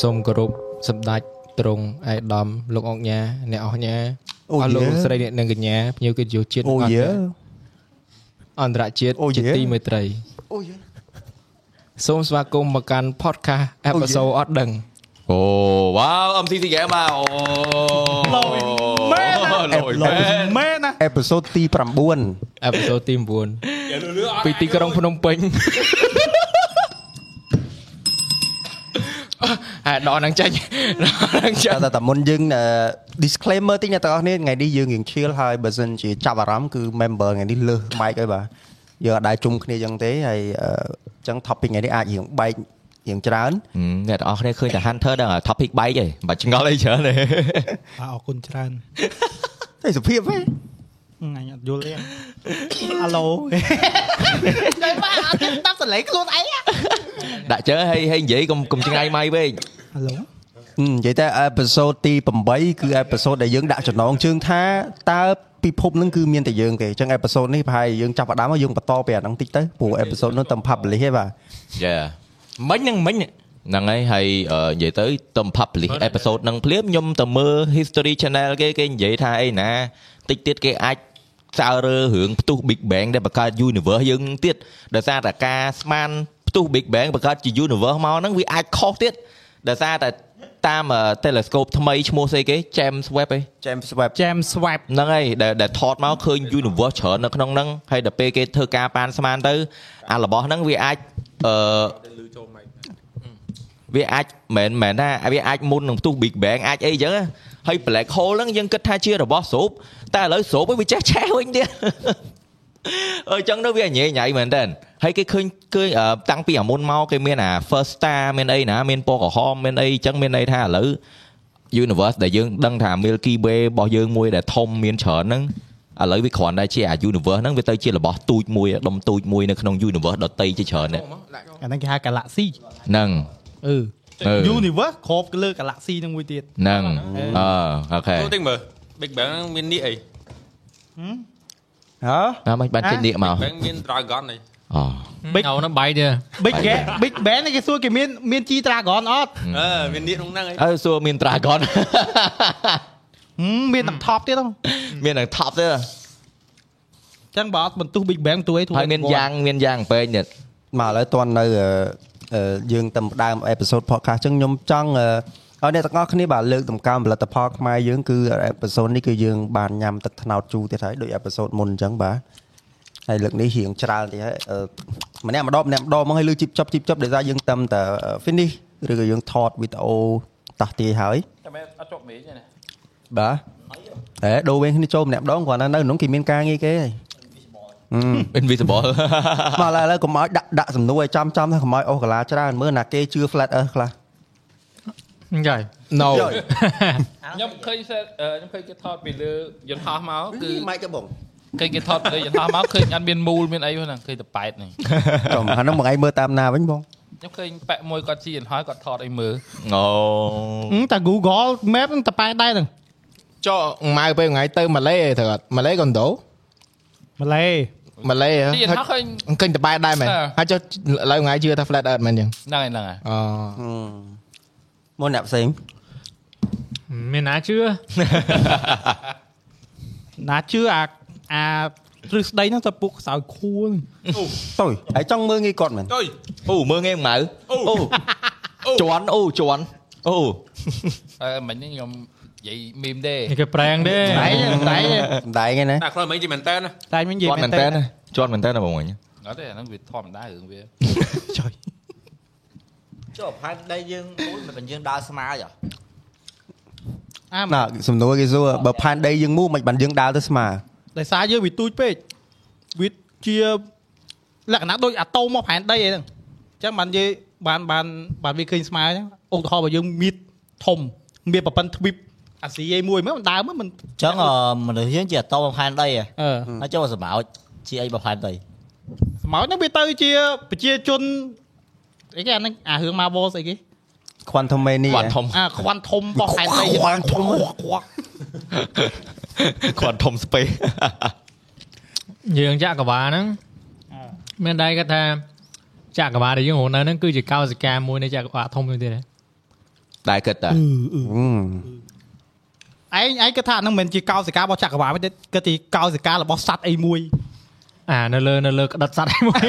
សូមគោរពសម្ដេចទ្រង់ឯកឧត្តមលោកអង្គញាអ្នកអស់ញា អូយេ អស់លោកស្រីអ្នកនិងកញ្ញាភ្ញៀវកិត្តិយសជាតិ អូយេ អន្តរជាតិ អូយេ ជាទីមេត្រី អូយេ សូមស្វាគមន៍មកកាន់ podcast អូយេ episode អត់ដឹង អូវ៉ាវ MC ទីហ្គេមមកអូ ឡូយមែនណា លយមែន មែនណាអេពីសូតទី9 episode ទី9ពីទីក្រុងភ្នំពេញអា À, ដល់នឹងចាញ់ ដល់នឹងចាញ់ តែតែមុនយើងអឺ disclaimer តិចអ្នកទាំងអស់គ្នាថ្ងៃនេះយើងរៀងឈៀលហើយបើសិនជាចាប់អារម្មណ៍គឺ member ថ្ងៃនេះលើស mic ហើយបាទយើងអត់ដែរជុំគ្នាចឹងទេហើយអឺចឹង topic ថ្ងៃនេះអាចរៀងបែករៀងច្រើន ហឹមអ្នកទាំងអស់គ្នាឃើញតែ Hunter ដឹង topic បែកឯងបាច់ឆ្ងល់អីច្រើនទេ បាទអរគុណច្រើន តែសុភាពហ៎ អញអត់យល់ ទេអាឡូ ទៅមកអត់ដឹងដល់សលេងខ្លួនអីហ៎ ដាក់ជើហើយហើយនិយាយកុំកុំឆ្ងាយម៉ៃពេក អាឡូ ហឹមនិយាយតែ episode ទី8គឺ episode ដែលយើងដាក់ចំណងជើងថាតើពិភពនឹងគឺមានតែយើងទេអញ្ចឹង episode នេះប្រហែលយើងចាប់ផ្ដើមហើយយើងបន្តពីអាហ្នឹងតិចទៅព្រោះ episode នោះតែ publish ទេបាទ យ៉ា មិញនឹងមិញ ហ្នឹងហើយហើយអឺនិយាយទៅទៅ publish episode ហ្នឹងភ្លាមខ្ញុំទៅមើល history channel គេគេនិយាយថាអីណាតិចទៀតគេអាចស្អើរើរឿងផ្ទុះ Big Bang ដែលបង្កើត universe យើងទៀតដោយសារតែការស្មានផ្ទុះ Big Bang បង្កើតជា universe មកហ្នឹងវាអាចខុសទៀតដោយសារតែតាមអឺ telescope ថ្មីឈ្មោះស្អីគេ James Webb ឯង James Webb ចាំស្វាប់ ហ្នឹងហើយដែលដែលថតមកឃើញ universe ច្រើននៅក្នុងហ្នឹងហើយដល់ពេលគេធ្វើការប៉ានស្មានទៅអារបស់ហ្នឹងវាអាចអឺវាអាចមិនមែនថាវាអាចមុននឹងផ្ទុះ Big Bang អាចអីចឹងណាហើយ black hole ហ្នឹងយើងគិតថាជារបស់ស្រូបតែឥឡូវស្រូបវិញវាចេះឆេះវិញទៀត អញ្ចឹងទៅវាញ៉ៃញ៉ៃមែនតើហើយគេឃើញឃើញអឺតាំងពីអាមុនមកគេមានអា first star មានអីណាមានពណ៌ក្រហមមានអីចឹងមានន័យថាឥឡូវ universe ដែលយើងដឹងថា Milky Way របស់យើងមួយដែលធំមានច្រើនហ្នឹងឥឡូវវាគ្រាន់តែជាអា universe ហ្នឹងវាទៅជារបស់ទូចមួយដុំទូចមួយនៅក្នុង universe ដតីជាច្រើននេះ អាហ្នឹងគេហៅ Galaxy ហ្នឹង អឺ អឺ Universe គ្របលើ Galaxy ហ្នឹងមួយទៀត ហ្នឹងអឺអូខេ ចូលតិចមើល Big Bang ហ្នឹងមាននេះអី ហ៎ តាមមិនបានចេញនេះមក Bang មាន Dragon អី អូ Big អូនឹងបាយទេ Big Bang Big Bang គេសួរគេមានមាន G Dragon អត់ អឺមាននេះក្នុងហ្នឹងអី អើសួរមាន dragon ហឹមមានតែ top ទៀតហ៎អ មាននឹង top ទេ ញ្ចឹងបើអត់បន្ទុះ Big Bang ទួយទួយ ហើយមានយ៉ាងមានយ៉ាងពេកទៀត មកឥឡូវតន់នៅអឺអឺយើងតាមដើមអេពីសូត podcast ចឹងខ្ញុំចង់អឺឲ្យអ្នកទាំងអស់គ្នាបាទលើកតម្កើងផលិតផលខ្មែរយើងគឺអេពីសូតនេះគឺយើងបានញ៉ាំទឹកត្នោតជូរទៀតហើយដូចអេពីសូតមុនអញ្ចឹងបាទហើយលើកនេះរៀងច្រើនទៀតហើយអឺម្នាក់ម្ដងម្នាក់ម្ដងមកហើយលើកជីបចប់ជីបចប់ដោយសារយើងតាមតែ finish ឬក៏យើងថតវីដេអូតោះទាយហើយ តែមិនអត់ជាប់មេទេណា បាទអេដូរវិញគ្នាចូលម្នាក់ម្ដងគ្រាន់តែនៅក្នុងគេមានការងារគេហើយអឺ invisible មកឡើយឥឡូវកុំឲ្យដាក់ដាក់សំណួរឲ្យចំចំថាកុំឲ្យអូសកាឡាច្រើនមើលណាគេជឿ flat earth ខ្លះ no ខ្ញុំឃើញសេតខ្ញុំឃើញគេថតពីលើយន្តហោះមគឺកគឺ mic ទៅបង ឃើញគេថតពីលើយន្តហោះមកឃើញអត់មានមូលមានអីហ្នឹងឃើញតែប៉ែតហ្នឹង ចំហ្នឹងមួយថ្ងៃមើលតាមណាវិញបង ខ្ញុំឃើញប៉ែកមួយគាត់ជីយន្តហោះគាត់ថតអីមើល អូ ហឹមតែ Google Map ហ្នឹងតែប៉ែដែរហ្នឹង ចុះម៉ៅពេលថ្ងៃទៅម៉ាឡេទេគាត់ម៉ាឡេកុនដូ ម៉ាឡេ ម៉ាឡេហ៎ ជីយន្តហោះឃើញ អង្គញតបែដែរមែន អឺ ហើយចុះឥឡូវថ្ងៃជឿថា flat earth មែនអញ្ចឹង ហ្នឹងហើយហ្នឹងហើយ អូ មកអ្នកផ្សេង មានណាជឿ ណាជឿអាអាទ្រឹស្ដីហ្នឹងទៅពួកខ្សោយខួរហ្នឹង ទុយហើយចង់មើលងាយគាត់មែន អុយ អូមើលងាយម៉ៅអូជន់អូជន់អូ អឺមិញនេះខ្ញុំនិយាយមីមទេ នេះគេប្រែងទេ តែតែ ម្ដែងហ្នឹងណា តែខ្លួនមិញជីមែនតើណា តែមិននិជយាយន់មែនតើជន់មែនតើបងវិញ អត់ទេអាហ្នឹងវាធម្មតារឿងវា ចុះផែនដីយើងអូនមិនយើងដើរស្មើចុះ អាម ណាសំណួរគេសួរបើផែនដីយើងមូមិនបានយើងដើរទៅស្មើ ដោយសារយើងវាទូចពេកវាជាលក្ខណៈដូចអាតូមមកផែនដីអីហ្នឹងអញ្ចឹងបាននិយាយបានបានបានវាឃើញស្មើអញ្ចឹងឧទាហរណ៍បើយើងមានធំមានប្រព័ន្ធទ្វីបអាស៊ីឯមួយមើលមិនដើមមិអនញ្ចឹងអឺមនុស្សយើងជាអតូមផែនដីហ៎ អឺ ហើយចុះសម្បោចជាអីបើផែនដី ស្មោចហ្នឹងវាទៅជាប្រជាជនអីគេអាហ្នឹងអារឿង Marvel ស្អីគេ quantum mania គាត់ធំ អា quantum របស់ផែនដី ខ្វាន់ធំ គាត់ធំស្ពេស យើងចាក់កវ៉ាហ្នឹងមានដៃគាត់ថាចាក់កវ៉ាដែលយើងរស់នៅហ្នឹងគឺជាកោសិកាមួយនៃចាក់កវ៉ាធំមួយទៀតហ៎ ដែរគិតតា Ừ. ឯងឯងគិតថាអាហ្នឹងមិនមែនជាកោសិការបស់ចក្រវាលទេគិតទីកោសិការបស់សัตว์អីមួយ អានៅលើនៅលើក្តិតសត្វឯ មួយ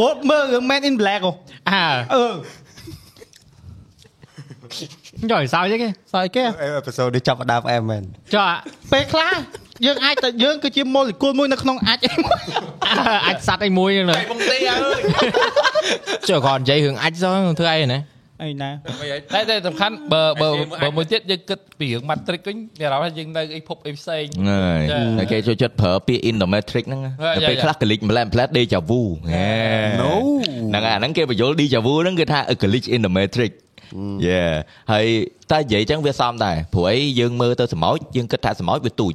ព្រោះមើលរឿង Man in Black ហ៎ អា អឺ ចុយសើចទេ សើចគេ អេពីសូតនេះចាប់ផ្ដើមអែមែន ចុះ ពេលខ្លះយើងអាចតែយើងគឺជាម៉ូលេគុលមួយនៅក្នុងអាចអី មួយ អាចសត្វឯមួយហ្នឹងលើ បងទេអើយ ចុះគាត់និយាយរឿងអាចសោះធ្វើអីណា អីណា តែតែសំខាន់បើបើបើមួយទៀតយើងគិតពីរឿង matrix វិញមានអារម្មណ៍ថាយើងនៅអីភពអីផ្សេង ហើយគេចូលចិត្តប្រើពាក្យ Indometric ហ្នឹង ហើដយល់ពេល យ៉ា ខ្លះក្លិចម្លែម្លែដេចាវូហេហ្នឹងហើយអាហ្នឹងគេបញ្យល់ដេចាវូហ្នឹងគឺថាក្លិច Indometric យេហើយតែនិយាយចឹងវាសមដែរព្រោះអីយើងមើលទៅសម្ោចយើងគិតថាសម្ោចវាទូច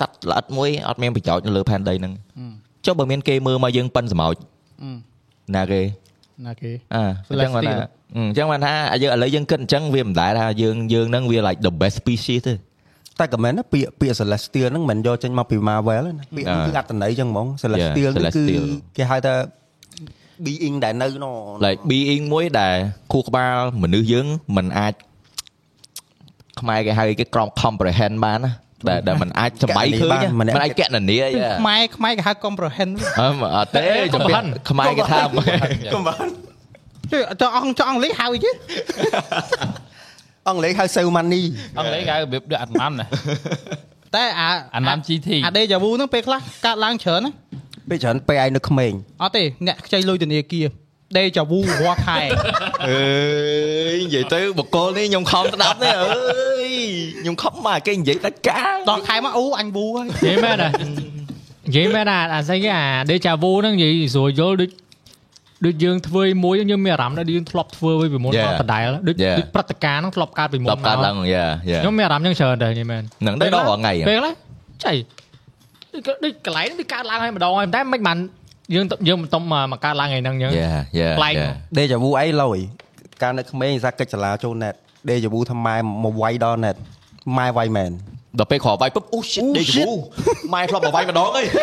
សត្វល្អិតមួយអត់មានប្រយោជន៍នៅលើផែនដីហ្នឹងចុះបើមានគេមើលមកយើងប៉ិនសម្ោចណាគេ ណាគេ អឺអញ្ចឹងគាត់ថាអឺ Celestial អញ្ចឹងគាត់ថាយើងឥឡូវយើងគិតអញ្ចឹងវាមិនដែលថាយើងយើងហ្នឹងវា like the best species ទេ តែក៏មែនណាពាក្យពាក្យ Celestial ហ្នឹងមិនយកចេញមកពី Marvel ទេណាពាក្យហ្នឹងគឺអត្ថន័យចឹងហ្មង Celestial ហ្នឹងគឺ Celestial គេហៅថា being ដែលនៅក្នុង like being មួយដែលខួរក្បាលមនុស្សយើងមិនអាចខ្មែរគេហៅគេក្រម comprehend បានណាដែលដែលមិនអាចសម័យក ណនី ឃើញ បាន ណាមិនម្នាក់ អាចកណ នាយេ ខ្មែរខ្មែរគេហៅ comprehend អឺអត់ទេចំពោះខ្មែរគេ ថា កំបាន ជួយចង់អង់ចង់អង់គ្លេសហៅអីគេ អង់គ្លេសហៅ Save Money អង់គ្លេសគេហៅរបៀបដូចអាណាំណា តែអា អាណាំ GT អា deja vu ហ្នឹងពេលខ្លះកើតឡើងច្រើនណា ពេលច្រើនពេលឯងនៅក្មេង អត់ទេអ្នកខ្ចីលុយធនាគារ Deja vu រាល់ខែ អើយនិយាយទៅបកគលនេះខ្ញុំខំស្ដា ប់នេះអើយខ្ញុំខំមកគេនិយាយដាច់កាល ដល់ខែមកអូអញវូហើយ និយាយមែនអានិយាយមែនអាអាស្អីគេអា Deja Vu ហ្នឹងនិយាយស្រួលយល់ដូចដូចយើងធ្វើឯមួយហ្នឹងយើងមានអារម្មណ៍ដូចយើងធ្លាប់ធ្វើវាពីមុន Yeah. មកដដែលដូច Yeah. ដូចព្រឹត្តិការណ៍ហ្នឹងធ្លាប់កើតពីមុន តបកើតឡើងយេយេ ខ្ញុំមានអារម្មណ៍យ៉ាងច្រើនដែរនិយាយមែន ហ្នឹងដែរដល់រាល់ថ្ងៃហ៎ ពេលហ្នឹងចៃដូចកដូចកន្លែងហ្នឹងវាកើតឡើងហើយម្ដងហើយតែមិនបានយើងទៅយើងមិនទុំមកមកកើតឡើងថ្ងៃហ្នឹងយើង យ៉ាយ៉ា ប្លែក យ៉ា Deja vu អីឡើយកាលនៅក្មេងឯងសាកិច្ចសាលាចូល net Deja vu ថាម៉ែមកវាយដល់ net ម៉ែវាយមែន ដល់ពេលក្រោយវាយពុបអូ shit ដេកវូ ម៉ែធ្លាប់មកវាយម្ដងអី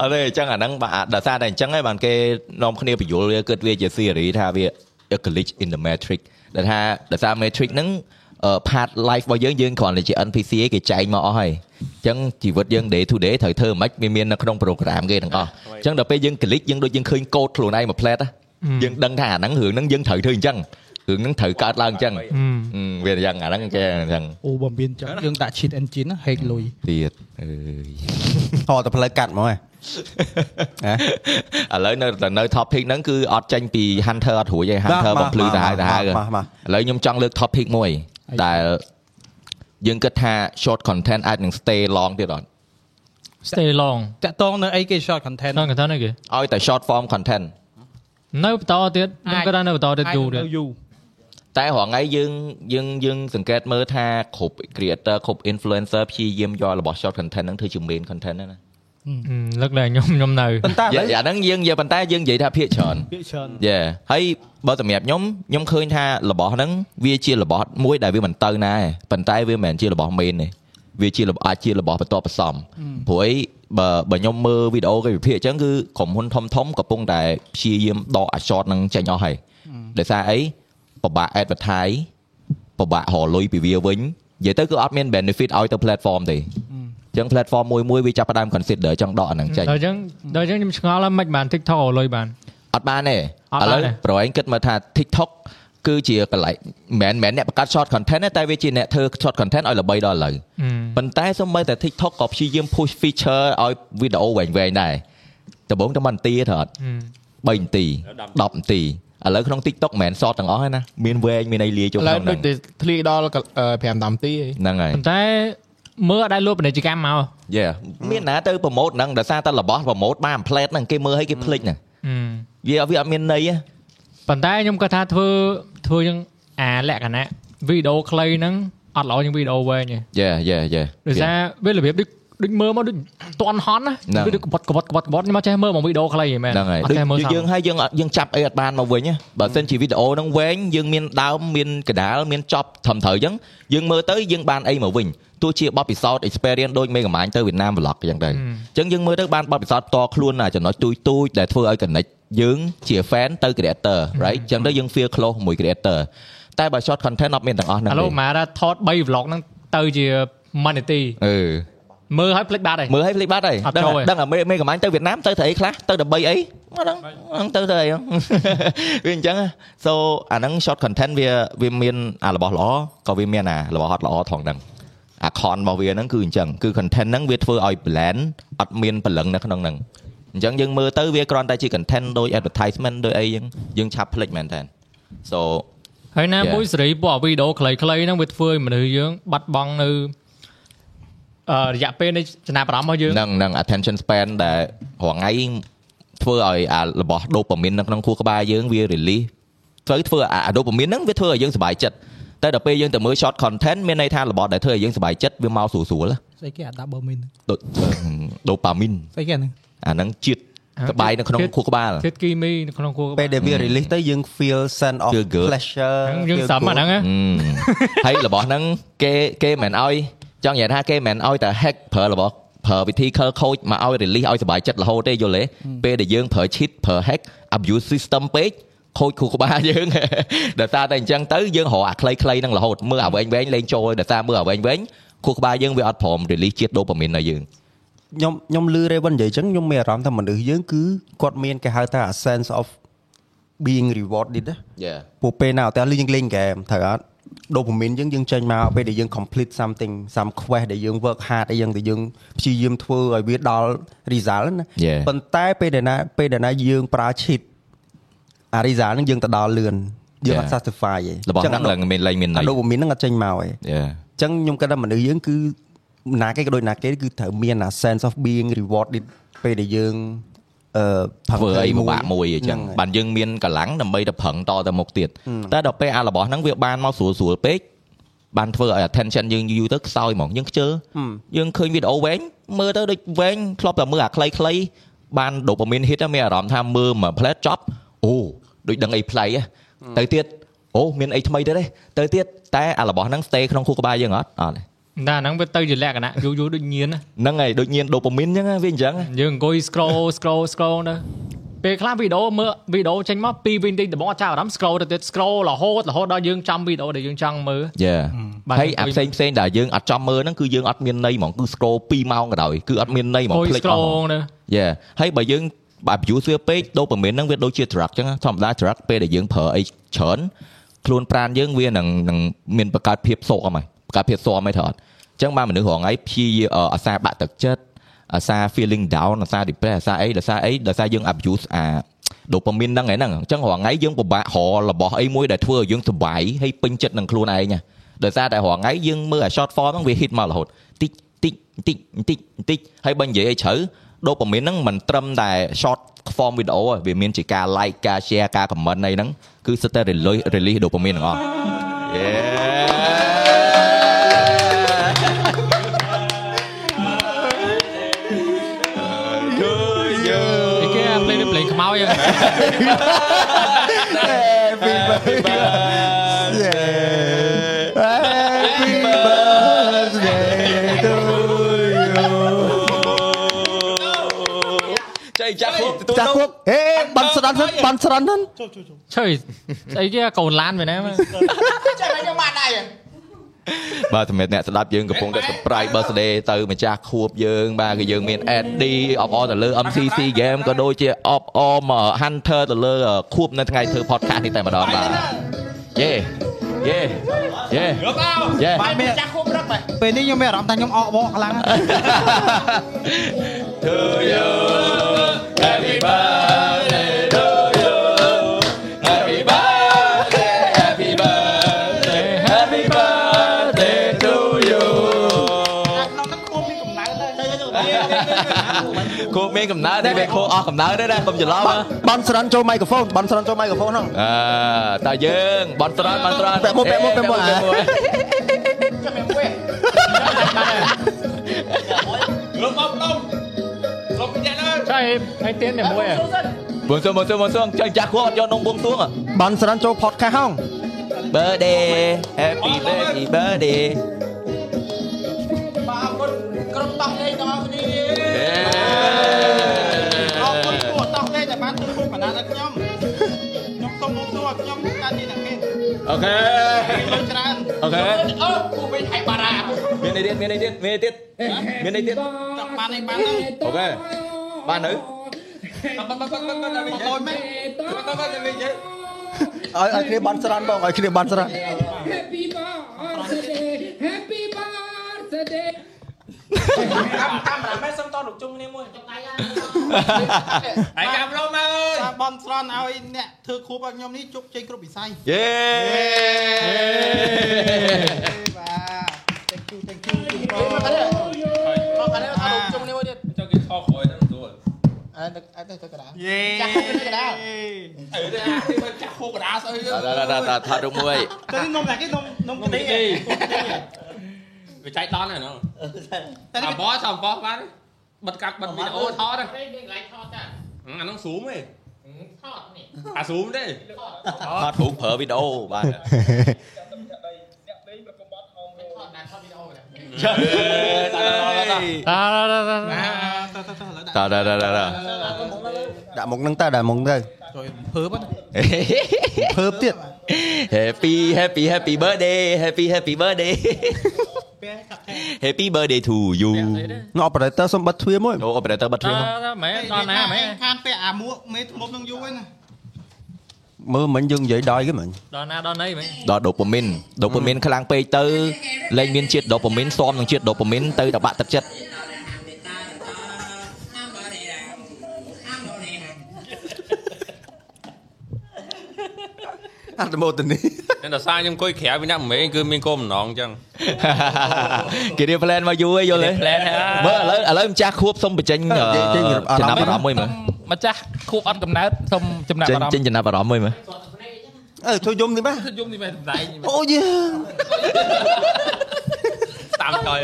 អរេអញ្ចឹងអាហ្នឹងបាទដល់សារតែអញ្ចឹងហើយបានគេនាំគ្នាបញ្យល់វាគិតវាជា theory ថាវា a glitch in the matrix ដែលថាដល់សារ matrix ហ្នឹងអឺ part life របស់យើងយើងគ្រាន់តែជា NPC ឯងគេចែងមកអស់ហើយអញ្ចឹងជីវិតយើង day to day ត្រូវធ្វើមិនខ្មិចវាមាននៅក្នុង program គេទាំងអស់អញ្ចឹងដល់ពេលយើង glitch យើងដូចយើងឃើញ code ខ្លួនឯងមួយផ្លែតណាយើងដឹងថាអាហ្នឹងរឿងហ្នឹងយើងត្រូវធ្វើអញ្ចឹងរឿងហ្នឹងត្រូវកើតឡើងអញ្ចឹង អឺវាយ៉ាងអាហ្នឹងគេអញ្ចឹង អូបើមានចឹងយើងដាក់ cheat engine ហែកលុយ ទៀតអ ហត់តែផ្លូវកាត់មកហ៎ ើយឥឡូវនៅតែនៅ topic ហ្នឹងគឺអត់ចាញ់ពី Hunter អត់រួចទេ Hunter បំភ្លឺទៅហើយទៅហើយឥ បាទបាទ ឡូវខ្ញុំចង់លើក topic មួយដែលយើងគិតថា short content អាចនឹង stay long ទៀតអត់ stay long តាក់តងនៅអីគេ short content ដល់កន្លែងហ្នឹងគេ ឲ្យតែ short form content នៅបន្តទៀតខ្ញុំ អាច គិតថានៅបន្តទៀតយូរទៀត យូរ តែរាល់ថ្ងៃយើងយើងយើងសង្កេតមើលថាគ្រប់ creator គ្រប់ influencer ព្យាយាមយករបស់ short content ហ្នឹងធ្វើជា main content ហ្នឹងណា អឺលើកឡើងខ្ញុំខ្ញុំនៅ ប៉ុន្តែឥឡូវ យ៉ាអាហ្នឹងយើងនិយាយប៉ុន្តែយើងនិយាយថាភាកច្រើន ពាក្យច្រើន យេហើយបើសម្រាប់ខ្ញុំខ្ញុំឃើញថារបស់ហ្នឹងវាជារបស់មួយដែលវាមិនទៅណាឯងប៉ុន្តែវាមិនមែនជារបស់ main ទេវាជារបស់អាចជារបស់បន្ទាប់បន្សំព្រោះអីបើបើខ្ញុំមើលវីដេអូគេវិភាគអញ្ចឹងគឺក្រុមហ៊ុនធំធំៗកំពុងតែព្យាយាមដកអា short ហ្នឹងចេញអស់ហើយដោយសារអីពិបាក advertise ពិបាករកលុយពីវាវិញនិយាយទៅគឺអត់មាន benefit ឲ្យទៅ platform ទេអញ្ចឹង platform មួយមួយៗវាចាប់ផ្ដើម consider ចង់ដកអាហ្នឹងចេញ ដល់អញ្ចឹងដល់អញ្ចឹងខ្ញុំឆ្ងល់ហើយមិនបាន TikTok ឲ្យលុយបាន អត់បានទេ អត់ ឥ បា ឡូវប្រហែនទេលគិតមកថា TikTok គឺជាកន្លែងមិនមែនអ្នកបង្កើត short content ទេតែវាជាអ្នកធ្វើ short content ឲ្យល្បីដល់ឥឡូវ អឺ ប៉ុន្តែសូម្បីតែ TikTok ក៏ព្យាយាម push feature ឲ្យវីដេអូវែងៗដែរដំបូងតែ1នាទីទេអត់3នាទី10នាទីឥឡូវក្នុង TikTok មិនមែន short ទាំងអស់ទេណាមានវែងមានអីលាយចូល ឥ ក្នុឡូងវ ហ្នឹ ដូច ង តែធ្លាយដល់5តាមទី ហ្នឹងហើយ ប៉ុន្តែមើលអត់ដែរលុបពាណិជ្ជកម្មមក Yeah មានណាទៅប្រម៉ូតហ្នឹងដោយសារតែរបស់ប្រម៉ូតបានផ្លែតហ្នឹងគេមើលឲ្យគេភ្លេចហ្នឹង អឺ វាវាអត់មានន័យទេ ប៉ុន្តែខ្ញុំគាត់ថាធ្វើធ្វើយ៉ាងអាលក្ខណៈវីដេអូខ្លីហ្នឹងអត់ល្អជាងវីដេអូវែងទេ Yeah yeah yeah ដោយសារវារបៀបដូច ដូចមើលមកដូចតន់ហន់ ហ្នឹ ណា ង វាដូចកបត់កបត់កបត់កបត់ខ្ញុំអត់ចេះមើលមកវីដេអូខ្លីហ៎មែន ហ្នឹងហើយ អត់ចេះមើល ដូច សោះ យើងហើយយើងអត់យើងចាប់អីអត់បានមកវិញណាបើមិនជាវីដេអូហ្នឹងវែងយើងមានដើមមានកដាលមានចប់ត្រឹមត្រូវអញ្ចឹងយើងមើលទៅយើងបានអីមកវិញទោះជាបទពិសោធន៍ experience ដូចមេកំាញ់ទៅវៀតណាម vlog អញ្ចឹងទៅអញ្ចឹងយើងមើលទៅបានបទពិសោធន៍ផ្ទាល់ខ្លួនណាចំណុចទួយទួយដែលធ្វើឲ្យ connect យើងជា fan ទៅ creator right អញ្ចឹងទៅយើង feel close ជាមួយ creator តែបើ short content អត់មានទាំងអស់ហ្នឹង ឥឡូវម៉ារ៉ាថត3 vlog ហ្នឹងទៅជា monetary អឺ មើលឲ្យភ្លេចបាត់ហើយ មើលឲ្យភ្លេចបាត់ហើយ អត់ ដឹង ចូលទេ ដឹងអាមេមេកំាញ់ទៅវៀតណាមទៅធ្វើអីខ្លះទៅដើម្បីអីមកដឹងហ្នឹងទៅធ្វើអី ហ្នឹង វាអញ្ចឹងណា so អាហ្នឹង short content វាវាមានអារបស់ល្អក៏វាមានអារបស់អត់ល្អផងហ្នឹងអា con របស់វាហ្នឹងគឺអញ្ចឹងគឺ content ហ្នឹងវាធ្វើឲ្យ blend អត់មានព្រលឹងនៅក្នុងហ្នឹងអញ្ចឹងយើងមើលទៅវាគ្រាន់តែជា content ដូច advertisement ដូចអីអញ្ចឹងយើងឆាប់ភ្លេចមែនតើ so ហើយណា Yeah. មួយសេរីពួកវីដេអូខ្លីៗហ្នឹងវាធ្វើឲ្យមនុស្សយើងបាត់បង់នៅអឺរយៈពេលនៃចំណាប់អារម្មណ៍របស់យើង ហ្នឹងហ្នឹង attention span ដែលរងថ្ងៃធ្វើឲ្យអារបស់ dopamine នៅក្នុងខួរក្បាលយើងវា release ទៅធ្វើអាអា dopamine ហ្នឹងវាធ្វើឲ្យយើងសប្បាយចិត្តតែដល់ពេលយើងទៅមើល short content មានន័យថារបស់ដែលធ្វើឲ្យយើងសប្បាយចិត្តវាមកស្រួលស្រួលៗហ៎ ស្អីគេអាដាប់បឺមីន ដូច dopamine ស្អីគេហ្នឹង អាហ្នឹងជាតិ អា ក្បាយនៅក្នុង ជាតិ ខួរក្បាល ធាតុគីមីនៅក្នុងគួរក្បាល ពេលដែលវា release ទៅយើង feel sense of Feel good. pleasure ហ្នឹងយើង feel សំ good. អាហ្នឹងណា ហើយរបស់ហ្នឹងគេគេមិនឲ្យចង់និយាយថាគេមិនឲ្យតែ hack ប្រើរបស់ប្រើវិធី curl coach មកឲ្យ release ឲ្យសប្បាយចិត្តរហូតទេយល់ទេពេលដែលយើងប្រើ cheat ប្រើ hack abuse system ពេកខូចខួរក្បាល យើង ដោយសារតែអញ្ចឹងទៅយើងរកអាខ្លីៗហ្នឹងរហូតមើលអាវែងៗលេងចូលដោយសារមើលអាវែងៗខួរក្បាលយើងវាអត់ព្រម release ជាតិ dopamine ឲ្យយើង ខ្ញុំខ្ញុំលឺ Raven និយាយអញ្ចឹងខ្ញុំមានអារម្មណ៍ថាមនុស្សយើងគឺគាត់មានគេហៅថា a sense of being rewarded ណា Yeah ពួកពេលណាអត់តែលយើងលេងហ្គេមត្រូវអត់ dopamine យើងយើងចេញមកពេលដែលយើង complete something some quest ដែលយើង work hard អីយ៉ាងទៅយើងព្យាយាមធ្វើឲ្យវាដល់ result ណា Yeah. ប៉ុន្តែពេលដែលណាពេលដែលណាយើងប្រើ cheat អា result ហ្នឹងយើងទៅដល់លឿនយើងអត់ Yeah. satisfy ទេ របស់ហ្នឹងឡើងមានលេងមានន័ អា យ dopamine ហ្នឹងអត់ចេញមកទេ Yeah អញ្ចឹងខ្ញុំគិតថាមនុស្សយើងគឺណាគេក៏ដូចណាគេគឺត្រូវមានអា sense of being rewarded ពេលដែលយើងអឺផឹង ធ្វើអីពិ យ បាកមួយអញ្ចឹង ហ្នឹងហើយ បានយើងមានកម្លាំងដើម្បីទៅប្រឹងតទៅមុខទៀតតែដល់ពេលអារបស់ហ្នឹងវាបានមកស្រួលស្រួលពេកបានធ្វើឲ្យ attention យើងយូរទៅខ្សោយហ្មងយើងខ្ជិលយើងឃើញវីដេអូវែងមើលទៅដូចវែងធ្លាប់តែមើលអាខ្លីៗបាន dopamine hit ហ្នឹងមានអារម្មណ៍ថាមើលមួយផ្លែតចប់អូដូចដឹងអីផ្លៃហ៎ទៅទៀតអូមានអីថ្មីទៀតទេទៅទៀតតែអារបស់ហ្នឹង stay ក្នុងខួរក្បាលយើងអត់អត់ទេ តែអាហ្នឹងវាទៅជាលក្ខណៈយូរយូរដូចញៀនណា ហ្នឹងហើយដូចញៀន dopamine អញ្ចឹងហ៎វាអញ្ចឹងហ៎ យើងអង្គុយ scroll scroll scroll ទៅពេលខ្លះវីដេអូមើលវីដេអូចេញមក2វិនាទីដំបូងអត់ចាប់អារម្មណ៍ scroll ទៅទៀត scroll រហូតរហូតដល់យើងចាំវីដេអូដែលយើងចង់មើល យ៉ា បាទ ហើយ អអាង្គុយ ផ្សេងផ្សេងដែលយើងអត់ចំមើលហ្នឹងគឺយើងអត់មានន័យហ្មងគឺ scroll 2ម៉ោងក៏ដោយគឺអត់មានន័យហ្មង អង្គុយ ភ្លេចអស់ហ្ម scroll ង ទៅ យ៉ាហើយបើយើងបើ abuse វាពេក dopamine ហ្នឹងវាដូចជា drug អញ្ចឹងណាធម្មតា drug ពេលដែលយើងប្រើអីច្រើនខ្លួនប្រាណយើងវានឹងនឹងមានបង្កើតភាពសោកអមហ៎បង្កើតភាពសោកអមហ៎ត្រូវអត់អញ្ចឹងបានមនុស្សរងឯងព្យាយាមអអាសាបាក់ទឹកចិត្តអាសា feeling down អាសា depress អាសាអីដោយសារអីដោយសារយើង abuse អា dopamine ហ្នឹងឯហ្នឹងអញ្ចឹងរងឯងយើងពិបាករករបស់អីមួយដែលធ្វើឲ្យយើងសុបាយហើយពេញចិត្តនឹងខ្លួនឯងណា ដោយសារតែរងថ្ងៃយើងមើលអា short form ហ្នឹងវា hit មករហូតតិចតិចតិចតិចតិចហើយបើនិយាយឲ្យជ្រៅ dopamine ហ្នឹងមិនត្រឹមតែ short form video ទេវាមានជាការ like ការ share ការ comment អីហ្នឹងគឺសិតតែ release release dopamine ទាំងអស់ Yeah អីគេអា play នេះ play ខ្មោចហ៎ Happy birthday to you ចៃចាប់គ្រប់ទទួល ចាស់គុកហេបាន់ស្រន់ហ្នឹងបាន់ស្រន់ហ្នឹង ឆុយអីគេអាកូនឡានវិញណាមើល ចាំតែខ្ញុំបានដែរ បាទសម្រាប់អ្នកស្ដាប់យើងកំពុងតែ surprise birthday ទៅម្ចាស់ខួបយើង បាទគឺយើងមាន AD អបអរទៅលើ MCC game ក៏ដូចជាអបអរមក Hunter ទៅលើខួបនៅថ្ងៃធ្វើ podcast នេះតែម្ដងបាទយេយេយេយេ បាយម្ចាស់ខួបរឹកបែ ពេលនេះខ្ញុំមានអារម្មណ៍ថាខ្ញុំអកបកខ្លាំងណាស់ រក្នុងហ្នឹងខួបមានកម្ដៅទៅទៅទៅ ខួបមានកំណើតនេះវាខួបអស់កំណើតទេណាកុំច្រឡំណា បាន់ស្រន់ចូលមីក្រូហ្វូនបាន់ស្រន់ចូលមីក្រូហ្វូនហ្នឹង អឺតើយើងបនស្រន់បនស្រន់ ពាក់មួកពាក់មួកពាក់មួក ចាំខ្ញុំវិញ ឲ្យទៀនតែមួយ បងសួងបងសួងបងសួងចាស់ចាស់គាត់អត់យកនំបងសួងហ៎ បានស្រន់ចូល podcast ហង birthday happy birthday birthday ក្រុមតោះលេងទាំងអស់គ្នាអរគុណពួកតោះលេងដែលបានជួយពុកបណ្ដាដល់ខ្ញុំខ្ញុំសូមបូកទួខ្ញុំកាន់នេះតែគេ អូខេ លុយច្រើន អូខេ អឺពួកវិញហៃបារ៉ា មានអីទៀតមានអីទៀតមានអីទៀតមានអីទៀត ចង់បានឯងបានទៅ អូខេបាននៅ បើបើបើបើបើដល់វិញលុយមែនបើទៅដល់វិញ ឲ្យឲ្យគ្នាបានស្រន់បងឲ្យគ្នាបានស្រន់ Happy birthday, happy birthday. តាមកាមេរ៉ាមែនសូមតោះលោកជុំគ្នាមួយចុកដៃ ឯកាប្រមអើយ តាមបំស្រន់ឲ្យអ្នកធ្វើគ្រូរបស់ខ្ញុំនេះជោគជ័យគ្រប់វិស័យ យេ បាទ thank you thank you មកកាលមកកាលអរជុំគ្នាមួយទៀត ចុះគេខោក្រោយហ្នឹងស្រួល អើទឹកអើទឹកកណ្ដាលយេចាស់ទឹកកណ្ដាលអើទឹកអាទីមកចាស់ខូកណ្ដាលស្អីទៅ តាតាតាថតរូបមួយ ទៅនំតែគេនំនំកទេ វាចៃដន្យហ្នឹងអាបោះចាំបោះបានបិទកាត់បិទវីដេអូថតហ្នឹងអាហ្នឹងស៊ូមទេអាស៊ូមទេ ថតរូបប្រើវីដេអូបាន តាតាតា ណាទៅតាទៅទៅឥឡូវដាក់ តាតាតាតា ដាក់មុខហ្នឹងតើដាក់មុខទៅ ជួយភើបណា ភើបទៀត Happy happy happy birthday happy happy birthday ពេលកាប់ថែ Happy birthday to you នោះ operator សុំបិទទ្វារមួយ អូ operator បិទទ្វារ តា មក តាមែនដល់ណាមែន ខាងពាក់អាមួកមេធ្មប់នឹងយូរហើយណា មើលមិញយើងនិយាយដល់គេមិញ ដល់ណាដល់ណីមែន ដល់ dopamine dopamine ខ្លាំងពេកទៅលែងមានជាតិ dopamine ស៊ាំនឹងជាតិ dopamine ទៅតែបាក់ទឹកចិត្ត អត្តមោទ នី តែដល់សារខ្ញុំអង្គុយក្រៅវាអ្នកមិនមែនគឺមានកូនម្ដងអញ្ចឹង គេរៀប plan មកយូរហើយយល់ទេ plan មើលឥឡូវឥឡូវម្ចាស់ខួបសុំបញ្ចេញចំណាប់អារម្មណ៍មួយមើល ម្ចាស់ខួបអត់កំណើតសូមចំណាប់ ចេញ អារម្ម ចេញ ណ៍ ចំណាប់អារម្មណ៍មួយមើល អើធ្វើយំនេះបាទ យំនេះមែនដៃ អូយេ តាមចយ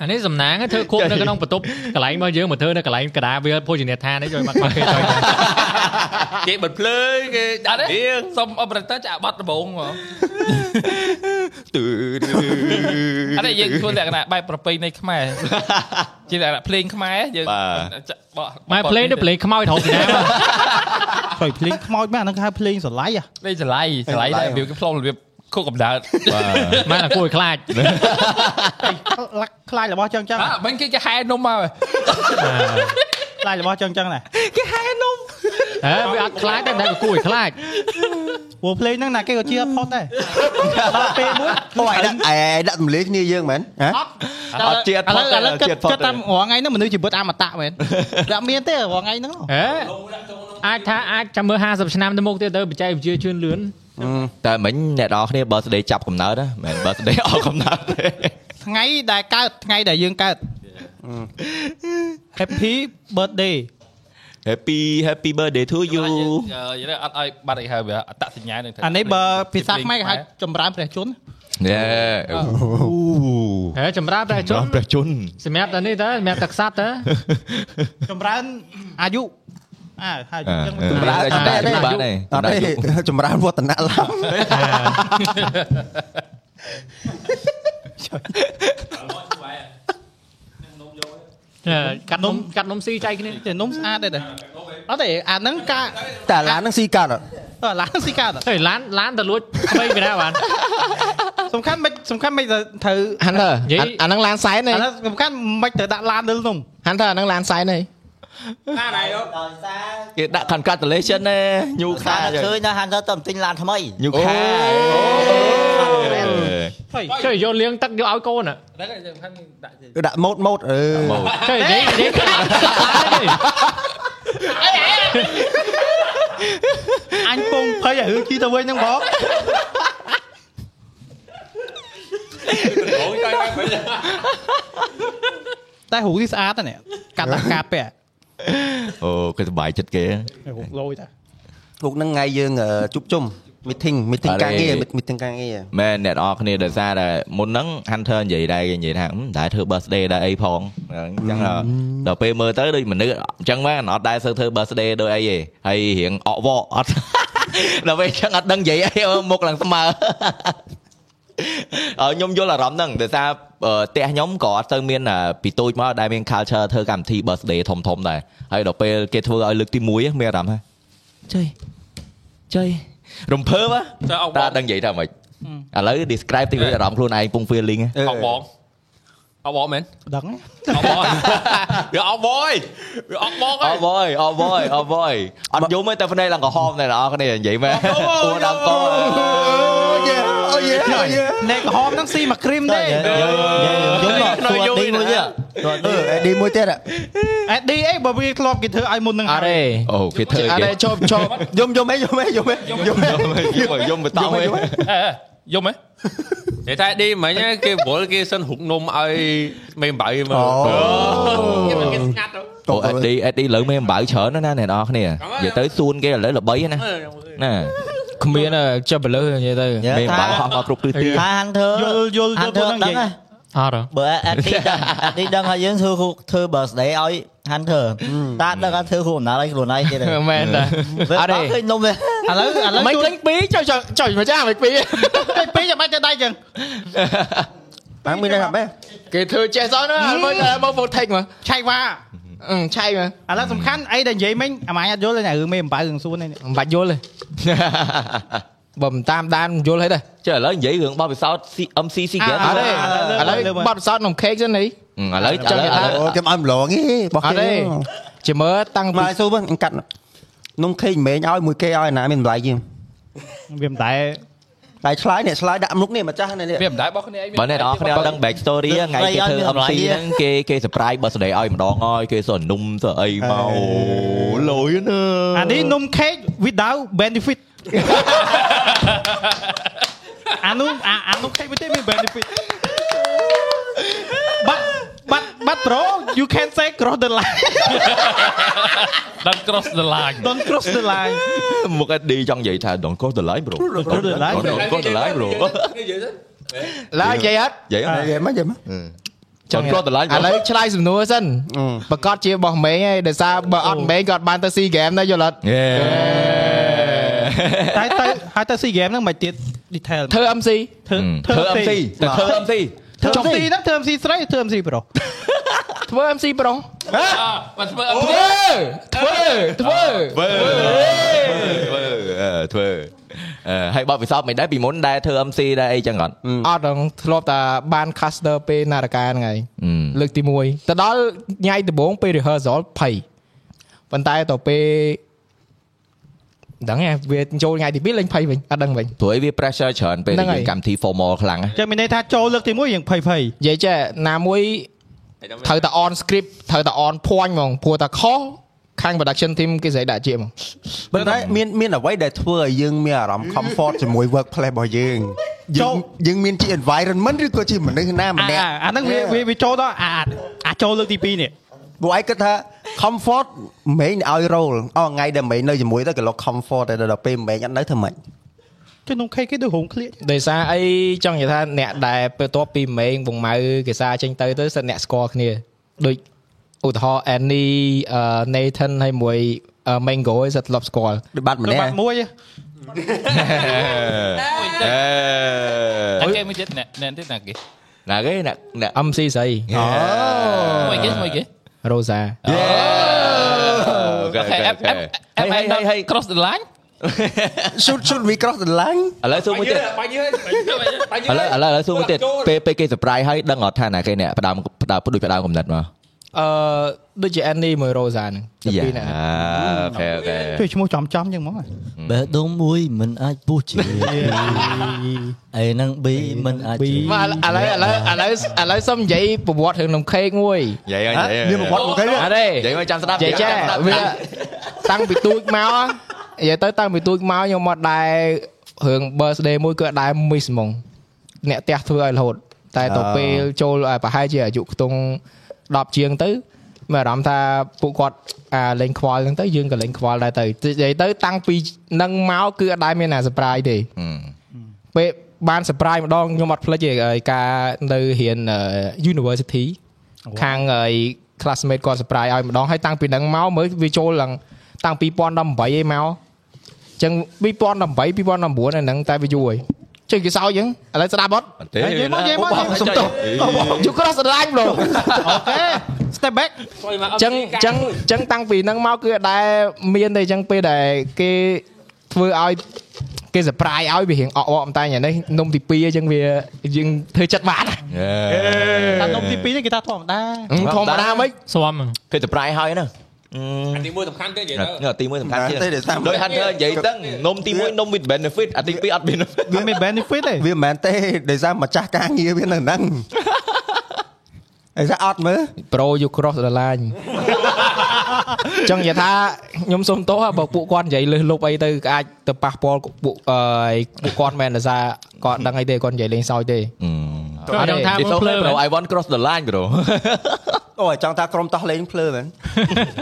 អានេះសំណាងធ្វើគប់នៅក្នុងបន្ទប់កន្លែងរបស់យើងមកធ្វើនៅកន្លែងកដាវាភោជនីយដ្ឋាននេះជួយមកគេជួយ គេបិទភ្លើងគេដាក់រៀងសូមអបរតចាក់បាត់ដំបងហ្មង ទឺ អត់ទេយើងធ្វើលក្ខណៈបែបប្រពៃណីខ្មែរជាលក្ខណៈភ្លេងខ្មែរយើងចាក់បោះ ម៉ែភ្លេងទៅភ្លេងខ្មោចត្រង់ពីណាមក ជួយភ្លេងខ្មោចមែនអាហ្នឹងគេហៅភ្លេងស្រឡៃអា នេះច្រឡៃច្រឡៃដែរវាគេផ្លុំរបៀបគូកំដៅ ម៉ែតែគួរឲ្យខ្លាច លាក់ខ្លាចរបស់ចឹងចឹង អ่ะមិញគេគេហែនំមក ខ្លាចរបស់ចឹងចឹងណា ហេវាអត់ខ្លាចតែតែគួរឲ្យខ្លាច ព្រោះភ្លេងហ្នឹងណាគេក៏ជាផុតដែរដល់ពេលមួយ អូឯដាក់ឯដាក់ទម្លាយគ្នាយើងមែនហ៎ អអត់ត់ជាតិ ឥ ផុតឡូវឥ ទេ ឡូវជាគិតតិផុត គិតតាមរងថ្ងៃហ្នឹងមនុស្សជីវិតអមតៈមែនតែមានទេរងថ្ងៃហ្នឹង ហេអាចថាអាចចាំមើល50ឆ្នាំទៅមុខទៀតទៅបច្ចេកវិទ្យាជឿនលឿន តែមិញអ្នកនរគ្នា birthday ចាប់កំណើតមិន birthday អស់កំណើតទេ ថ្ងៃដែលកើតថ្ងៃដែលយើងកើត Happy birthday Happy happy birthday to you យល់អត់ឲ្យបាត់អីហើយវាអត្តសញ្ញាណនឹង អានេះបើភាសាខ្មែរគេហៅចម្រើនព្រះជន្ម យេ ហេចម្រើនតែជ ចំ ន់ ព្រះជន្ម សម្រាប់តែនេះទៅសម្រាប់តែខ្សាត់ទៅ ចម្រើនអាយុអើហើយ អឺ ចឹង ចម្រើន អឺ ចម្រើនចម្រើនបានទេ អត់ទេចម្រើនវឌ្ឍនៈឡើយ កាត់នំកាត់នំស៊ីចៃគ្នា តែនំស្អាតដែរតើអត់ទេអាហ្នឹងការ តែឡានហ្នឹងស៊ីកាត់អត់ អឺឡានស៊ីកាត ហេឡានឡានទៅលួចស្វែងពីណាបាន សំខាន់មិនសំខាន់មិនត្រូវ ហាន់ទៅ និយាយ អាហ្នឹងឡានសែនទេ អាហ្នឹងសំខាន់មិនត្រូវដាក់ឡានលើនំ ហាន់ទៅអាហ្នឹងឡានសែនទេ គេដាក់ congratulation ណែញូខា ឃើញដល់ហាន់ទៅទៅទិញឡានថ្មី ញូខា ជួយយកលាងទឹកយកឲ្យកូនអ่ะ ហ្នឹងហើយសំខាន់ដាក់ជា ដាក់ម៉ូតម៉ូតអឺ មក ជួយនិយាយនិយាយកាត់ អញពងភ័យឲ្យរឿងជីទៅវិញហ្នឹងបង អូយតែមិន តែរូបនេះស្អាតណាស់កាត់ដាក់ការពាក់ អូគេសប្បាយចិត្តគេ រូបលយតា ពួកហ្នឹងថ្ងៃយើងជប់ជុំ meeting meeting អរេ ការងារ meeting ការងារ មែនអ្នកនរគ្នាដោយសារតែមុនហ្នឹង Hunter និយាយដែរគេនិយាយថាតែលធ្វើ birthday ដែរអីផងអញ្ចឹងដល់ដល់ពេលមើលទៅដូចមនុស្សអញ្ចឹងបានអត់ដែរសូវធ្វើ birthday ដូចអីទេហើយរៀងអកវក អត់ ដល់ពេលអញ្ចឹងអត់ដឹងនិយាយអី មុខឡើងស្មើ អឺខ្ញុំយល់អារម្មណ៍ហ្នឹងដោយសារអឺផ្ទះខ្ញុំក៏អត់ទៅមានអឺពីតូចមកដែលមាន culture ធ្វើកម្មវិធី birthday ធំៗដែរហើយដល់ពេលគេធ្វើឲ្យលើកទី1ហ្នឹងមានអារម្មណ៍ថាចៃចៃរំភើបហ៎ ចើអោកប តា ង ដឹងនិយាយថាម៉េចឥឡូវ describe តិចវិញអារម្មណ៍ខ្លួនឯងពុំ feeling ហ៎ Ừ. អោកបងអោកបងមែន ដឹងហ៎ អោកបងវាអោកបងអើយវាអោកបងអូអើយ បយអូបយអូបយអត់យំទេតែភ្នែកឡើងក្រហមតែនរអគ្នានិយាយមែនអូដល់កោ អូយេអូយេអូយេ អ្នកក្រហមហ្នឹងស៊ីមកគ្រីមទេ យំមក នៅយូ ទួតរឌីមួយទៀត ណាស់ ទួតឌីអេឌីមួយទៀតអ่ะ អេឌីអីបើវាធ្លាប់គេធ្វើឲ្យមុនហ្នឹង អរេ អូគេធ្វើ អត់ គេ ទេជប់ជប់យំយំអីយំអីយំអីយំអី យំយំបតោឯង អេយំហ៎និយាយតែឌីមិញហ៎គេវល់គេសិនហុកនំឲ្យមេអំបៅមើល អូ Dạ. គេមកគេស្ងាត់ទៅ អូ SD SD លើមេអំបៅច្រើនណាស់ណាអ្នកនរគ្នានិយាយទៅសួនគេឥឡូវល្បីណាណា គ្មានអើចាប់បលើនិយាយទៅ មេអំបៅហោះមកគ្រប់ទិសទី ថា Hunter យល់យល់យល់ទៅ Hunter ដឹហ្នឹងនិង យា ហ៎ យ អត់ហ៎ បើ Andy ដឹង Andy ដឹងហើយយើងធ្វើគ្រូធ្វើ birthday ឲ្យ Hunter តាដឹងថាធ្វើគ្រូដំណើរឲ្យខ្លួនឯងទៀត ហើយ មែនតាអរេ ឃើញនំទេ ឥឡូវឥឡូវ មិន ជួយ លេងពីរចុចចុចចុចមកចាស់មិនពីរ តែពីរចាំបាច់ទៅដៃចឹង តាំងមានដែរហាប់ទេ គេធ្វើចេះសោះណាអត់មើលតែមក protect មក ឆៃវ៉ា អឺឆៃមក ឥឡូវសំខាន់អីដែលនិយាយមិញអាម៉ាញអត់យល់ទេណារឿងមេអំបៅរឿងសួននេះ មិនបាច់យល់ទេបើមិនតាមដានមិនយល់ហីដែរ ចុះឥឡូវនិយាយរឿងបោះពិសោធន៍ MC ស៊ីហ្គេ អរេឥឡូវបត់សោតក្នុង cake ចឹងនេះ ឥឡូវឥឡូវឥឡូវ អូគេមិនឲ្យម្លងទេបោះ អត់ គេ ទេជាមើលតាំង មពីកឲ្យស៊ូវិញខ្ញុំកាត់នំខេកមិនឲ្យមួយគេឲ្យណាមានតម្លៃជាង វាមិនតែ តែឆ្លើយអ្នកឆ្លើយដាក់មុខនេះម្ចាស់នេះនេះ វាមិនដែរបោះគ្នាអីវា បើអ្នកនរគ្នាអត់ដឹង back story ថ្ងៃគេធ្វើ MC ហ្នឹងគេគេ surprise birthday ឲ្យម្ដងហើយគេសរនុំសរអីមកអូលយណា អានេះនំខេក without benefit អានោះអាអានោះខេកវាទេមាន benefit បាត់បាត់បាត់ bro you can say cross the line ដល់ cross the line don't cross the line មុខ AD ចង់និយាយថា don't cross the line bro cross the line bro don't cross the line bro និយាយទៅ ឡើយនិយាយអត់ យាយ និយាយមកនិយាយមក don't cross the line ឥឡូវឆ្លើយសំណួរសិនប្រកាសជារបស់ម៉េងហើយដោយសារបើអត់ម៉េងក៏អត់បានទៅស៊ីហ្គេមដែរយល់អត់ តែទៅហើយទៅ SEA game ហ្នឹងមិនទៀត detail ធ្វើ MC ធ្វើ ធ្វើ MC តែធ្វើ MC ធ្វើ MC ហ្នឹងធ្វើ MC ស្រីធ្វើ MC ប្រុស ធ្វើ MC ប្រុស បើធ្វើ ធ្វើធ្វើធ្វើ ធ្វើធ្វើធ្វើហើយបោះពិសោធន៍មិនដែរពីមុនដែរធ្វើ MC ដែរអីចឹងអត់ អត់ដល់ធ្លាប់តែបាន caster ពេលនារកាហ្នឹងហើយលើកទី1ទៅដល់ញ៉ៃដំបងពេល rehearsal ភ័យប៉ុន្តែទៅពេលដឹងហ៎វាចូលថ្ងៃទី2លេងភ័យវិញអត់ដឹងវិញ ព្រោះអីវា pressure ច្រើនពេលយើងកម្មវិធី formal ខ្លាំង ចឹងមានន័យថាចូលលើកទី1យើងភ័យភ័យ និយាយចេះណាមួយត្រូវតែ on script ត្រូវតែ on point ហ្មងព្រោះតែខុសខាង production team គេស្រីដាក់ជាហ្មង ប៉ុន្តែមានមានអ្វីដែលធ្វើឲ្យយើងមានអារម្មណ៍ comfort ជាមួយ work place របស់យើងយើងយើងមានជា environment ឬក៏ជាមនុស្សណា អា ម្នាក់ អាអាហ្នឹងវាវាវាចូលដល់អាអាចូលលើកទី2នេះ ពួកឯងគិតថា comfort មេញឲ្យ role អូថ្ងៃដែលមេញនៅជាមួយទៅក៏លោក comfort តែដល់ពេលមេញអត់នៅធ្វើម៉េច ចុះនំខេកគេដូចរោងឃ្លៀក ដោយសារអីចង់និយាយថាអ្នកដែលពេលតបពីម៉េងបងម៉ៅគេសារចេញទៅទៅសិតអ្នកស្គាល់គ្នាដូចឧទាហរណ៍ Annie អឺ Nathan ហើយមួយ Mango ឯងសិតធ្លាប់ស្គាល់ ដូចបាត់ ដូច ម្នាក់ បាត់មួយ តែគេមួយទៀតណែណែទៀតណាគេ ណាគេណាណា MC ស្រី មួយគេមួយគេ Rosa អូខេអូខេ អេអេដល់ cross the line shoot shoot we cross the line ឥឡូវសួរមួយទៀត បាញ់យើបាញ់យើ ឥឡូវឥឡូវឥឡូវសួរមួយទៀតពេលពេលគេ surprise ហើយដឹងអត់ថាណាគេអ្នកផ្ដើមផ្ដើមដូចផ្ដើមកំណត់មក អឺដូចជា Annie មួយ Rosa ហ្នឹងតែពីរណា អូខេអូខេ ជួយឈ្មោះចំចំចឹងហ្មងហ៎ បេះដូងមួយមិនអាចពុះជាអីហ្នឹង B មិនអាចជា មកឥឡូវឥឡូវឥឡូវឥឡូវសុំនិយាយប្រវត្តិរឿងនំខេកមួយ យាយអញ មានប្រវត្តិមកគេ អរេ យាយមកចាំស្ដាប់ ចេះចេះវាតាំងពីទូចមកនិយាយទៅតាំងពីទូចមកខ្ញុំមកដែររឿង birthday មួយគឺអត់ដែរ miss ហ្មងអ្នកផ្ទះធ្វើឲ្យរហូត តែទៅពេលចូលប្រហែលជាអាយុខ្ទង់10ជាងទៅ មានអារម្មណ៍ថាពួកគាត់អាលេងខ្វល់ហ្នឹងទៅយើងក៏លេងខ្វល់ដែរទៅនិយាយទៅតាំងពីនឹងមកគឺអត់ដែរមានអា surprise ទេ ពេលបាន surprise ម្ដងខ្ញុំអត់ភ្លេចទេហើយការនៅរៀនអឺ university ខាងហើយ classmate គាត់ surprise ឲ្យម្ដងហើយតាំងពីហ្នឹងមកមើលវាចូលឡើងតាំង2018ឯងមកអញ្ចឹង2018 2019អាហ្នឹងតែវាយូរហើយជិះគេសោយអញ្ចឹងឥឡូវស្ដាប់អត់ បន្តិច និយាយមកនិយាយមក បងសុំទោស you cross the line bro អូខេ step back អញ្ចឹងអញ្ចឹងអញ្ចឹងតាំងពីហ្នឹងមកគឺអត់ដែលមានទេអញ្ចឹងពេលដែលគេធ្វើឲ្យគេ surprise ឲ្យវារៀងអកអកអំតែងអានេះនំទី2អញ្ចឹងវាយើងធ្វើចិត្តបាន តាមនំទី2នេះគេថាធម្មតា ហឹមធម្មតាមិន ស្វាម គេទៅប្រៃហើយណា Ừ. អាទីមួយសំខាន់ទេនិយាយទៅ នេះអាទី1សំខាន់ទៀត តែទេតែ ដោយ Hunter និយាយទៅនំទី1នំ with benefit អាទី2អត់ benefit វាមាន benefit ទេ វាមិនមែនទេដោយសារម្ចាស់ការងារវានៅ ហ្នឹងអីថាអត់មើល pro you cross the line អញ្ចឹងនិយាយថាខ្ញុំសូមទោសហ่ะបើពួកគាត់និយាយលើសលប់អីទៅក៏អាចទៅប៉ះពាល់ពួកអឺពួកគាត់មិនមែនដោយសារគាត់ដឹងអីទេគាត់និយាយលេងសើចទេ អត់ដឹងថា អឺ It's មកភ្លើ okay bro I want cross the line bro អូយចង់ថាក្រុមតោះលេងភ្លើមែន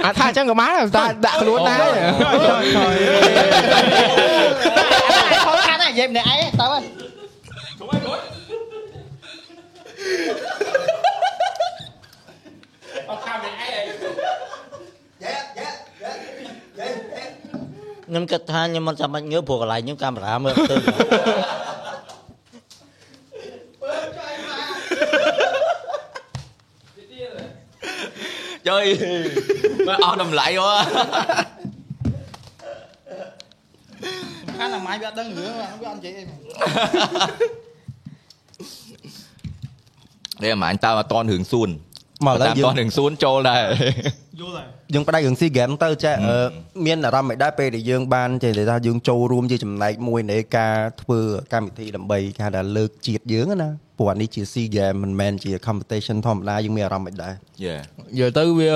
អាថាអញ្ចឹងក៏បានដែរតែដាក់ខ្លួនដែរ ខំខាត់តែនិយាយម្នាក់ឯងតើអើយ ខ្ញុំគិតថាខ្ញុំមិនចាំបាច់ងើបព្រោះកន្លែងខ្ញុំកាមេរ៉ាមើលទៅ ជួយមកអស់តម្លៃអូ ខាត់តែម៉ាយវាអត់ដឹងរឿងវាអត់និយាយអីហ្មង នេះអាមិនតើអត់តនរឿងសួន មកឥឡូវ តាម យើងតនរឿងសួនចូលដែរ យល់ហើយ យើងផ្ដាច់រឿងស៊ីហ្គេមទៅចាអឺមានអារម្មណ៍មិនដែរពេលដែលយើងបានចេះតែថាយើងចូលរួមជាចំណែកមួយនៃការធ្វើកម្មវិធីដើម្បីគេហៅថាលើកជាតិយើងណាព្រោះអានេះជាស៊ីហ្គេមមិនមែនជា competition ធម្មតាយើងមានអារម្មណ៍មិនដែរ Yeah យល់ទៅវា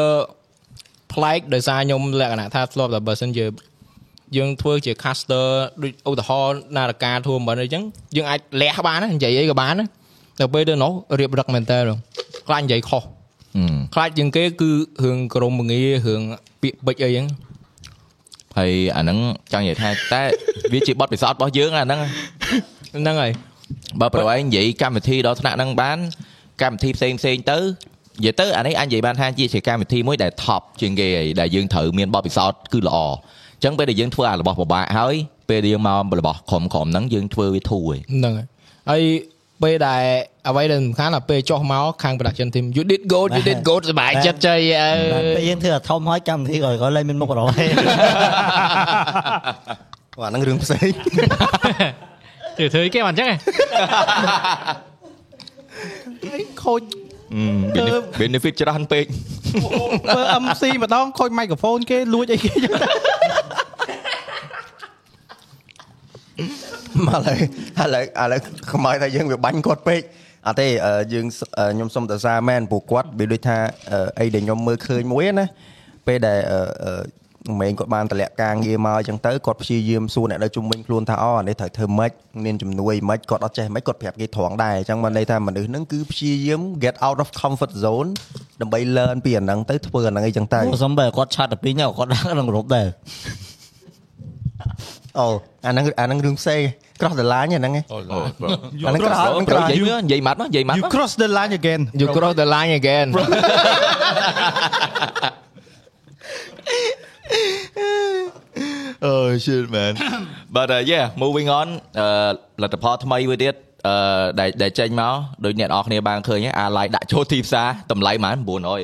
ប្លែកដោយសារខ្ញុំលក្ខណៈថាធ្លាប់តែបើសិនជាយើងធ្វើជា caster ដូចឧទាហរណ៍នារការធួមិនអីចឹងយើងអាចលះបានណានិយាយអីក៏បានណាតែពេលទៅនោះរៀបរឹកមែនតើខ្លាចនិយាយខុស អឺ ខ្លាចជាងគេគឺរឿងក្រមងាររឿងពាក្យបិចអីចឹង ហើយអាហ្នឹងចង់និយាយថាតែវាជាបទពិសោធន៍របស់យើងអាហ្នឹង ហ្នឹងហើយ បើប្រហែលនិយាយកម្មវិធីដល់ថ្នាក់ហ្នឹងបានកម្មវិធីផ្សេងផ្សេងទៅនិយាយទៅអានេះអាចនិយាយបានថាជាជាកម្មវិធីមួយដែល top ជាងគេហើយដែលយើងត្រូវមានបទពិសោធន៍គឺល្អអញ្ចឹងពេលដែលយើងធ្វើអារបស់ពិបាកហើយពេលដែលយើងមករបស់ក្រុមក្រុមហ្នឹងយើងធ្វើវាធូរហើយ ហ្នឹងហើយហើយពេលដែលអ្វីដែលសំខាន់ដល់ពេលចុះមកខាង production team you did good you did good សប្បាយចិត្តចៃអើ បាទពេលយើងធ្វើអាធំហើយកម្មវិធីក៏ក៏លែងមានមុខរយ ព្រោះអាហ្នឹងរឿងផ្សេង ទៅធ្វើអីគេបានអញ្ចឹងហ៎ ខូច អឺ benefit- benefit ច្រើនពេក ធ្វើ MC ម្ដងខូចមីក្រូហ្វូនគេលួចអីគេចឹងទៅ មកឥឡូវឥឡូវឥឡូវខ្មោចថាយើងវាបាញ់គាត់ពេកអត់ទេអឺយើងសអឺខ្ញុំសុំតសារមែនព្រោះគាត់វាដូចថាអឺអីដែលខ្ញុំមើលឃើញមួយហ្នឹងណាពេលដែលអឺអឺម៉េងគាត់បានតម្លាក់ការងារមកអញ្ចឹងទៅគាត់ព្យាយាមសួរអ្នកនៅជុំវិញខ្លួនថាអូអានេះត្រូវធ្វើម៉េចមានជំនួយម៉េចគាត់អត់ចេះម៉េចគាត់ប្រាប់គេត្រង់ដែរអញ្ចឹងបានន័យថាមនុស្សហ្នឹងគឺព្យាយាម get out of comfort zone ដើម្បី learn ពីអាហ្នឹងទៅធ្វើអាហ្នឹងអីអញ្ចឹងទៅ អូសំបីគាត់ឆាត់ទៅពីនេះគាត់ដាក់ក្នុងរូបដែរ អូអាហ្នឹងអាហ្នឹងរឿងផ្សេង cross the line អាហ្នឹងឯង អូ អាហ្នឹងក្រោយអាហ្នឹងក្រោយ និយាយមើលនិយាយម៉ាត់មកនិយាយម៉ាត់ you មក cross the line again you cross the line again អឺ shit man but uh, yeah moving on អឺផលិតផលថ្មីមួយទៀតអឺដែលដែលចេញមកដូចអ្នកនរអគ្នាបានឃើញហើយអា lie ដាក់ចូលទីផ្សារតម្លៃប្រហែល900 អត់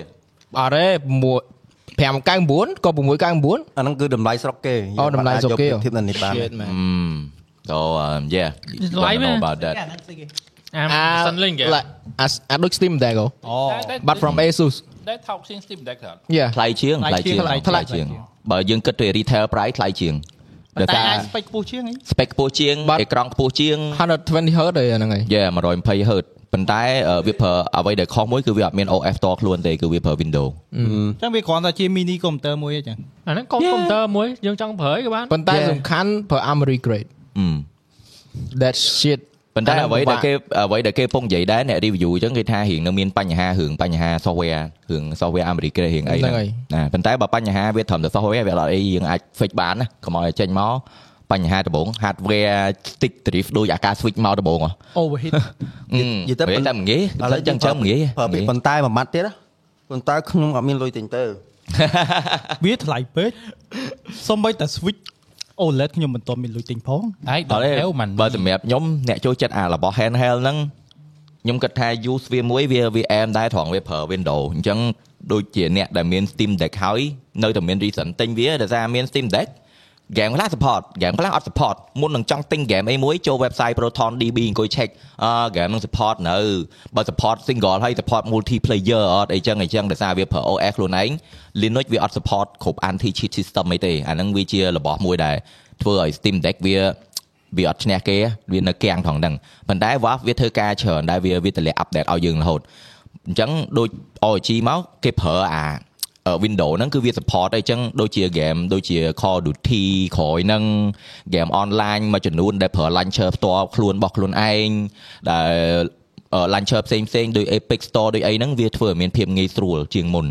ទេ6 599ក៏699 អាហ្នឹងគឺតម្លៃស្រុកគេ អូតម្លៃស្រុកគេ ធៀបនៅនេះបាន Shit, man. Mm. So um yeah. It's don't live, know eh? about that. ហ្នឹងស្អីគេ អាម អា សិនលេងគេ ឡាអាអាដូច Steam Deck ហ៎ but from Asus ដែលថោកជាង Steam Deck ត្រូវ yeah ថ្លៃជាងថ្លៃជាងថ្លៃជាងបើយើងគិតទៅ retail price ថ្លៃជាងដោយ តែ សារ អាចពេចខ្ពស់ជាងអី spec ខ្ពស់ជាង But- អេក្រង់ខ្ពស់ជាង 120 Hz ទេអាហ្នឹងហើយ yeah 120 Hz ប៉ុន្តែអឺវាប្រើអ្វីដែលខុសមួយគឺវាអត់មាន OS តខ្លួនទេគឺវាប្រើ Windows ចឹងវាគ្រាន់តែជា mini computer មួយអីចឹង អាហ្នឹងកុំកុំព្យូទ័រមួយយើងចង់ប្រើអីក៏បាន ប៉ុន្តែសំខាន់ប្រើ Armory grade អឺ that shit ប៉ុន្តែ អាហ្នឹង អ្វី ពិបា ដែល ក គេអ្វីដែលគេពងនិយាយដែរអ្នក review អញ្ចឹងគេថារៀងនៅមានបញ្ហារឿងបញ្ហា software រឿង software អាមេរិកគេរៀងអី ហ្នឹ ហ្នឹង ង ហើយ ណាប៉ុន្តែបើបញ្ហាវាត្រឹមតែ software វាអត់អីយើងអាច fix បានណាកុំឲ្យចេញមកបញ្ហាដំបូង hardware à, stick drift ដូចអាការ switch មកដំបូងហ៎ overheat Ừ, និយាយទៅ តែមងាយ ឥ តែចឹងចឹងមងាយ ប្រើពាក្យប៉ុន្តែមួយម៉ាត់ទៀតណាប៉ុន្តែខ្ញុំអត់មានលុយទិញទៅ វាថ្លៃពេកសូម្បីតែ switch OLED ខ្ញុំមិនទាន់មានលុយទិញផង អាយ អ ដល់ ត់ទេ ហេវមិន បើសម្រាប់ខ្ញុំអ្នកចូលចិត្តអារបស់ handheld ហ្នឹងខ្ញុំគិតថា use វាមួយវាវា aim ដែរត្រង់វាប្រើ Windows អញ្ចឹងដូចជាអ្នកដែលមាន Steam Deck ហើយនៅតែមាន reason ទិញវាដោយសារមាន Steam Deck game ខ្លះ support game ខ្លះអត់ support មុននឹងចង់ទិញ game អីមួយចូល website Proton DB អង្គុយ check អឺ game នឹង support នៅបើ support single ហើយ support multiplayer អត់អីចឹងអីចឹងដោយសារវាប្រើ OS ខ្លួនឯង Linux វាអត់ support គ្រប់ anti cheat system អីទេអាហ្នឹងវាជារបស់មួយដែលធ្វើឲ្យ Steam Deck វា វាអត់ឈ្នះគេវានៅកៀងផងហ្នឹងប៉ុន្តែ Valve វាធ្វើការច្រើនដែរវាវាតម្លាក់ update ឲ្យយើងរហូតអញ្ចឹងដូច OG មកគេប្រើអា window ហ្នឹងគឺវា support អីចឹងដូចជា game ដូចជា Call of Duty ក្រោយហ្នឹង game online មួយចំនួនដែលប្រើ launcher ផ្ទាល់ខ្លួនរបស់ខ្លួនឯងដែល អឺ launcher ផ្សេងផ្សេងៗដូច Epic Store ដូចអីហ្នឹងវាធ្វើឲ្យមានភាពងាយស្រួលជាងមុន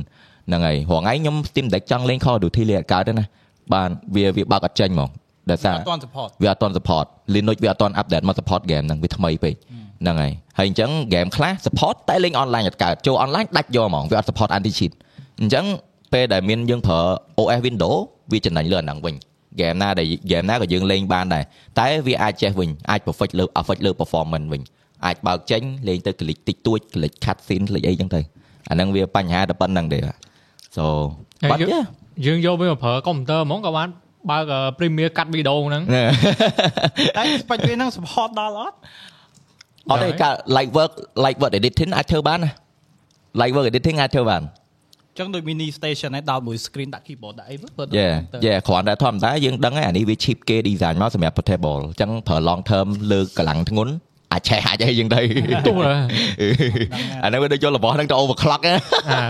ហ្នឹងហើយរងឯងខ្ញុំ Steam Deck ចង់លេង Call of Duty លេងអត់កើតទេណាបានវាវាបើកអត់ចេញហ្មងដោយសារ អត់ទាន់ support វាអត់ទាន់ support Linux វាអត់ទាន់ update មក support game ហ្នឹងវាថ្មីពេកហ្នឹងហើយហើយអញ្ចឹង game ខ្លះ support តែលេង online អត់កើតចូល online ដាច់យកហ្មងវាអត់ support anti cheat អញ្ចឹងពេលដែលមានយើងប្រើ OS Windows វាចំណាញ់លើអាហ្នឹងវិញ game ណាដែល game ណាក៏យើងលេងបានដែរតែវាអាចចេះវិញអាច perfect លើ affect លើ performance វិញអាចបើកចេញលេងទៅ click តិចតួច click cut scene click អីចឹងទៅអាហ្នឹងវាបញ្ហាតែប៉ុណ្្នឹងទេបាទ so ហើយ បាត់ យើ ទេ ងយើងយកវាមកប្រើកុំព្យូទ័រហ្មងក៏បានបើក Premiere កាត់វីដេអូហ្នឹង តែ spec វាហ្នឹង support ដល់អត់ អត់ទេការ light work light work editing អាចធ្វើបានណា light work editing អាចធ្វើបាន អញ្ចឹងដូច mini station ហ្នឹងដោតមួយ screen ដាក់ keyboard ដាក់អីមើល បើ យេ ទៅ យេគ្រាន់តែធម្មតាយើងដឹងហើយអានេះវា cheap គេ design មកសម្រាប់ portable អញ្ចឹងប្រើ long term លើកម្លាំងធ្ងន់អាចឆេះអាចអីយ៉ាងទៅ ទោះ ដែរ អានេះវាដូចយករបស់ហ្នឹងទៅ overclock ណា អា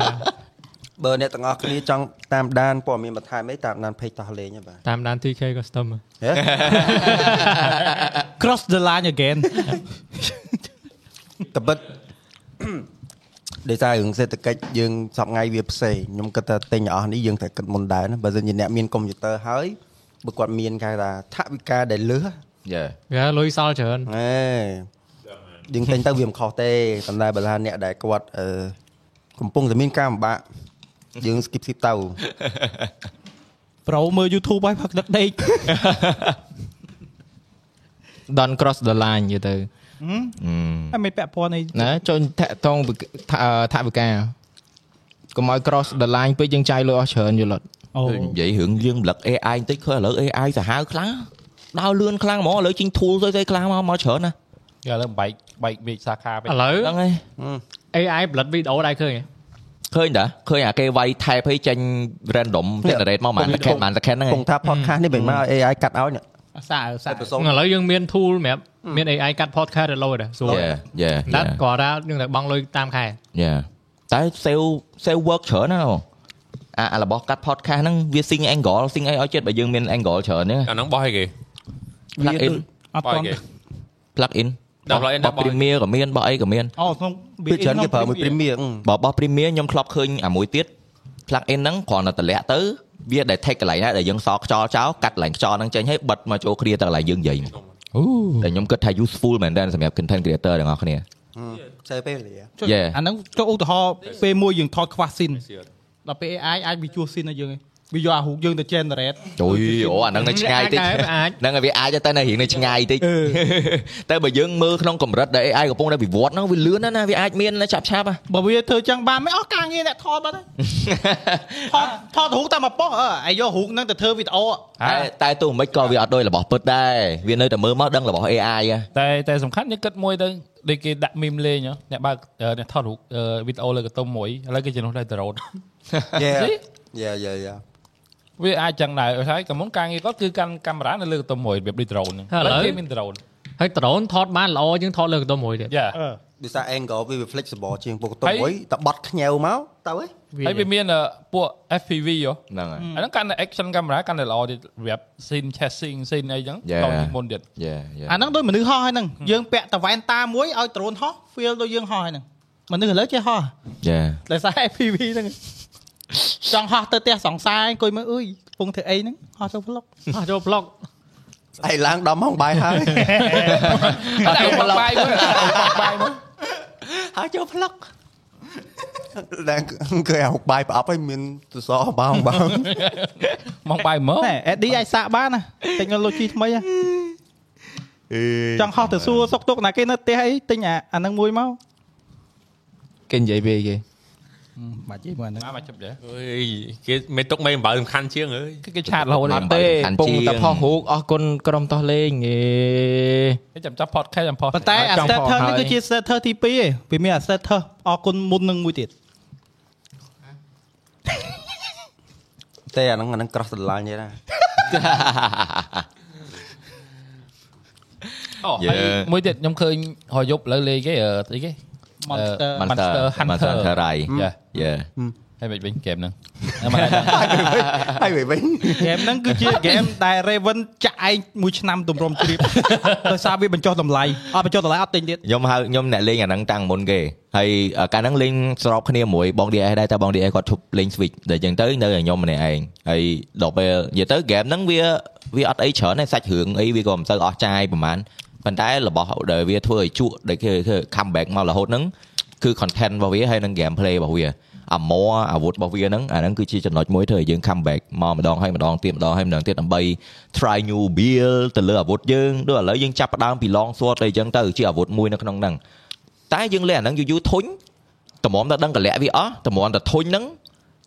បើអ្នកទាំងអស់គ្នាចង់តាមដានព័ត៌មានបន្ថែមអីតាមដាន page តោះលេងហ្នឹងបាទ តាមដាន TK custom ហ៎ cross the line again តបិត ដោយសាររឿងសេដ្ឋកិច្ចយើងសប្ងៃវាផ្សេងខ្ញុំគិតថាទិញអស់នេះយើងត្រូវគិតមុនដែរណាបើសិនជាអ្នកមានកុំព្យូទ័រហើយបើគាត់មានគេថាថវិកាដែលលើស យេ វាលុយសល់ច្រើន ហេយើងទិញទៅវាមិនខុសទេប៉ុន្តែបើថាអ្នកដែលគាត់អឺកំពុងតែមានការលំបាកយើង skip skip ទៅ ប្រូមើល YouTube ហើយផឹកដឹកដេក Don't cross the line យីទៅ ហើយមិនពាក់ព័ន្ធអី ណាចូលតាក់តងវិថាអឺថាវិការកុំឲ្យ cross the line ពេកយើងចាយលុយអស់ច្រើនយល់អត់ អូ និយាយរឿងយើងរំលឹក AI បន្តិចឃើញឥឡូវ AI សាហាវខ្លាំងដើរលឿនខ្លាំងហ្មងឥឡូវជិញ tool ស្អីៗខ្លាំងមកមកច្រើនណា យកលើបែកបែកមេឃសាខាពេក ឥឡូវ ហ្នឹងហើយ AI ផលិតវីដេអូដែរឃើញហ៎ ឃើញតាឃើញអាគេវាយ type ឲ្យចេញ random generate មកប៉ុន្មាន second ប៉ុន្មាន second ហ្នឹងឯ គ ង ង់ថា podcast នេះមិនមកឲ្យ AI កាត់ឲ្យអ្នក អសាអសា ប្រសុំ ឥឡូវយើងមាន tool សម្រាប់មាន AI កាត់ podcast ឲ្យលុយដែរស្រួល យេយេ ដាច់ក៏ថានឹងតែបង់លុយតាមខែ យេតែ sale sale work ច្រើនណាស់បងអាអារបស់កាត់ podcast ហ្នឹងវា sing angle sing អីឲ្យចិត្តបើយើងមាន angle ច្រើនហ្នឹង អាហ្នឹងបោះអីគេ plug in អត់ បោះ ទា អី ន់ plug in គេដបោះល់ plug in ដល់បោះ premier ក៏មានបោះអីក៏មាន អូក្នុង ពីច្រើនគេប្រើមួយ ព្រីម premier បើបោះ premier ខ្ញុំធ្លាប់ឃើញអាមួយទៀត plug in ហ្នឹងគ្រាន់តែតម្លាក់ទៅវាដែល take កន្លែងណាដែលយើងសល់ខ្យល់ចោលកាត់កន្លែងខ្យល់ហ្នឹងចេញហើយបិទមកចូលគ្រាទៅកន្លែងយើងនិយាយ អូ តែខ្ញុំគិតថា useful មែនដែរសម្រាប់ content creator ទាំងអស់គ្នា ចេះពេលវេលា ចុះ Yeah. អាហ្នឹងចូលឧទាហរណ៍ពេលមួយយើងថតខ្វះស៊ីនដល់ពេល AI អាចវាជួសស៊ីនឲ្យយើងឯងវាយកអារូបយើងទៅ generate អូយអូអា ហ្នឹងនៅឆ្ងាយតិច អាចដែរអាច ហ្នឹងហើយវាអាចតែនៅរៀងនៅឆ្ងាយតិចតែបើយើងមើលក្នុងកម្រិតដែល AI កំពុងតែវិវត្តហ្នឹងវាលឿនណាស់ណាវាអាចមានឆាប់ឆាប់ហ៎ បើវាធ្វើចឹងបានមិនអស់ការងារអ្នកថតបាត់ហើយថតថតរូបតែមកប៉ុសអើអាយយករូបហ្នឹងទៅធ្វើវីដេអូ តែតែទោះមិនក៏វាអត់ដូចរបស់ពិតដែរវានៅតែមើលមកដឹងរបស់ AI ហ៎ តែតែសំខាន់យើងគិតមួយទៅដូចគេដាក់មីមលេងហ៎អ្នកបើកអឺអ្នកថតរូបអឺវីដេអូលើកន្ទុំមួយឥឡូវគេជំនួសដោយដ្រូន Yeah. See? Yeah yeah yeah វាអាចចឹងដែរហើយកាលមុនការងារគាត់គឺកាន់កាមេរ៉ានៅលើកន្ទុំមួយរបៀបដូចដ្រូនហ្នឹង ឥឡូវ គេមានដ្រូន ហើយ drone ថតបានល្អជាងថត លើកន្ទុំមួយទៀត យ៉ា អឺ ដោយសារ angle វា flexible ជាងពកតុ ហើយ មួយតែបត់ខ្ញែវមកទៅហ៎ ហើយវាមានអឺពួក FPV ហ៎ ហ្នឹងហើយ អាហ្នឹងកាន់តែ action camera កាន់តែល្អទៀតប្រាប់ scene chasing scene អីចឹង Yeah. ដល់ពីមុនទៀត យ៉ាយ៉ា អាហ្នឹងដូចមនុស្សហោះហ្នឹងយើងពាក់តវ៉ែនតាមួយឲ្យដ្រូនហោះ feel ដូចយើងហោះហ្នឹងមនុស្សឥឡូវចេះហោះ យ៉ា ដោយសារ FPV ហ្នឹងចង់ហោះទៅផ្ទះសង្សារអង្គុយមើលអុយកំពុងធ្វើអីហ្នឹងហោះចូល vlog អស់ចូល vlog ស្អីឡើងដល់ម៉ោងបាយហើយ អត់ចូលប្លុកបាយមួយអត់ចូលប្លុកបាយមួយ ហើយចូលផ្លុកឡើងអង្គុយហុកបាយប្រអប់ហើយមានសសរបងបង មកបាយមក ណែ AD អាចសាកបានណា technology ថ្មីណាចង់ហោះទៅសួរសុកទុកណាគេនៅផ្ទះអីទិញអាអាហ្នឹងមួយមក គេនិយាយវាគេ បាច់ទេមើលអាហ្នឹង មកមកជិបដែរ អើយគេមេទុកមេអំបើសំខាន់ជាងអើយ គឺគេឆាតរហូត អត់ទេពុងតែផុសរូបអស់គុណក្រុមតោះលេងហេ គេចាំចាប់ podcast ចាំ podcast ប៉ុន្តែអា ចង់ផុស starter ហើ នេះ យ គឺជា starter ទី2ឯងវាមានអា starter អរគុណមុននឹងមួយទៀត តែអាហ្នឹងអាហ្នឹងក្រោះស្រឡាញ់ទេណា អូហើយមួយទៀតខ្ញុំឃើញរយយប់ឥឡូវលេងគេអឺអីគេ monster មិនតើ Monster Hunter មិនតើរៃ យ៉ា យ៉ា ហើយមិនវិញហ្គេមហ្នឹង ហើយវិញវិញ ហ្គេមហ្នឹងគឺជា ហ្គេមដែល Raven ចាក់ឯងមួយឆ្នាំទម្រាំជ្រាប ដោយសារវាបញ្ចុះតម្លៃអត់បញ្ចុះតម្លៃអត់ទិញទៀត ខ្ញុំហៅខ្ញុំអ្នកលេងអាហ្នឹងតាំងមុនគេហើយអ่าកាលហ្នឹងលេងស្របគ្នាមួយបង DS ដែរតែបង DS គាត់ឈប់លេង Switch តែចឹងទៅនៅតែខ្ញុំម្នាក់ឯងហើយដល់ពេលនិយាយទៅហ្គេមហ្នឹងវាវាអត់អីច្រើនទេសាច់រឿងអីវាក៏មិនសូវអស់ចាយប្រហែលប៉ុន្តែរបស់ដែលវាធ្វើឲ្យជក់ដែលគេធ្វើ comeback មករហូតហ្នឹងគឺ content របស់វាហើយនិង gameplay របស់វាអាមរអាវុធរបស់វាហ្នឹងអាហ្នឹងគឺជាចំណុចមួយធ្វើឲ្យយើង comeback មកម្ដងហើយម្ដងទៀតម្ដងហើយម្ដងទៀតដើម្បី try new build ទៅលើអាវុធយើងដូចឥឡូវយើងចាប់ផ្ដើមពី long sword អីចឹងទៅជាអាវុធមួយនៅក្នុងហ្នឹង តែយើងលេងអាហ្នឹងយូរយូរធុញតម្រាំតែដឹងកលៈវាអស់តម្រាំតែធុញហ្នឹង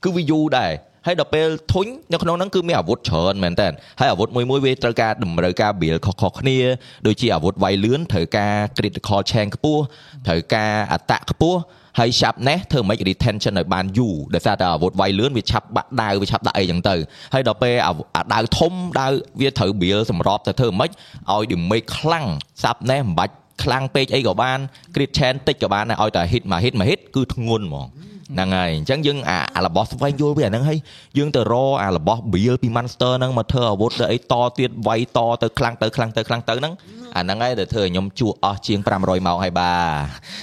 គឺវាយូរដែរហើយដល់ពេលធុញនៅក្នុងហ្នឹងគឺមានអាវុធច្រើនមែនតើហើយអាវុធមួយមួយៗវាត្រូវការតម្រូវការ build ខុសៗគ្នាដូចជាអាវុធវាយលឿនត្រូវការ critical chance ខ្ពស់ត្រូវការ attack ខ្ពស់ហើយ sharpness ធ្វើម៉េច retention ឲ្យបានយូរដោយសារតែអាវុធវាយលឿនវាឆាប់បាក់ដាវវាឆាប់ដាក់អីចឹងទៅហើយដល់ពេលអាវអាដាវធំដាវវាត្រូវ build សម្របទៅធ្វើម៉េចឲ្យ damage ខ្លាំង sharpness មិនបាច់ ខ្លាំងពេកអីក៏បាន crit chance តិចក៏បានដែរឲ្យតែ hit មក hit មក hit គឺធ្ងន់ហ្មងហ្នឹងហើយអញ្ចឹងយើងអាអារបស់ស្វែងយល់វាអាហ្នឹងហើយយើងទៅរកអារបស់ build ពី monster ហ្នឹងមកធ្វើអាវុធទៅអីតទៀតវាយតទៅខ្លាំងទៅខ្លាំងទៅខ្លាំងទៅហ្នឹងអាហ្នឹងហើយដែលធ្វើឲ្យខ្ញុំជក់អស់ជាង500ម៉ោងហើយបាទ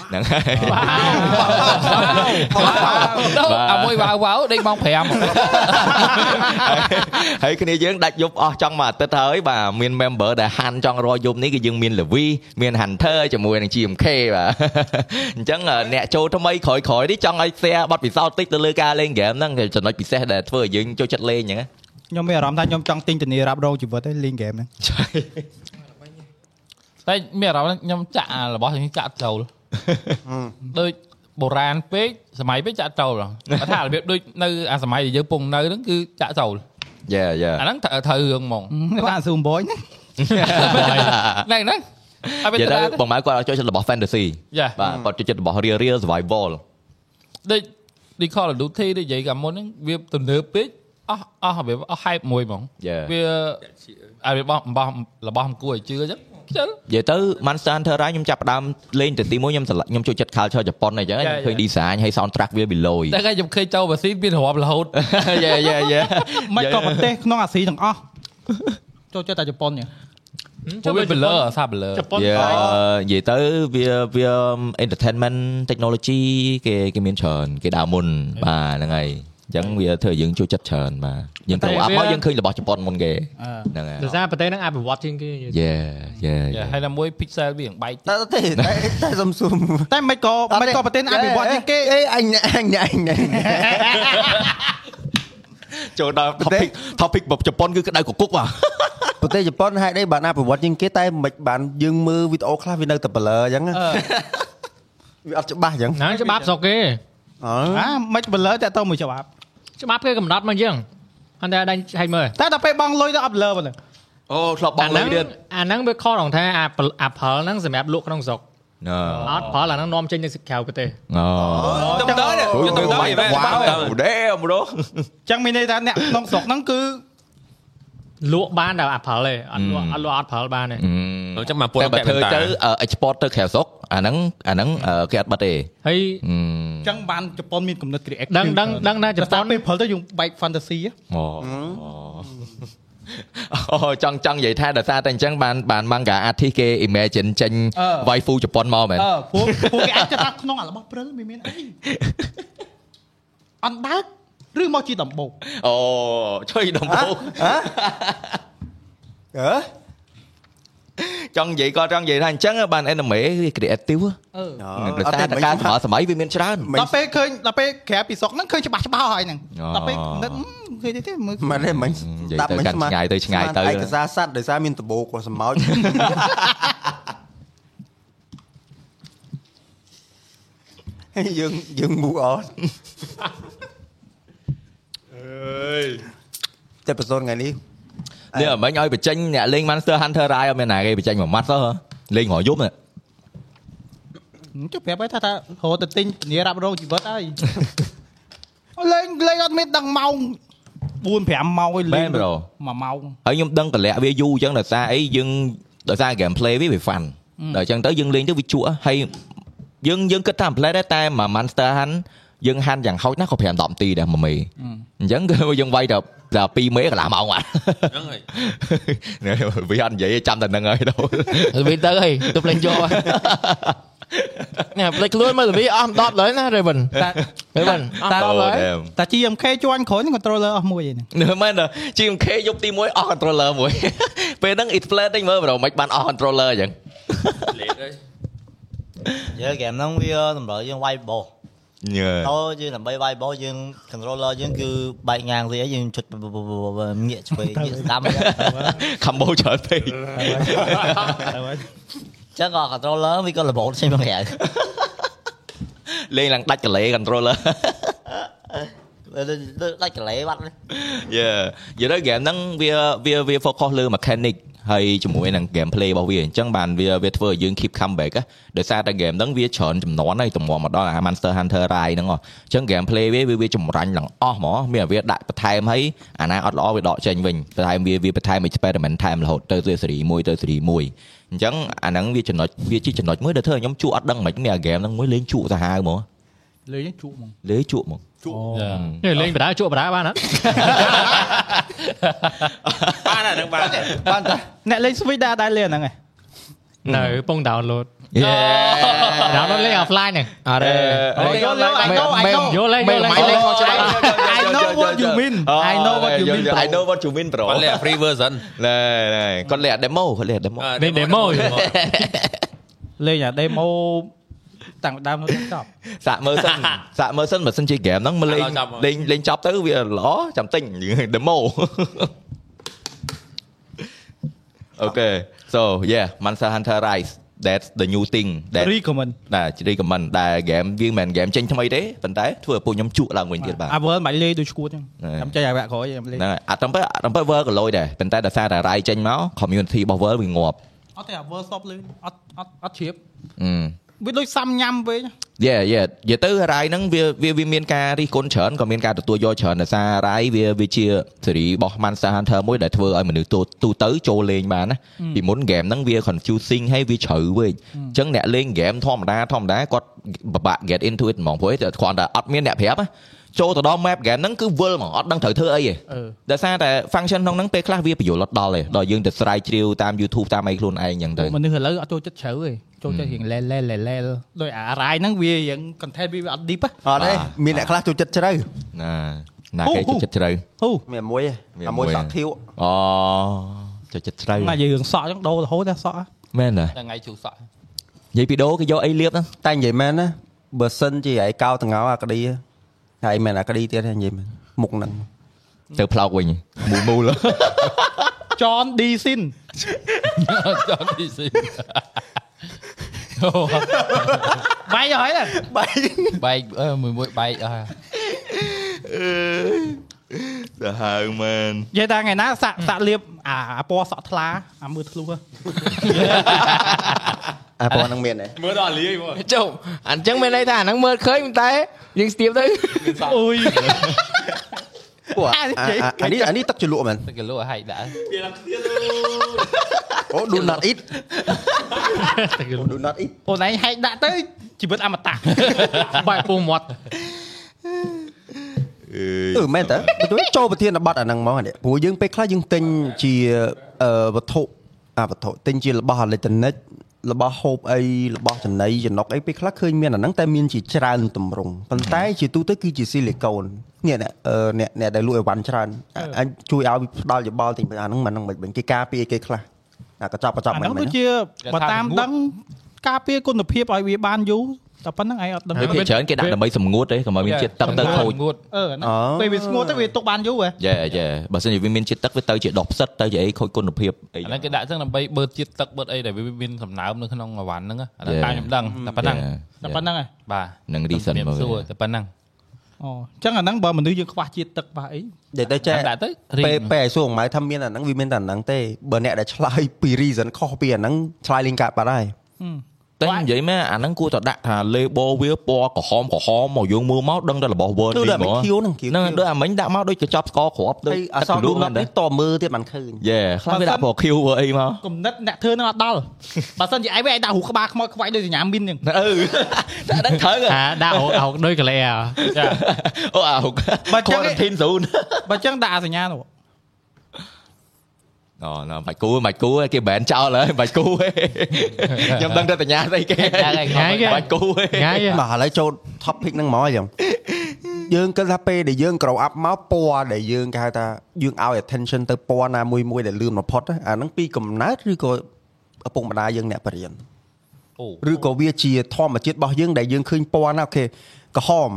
ហ្នឹងហើយ ដល់អាមួយវ៉ាវវ៉ាវដេកម៉ោង5 ហើយគ្នាយើងដាច់យប់អស់ចង់មួយអាទិត្យហើយបាទមាន member ដែលហាន់ចង់រយយប់នេះគឺយើងមាន Levi មាន Hunter ជាមួយនឹង GMK បាទ អញ្ចឹងអ្នកចូលថ្មីក្រោយៗនេះចង់ឲ្យ share បទពិសោធន៍តិចទៅលើការលេង game ហ្នឹងគឺចំណុចពិសេសដែលធ្វើឲ្យយើងចូលចិត្តលេងអញ្ចឹង ណា ខ្ញុំមានអារម្មណ៍ថាខ្ញុំចង់ទិញធានារ៉ាប់រងជីវិតឯងលេងហ្គេមហ្នឹង តែមានអារម្មណ៍ខ្ញុំចាក់អារបស់ខ្ញុំចាក់ចូល ដូចបុរាណពេកសម័យពេកចាក់ចូលបើថារបៀបដូចនៅអាសម័យដែលយើងពងនៅហ្នឹងគឺចាក់ចូល យ៉ាយ៉ា អាហ្នឹងត្រូវត្រូវរឿងហ្មង បាទស៊ូមបុយហ្នឹង ហ្នឹងហ្នឹងអបិ និ ទ យាយទៅ តា បងម៉ៅគាត់ចូលចិត្តរបស់ fantasy យ៉ា បាទគាត់ចូលចិត្តរបស់ real real survival ដូចដូច Call of Duty ដូចនិយាយកាលមុនហ្នឹងវាទំនើបពេកអស់អស់របៀបអស់ hype មួយហ្មង យ៉ានិ វាអារបស់របស់របស់មិនគួរឲ្យជឿអញ្ចឹងខ្ជិល យាយទៅ Monster Hunter Rise ខ្ញុំចាប់ផ្ដើមលេងទៅទីមួយខ្ញុំស្រឡាញ់ខ្ញុំចូលចិត្ត culture ជប៉ុនអីចឹងខ្ញុំឃើញ Yeah, yeah. design ហើយ soundtrack វាពីលយ តែគេខ្ញុំឃើញចូលបាស៊ីមានរាប់រហូត យ៉ាយ៉ាយ៉ា មិនក៏ប្រទេសក្នុងអាស៊ីទាំងអស់ចូលចិត្តតែជប៉ុននេះ ព្រោះវា blur អាសា blur ជប៉ុន យើ ខ្លាច និយាយទៅវាវា entertainment technology គេគេមានច្រើនគេដើរមុនបាទហ្នឹងហើយអញ្ចឹងវាធ្វើឲ្យយើងចូលចិត្តច្រើនបាទយើងទៅអាប់មកយើងឃើញរបស់ជប៉ុនមុនគេហ្នឹងហើយ ដោយសារប្រទេសហ្នឹងអភិវឌ្ឍជាងគេ Yeah yeah យ៉ាហើយតែមួយ pixel វាបែ ក តែតែតែតែសុំសុំ តែមិនក៏មិនក៏ប្រទេសអភិវឌ្ឍជាងគេ អេអញអញអញ ចូលដល់ topic topic របស់ជប៉ុនគឺក្តៅកគុកបាទ ប្រទេសជប៉ុនហេតុអីបានអភិវឌ្ឍជាងគេតែមិនបានយើងមើលវីដេអូខ្លះវានៅតែ blur អញ្ចឹងវាអត់ច្បាស់អញ្ចឹង ហ្នឹងច្បាប់ស្រុកគេ អ អាមិនបលើតែតទៅមួយច្បាប់ ច្បាប់គេកំណត់មកយើងអន្តរដែងហែកមើល តែដល់ពេលបងលុយទៅអត់លើប៉ុណ្ណឹង អូធ្លាប់ប អា ងលុ ហ្នឹង យទៀត អាហ្នឹងវាខុសត្រង់ថាអាអាផលហ្នឹងសម្រាប់លក់ក្នុងស្រុក អត់ផលអាហ្នឹងនាំចេញទៅក្រៅប្រទេស អូ ទៅទៅនេះយកទៅទៅឯង វ៉ាវ ទៅ ដេមរោ អញ្ចឹងមានន័យថាអ្នកក្នុងស្រុកហ្នឹងគឺ លក់បានតែអាផលទេអត់លក់អត់លក់អត់ផលបានទេ អញ្ចឹងមកពុ តែ ត បើ តែ ធ្វើ ទៅ ទៅ export ទៅក្រៅស្រុកអាហ្នឹងអាហ្នឹងគេអត់បិទទេ ហើយ អឺ ចឹងបានជប៉ុនមានគំនិត creative ដឹងដឹងដឹងណាជប៉ុន ពេលផលទៅយើងបែក fantasy ហ៎ អូអូ ចង់ចង់និយាយថាដោយសារតែអញ្ចឹងបានបាន manga artist គេ imagine ចេញ អឺ waifu ជប៉ុនមកមែន អឺពួកពួកគេអាចចាត់ថាក្នុងអារបស់ព្រិលមិនមានអី អណ្ដើកឬមកជាដំបូក អូជួយដំបូង អឺ ចង់និយាយក៏ចង់និយាយថាអញ្ចឹងបាន anime វា creative អឺ ដោយសារតែការសម័យសម័យវាមានច្រើន ដល់ពេលឃើញដល់ពេលក្រែពីសក់ហ្នឹងឃើញច្បាស់ច្បាស់ហើយហ្នឹង អូ ដល់ពេលគំនិតហឹមឃើញទេមើល មិនទេមិញ និយាយទៅកាន់ឆ្ងាយទៅឆ្ងាយទៅ ស្មានឯកសារសัตว์ដោយសារមានដបោកគាត់សម្ោ ច យើងយើង move on តែប្រសូនថ្ងៃនេះ នេះអមិញឲ្យបញ្ចេញអ្នកលេង Monster Hunter Rise អត់មានណាគេបញ្ចេញមួយម៉ាត់សោះហ៎លេងរហយប់នេះ ចុះប្រាប់ហើយថាថារត់ទៅទិញពលារ៉ាប់រងជីវិតហើយ លេងលេងអត់មានដឹងម៉ោង4 5ម៉ោងឯងលេ មែ ង នប្រូ មួយម៉ោង ហើយខ្ញុំដឹងកលៈវាយូរអញ្ចឹងដោយសារអីយើងដោយសារ gameplay វាវា fun ម ដល់អញ្ចឹងទៅយើងលេងទៅវាជក់ហើយយើងយើងគិតថា gameplay ដែរតែមួយ Monster Hunt យើងហាន់យ៉ាងហោចណាស់ក៏5 10នាទីដែរមួយមេអញ្ចឹងគឺយើងវាយដល់ដល់2មេកន្លះម៉ោងបា ត់ ហ្នឹងហើយ វាអត់និយាយចាំតែនឹងហើយ ទៅ វិញទៅហើយទៅលេងយកហើយណែលេងខ្លួនមើលវិញអស់10ឡើយណា Raven តែ Raven អស់10ឡើយ damn តែ GMK ជួញក្រោយហ្នឹង controller អស់មួយឯ ហ្នឹង នេះមែនទេ GMK យប់ទី1អស់ controller មួយ ពេលហ្នឹង it flat វិញមើលប្រហែលមិនបានអស់ controller អញ្ចឹង លេតហើយ យើហ្គេមហ្នឹងវាតម្រូវយើងវាយបោស ញ៉ើ ហើយយើងដើម្បីវាយបោសយើង controller យើងគឺបែកងាងវាយើងចុចងាកឆ្វេងងាកស្ដាំអញ្ចឹង combo ច្រើន ពេក ចឹងក៏ controller វាក៏របូតផ្សេងមកក្រៅ លេងឡើងដាច់កលេ controller ដូចដាច់កលេបាត់នេះ យេនិយាយទៅ game ហ្នឹងវាវាវា focus លើ mechanic ហើយជាមួយនឹង gameplay របស់វាអញ្ចឹងបានវាវាធ្វើឲ្យយើង keep comeback ណាដោយសារតែ game ហ្នឹងវាច្រើនចំនួនហើយទំនាស់មកដល់អា Monster Hunter Rise ហ្នឹងហ៎អញ្ចឹង gameplay វាវាវាចម្រាញ់ឡើងអស់ហ្មងមានតែវាដាក់បន្ថែមហើយអាណាអត់ល្អវាដកចេញវិញបន្ថែមវាវាបន្ថែម experiment ថែមរហូតទៅទៅសេរី1ទៅសេរី1អញ្ចឹងអាហ្នឹងវាចំណុចវាជាចំណុចមួយដែលធ្វើឲ្យខ្ញុំជក់អត់ដឹងហ្មិនមានអា game ហ្នឹងមួយលេងជក់សាហាវហ្មង លេងហ្នឹងជក់ហ្មង លេងជក់ហ្មង នេះលេងបដាជក់បដាបានអត់ បានហើយនឹងបាន បានតា អ្នកលេង Switch ដែរដែរលេងអាហ្នឹងឯង នៅពង download Yeah. download លេង offline ហ្នឹង អរេ Ờ, Ờ, vô, lại- vô, lại- I know, I Mềm, know. vô lên, vô Mềm, lên. mày lên. Ờ, I know what you mean. I know what you mean, bro. Ờ, I know what you mean bro គាត់លេ free version នេះនេះគាត់លេអា demo គាត់លេអា demo Ờ, លេង demo លេងអា demo តាំងពីដើមដល់ចប់ សាក់មើលសិន សាក់មើលសិនបើសិនជា game ហ្នឹងមកលេង ឥឡូវចាប់មក លេងលេងចប់ទៅវាល្អចាំទិញ demo អូខេ so yeah Monster Hunter Rise that's the new thing that រី comment ដែល recommend ដែល game វាមិនមែន game ចេញថ្មីទេប៉ុន្តែធ្វើឲ្យពួកខ្ញុំជក់ឡើងវិញទៀតបាទ អាវើមិនលេងដូចឈួតចឹង ហ្នឹង ចាំចៃអាវៈក្រោយខ្ញុំលេង ហ្នឹងហើយអត់តំបើអត់តំបើ World ក៏លុយដែរប៉ុន្តែដោយសារតែ Rise ចេញមក community របស់ World វាងាប់ អត់ទេអាវើសប់លេងអត់អត់អត់ជ្រាប អឺ វាដូចសាំញ៉ាំវិញ យ៉ាយ៉ានិយាយទៅរ៉ៃហ្នឹងវាវាវាមានការរិះគន់ច្រើនក៏មានការទទួលយកច្រើនដោយសាររ៉ៃវាវាជាសេរីរបស់ Monster Hunter មួយដែលធ្វើឲ្យមនុស្សទូទូទៅចូលលេងបានណាពីមុនហ្គេមហ្នឹងវា confusing ហើយវាជ្រៅវិញអញ្ចឹងអ្នកលេងហ្គេមធម្មតាធម្មតាគាត់ពិបាក get into it ហ្មងព្រោះតែគ្រាន់តែអត់មានអ្នកប្រាប់ណាចូលទៅដល់ map game ហ្នឹងគឺវិលហ្មងអត់ដឹងត្រូវធ្វើអីទេ អឺ ដោយសារតែ function ក្នុងហ្នឹងពេលខ្លះវាបញ្យល់អត់ដល់ទេដល់យើងទៅស្រាវជ្រាវតាម YouTube តាមអីខ្លួនឯងអញ្ចឹងទៅ មនុស្សឥឡូវអត់ចូលចិត្តជ្រៅទេចូលចិត្តរៀងលែលែលែលែដោយអារ៉ាយហ្នឹងវារៀង content វាអត់ deep ហ៎ អត់ទេ បាទ មានអ្នកខ្លះចូលចិត្តជ្រៅ ណាណា ហ៊ូ គេចូហ៊ូលចិត្តជ្រៅ ហ៊ូ មានមួយឯងមានអាមួយ មួយ សក់ធៀវ អូចូលចិត្តជ្រៅ មកយើងសក់ចឹងដូររហូតដល់សក់ហ៎ មែនទេ ដល់ថ្ងៃជូសក់ និយាយពីដូរគេយកអីលាបហ្នឹង តែនិយាយមែនណាបើសិនជាឯងកោតងោអាក្តីហើយមិនអាក្តីទៀតទេនិយាយមែនមុខហ្នឹង ទៅផ្លោកវិញមូលមូល ចនឌីស៊ីន ចង់ទីស៊ី វាយហើយណា បែកអឺមួយមួយបែកអស់ហើយ សាហាវមែន និយាយថាថ្ងៃណាសាក់សាក់លៀបអាអាពណ៌សក់ថ្លាអាមើលធ្លុះហ៎ អាប៉ុណ្ណឹងមានទេ មើលដល់អាលីហ្មង ចុះអញ្ចឹងមានន័យថាអាហ្នឹងមើលឃើញប៉ុន្តែយើងស្ទាបទៅ អូយ ពួកអាអាអានេះអានេះទឹកជ្រលក់មែន ទឹកគីឡូឲ្យហែកដាក់ វាឡើងទៀត អូ Oh, do not eat Oh, តែគេ do not eat អូនឯងហែកដាក់ទៅ ជីវិតអមតៈ បាយពោះមាត់ អឺមែនតើបើទោះចូលប្រធានបတ်អាហ្នឹងមកនេះព្រោះយើងពេលខ្លះយើងទិញជាអឺវត្ថុអាវត្ថុទិញជារបស់អេឡិចត្រូនិករបស់ហូបអីរបស់ចំណីចំណុកអីពេលខ្លះឃើញមានអាហ្នឹងតែមានជាច្រើនតម្រង់ប៉ុន្តែជាទូទៅគឺជាស៊ីលីកូននេះអ្នកអឺអ្នកអ្នកដែលលក់អីវ៉ាន់ច្រើនអញជួយឲ្យផ្ដល់យោបល់ទិញអាហ្នឹងមិនហ្នឹងមិនគេការពារគេខ្លះអាកញ្ចប់កញ្ចប់ អា មិន ហ្នឹង មែ ដូច ន ជាបើតាមដឹងការពារគុណភាពឲ្យវាបានយូរតែប៉ុណ្្នឹងឯងអត់ដឹង ហើយភាគច្រើនគេដាក់ដើម្បីសម្ងួតទេកុំឲ្យ Dạ, មានជាតិទឹកទៅខូច អឺហ្នឹង អូ ពេលវាស្ងួតទៅវាទុកបានយូរហ៎ យេយេបើសិនជាវាមានជាតិទឹកវាទៅជាដុះផ្សិតទៅជាអីខូចគុណភាពអី អាហ្នឹងគេដាក់ចឹងដើម្បីបឺតជាតិទឹកបឺតអីដែលវាមានសំណើមនៅក្នុងអាវ៉ាន់ហ្នឹងណាអាហ្នឹ Yeah. ងតាមខ្ញុំដឹងតែប៉ុណ្ណឹង Yeah. តែ តែ ប៉ុ ប៉ុណ្ណ្ណឹង ្នឹងឯង បាទ នឹង reason ជំរាប មក សួរតែប៉ុណ្ណឹង អូអញ្ចឹងអាហ្នឹងបើមនុស្សយើងខ្វះជាតិទឹកខ្វះអី ដែលទៅចេះ តែដាក់ទៅរី ពេល ង ពេលឲ្យសួរម៉ៅថាមានអាហ្នឹងវាមានតែអាហ្នឹងទេបើអ្នកដែលឆ្លើយ ពី reason ខុសពីអាហ្នឹងឆ្លើយលេងកាត់បាត់ហើយ តែនិយាយមែនអាហ្នឹងគួរតែដាក់ថា label វាពណ៌ក្រហមក្រហមមកយើងមើលមកដឹងតែរបស់ word ដូច ហ្ម អាមិញខៀវហ្នឹងខៀវ ហ្នឹងដូចអាមិញដាក់មកដូចកញ្ចប់ស្ករគ្រាប់ដូច ហើយអសរ ល រូ ក់ បណាត់នេះតមើលទៀតមិនឃើញ យេខ្លះវាដាក់ពណ៌ខៀវពណ៌អីមក គំនិតអ្នកធ្វើហ្នឹងអត់ដល់បើសិនជាឯងវាឯងដាក់រូបក្បាលខ្មោចខ្វាច់ដូចសញ្ញាមីនហ្នឹង អឺ តែដឹងត្រូវហ៎ អាដាក់អោកអោកដូចកលែអ่ะ អូអាហុក បើអញ្ចឹង quarantine zone បើអញ្ចឹងដាក់អាសញ្ញានោះ អូណាបាច់គូបាច់គូគេ ban ចោល ហើយបាច់គូខ្ញុំដឹងតែបញ្ញាស្អីគេ ថ្ងៃគេ បាច់គូ ថ្ងៃគេ បាទឥឡូវចូល topic ហ្នឹងមកអញ្ចឹងយើងគិតថាពេលដែលយើង grow up មកពណ៌ដែលយើងគេហៅថាយើងឲ្យ attention ទៅពណ៌ណាមួយមួយដែលលឿនបំផុតណាអាហ្នឹងពីកំណើតឬក៏ឪពុកម្ដាយយើងអ្នកបរិញ្ញ អូ ឬក៏វាជាធម្មជាតិរបស់យើងដែលយើងឃើញពណ៌ណាអូខេក្រហម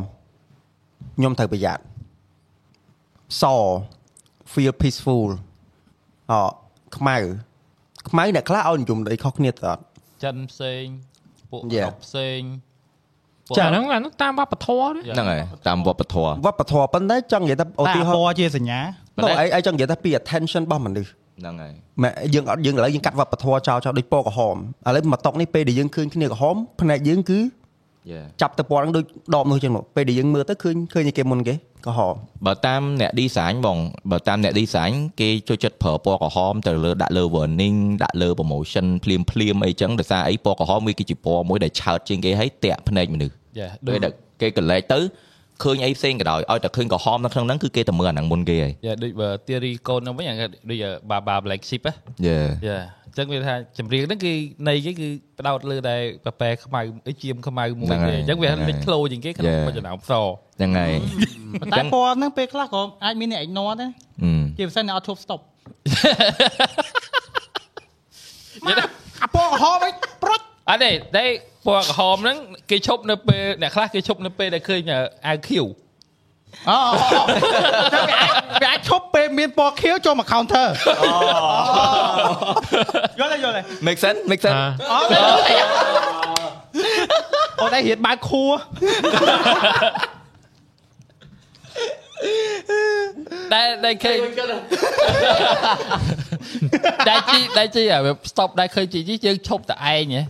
ខ្ញុំត្រូវប្រយ័ត្នស feel peaceful អខ្មៅខ្មៅអ្នកខ្លះឲ្យនិយមដីខុសគ្នាទៅអត់ ចិនផ្សេងពួក Yeah. អុកផ្សេងពួក ចាហ្នឹងអាហ្នឹងតាមវប្បធម៌ទេ Yeah. ហ្នឹងហើយតាមវប្បធម៌ វប្បធម៌ប៉ុន្តែចង់និយាយថាឧ តែ ទាហ ព រណ៍ ណ៌ជាសញ្ញា ប៉ុនោះន្តែ ឯងឯងចង់និយាយថាពី attention របស់មនុស្ស ហ្នឹងហើយ ម៉ែយើងអត់យើងឥឡូវយើងកាត់វប្បធម៌ចោលចោលដូចពណ៌ក្រហមឥឡូវមកតុកនេះពេលដែលយើងឃើញគ្នាក្រហមផ្នែកយើងគឺ យេ ចាប់ទៅពណ៌ហ្នឹងដូចដបនោះចឹងមកពេលដែលយើងមើលទៅឃើញឃើញឯគេមុនគេក្រហម បើតាមអ្នក design បងបើតាមអ្នក design គេចូលចិត្តប្រើពណ៌ក្រហមទៅលើដាក់លើ warning ដាក់លើ promotion ភ្លាមភ្លាមអីចឹងដោយសារអីពណ៌ក្រហមវាគឺជាពណ៌មួយដែលឆើតជាងគេហើយតាក់ភ្នែកមនុស្ស Yeah, ដូចដែលគេកលែកទៅឃើញអីផ្សេងក៏ដោយឲ្យតែឃើញក្រហមនៅក្នុងហ្នឹងគឺគេតែមើលអាហ្នឹងមុនគេហើយ យ៉ាដូចបើ theory កូនហ្នឹងវិញអាដូចបាបា black sheep ហ៎ យេ យ៉ាអញ្ចឹងវាថាចម្រៀងហ្នឹងគឺនៃគេគឺផ្ដោតលើតែប៉ប៉ែខ្មៅអីជាមខ្មៅមួយ ហ្នឹងហើ គេ យ អញ្ចឹងវា ហ្នឹងហើយ លេចធ្លោជាងគេក្នុង Yeah. បច្ចុប្បន្នសអ ហ្នឹងហើយ ប៉ុន្តែពណ៌ហ្នឹងពេលខ្លះក៏អាចមានអ្នកឯងណត់ដែរ អឺ ជាពិសេសអ្នកអត់ឈប់ stop មកអាពណ៌ក្រហមឯងប្រុច អត់ទេតែពណ៌ក្រហមហ្នឹងគេឈប់នៅពេលអ្នកខ្លះគេឈប់នៅពេលដែលឃើញអាវខៀវ អូចាំវាអាចវាអាចឈប់ពេលមានពណ៌ខៀវចូលមក counter យល់ទេយល់ទេ make sense make sense អូអូតែរៀនបានខួរ តែតែឃើញ តែជីតែជីអាវា stop តែឃើញជីជីយើងឈប់តែឯងហ៎គេ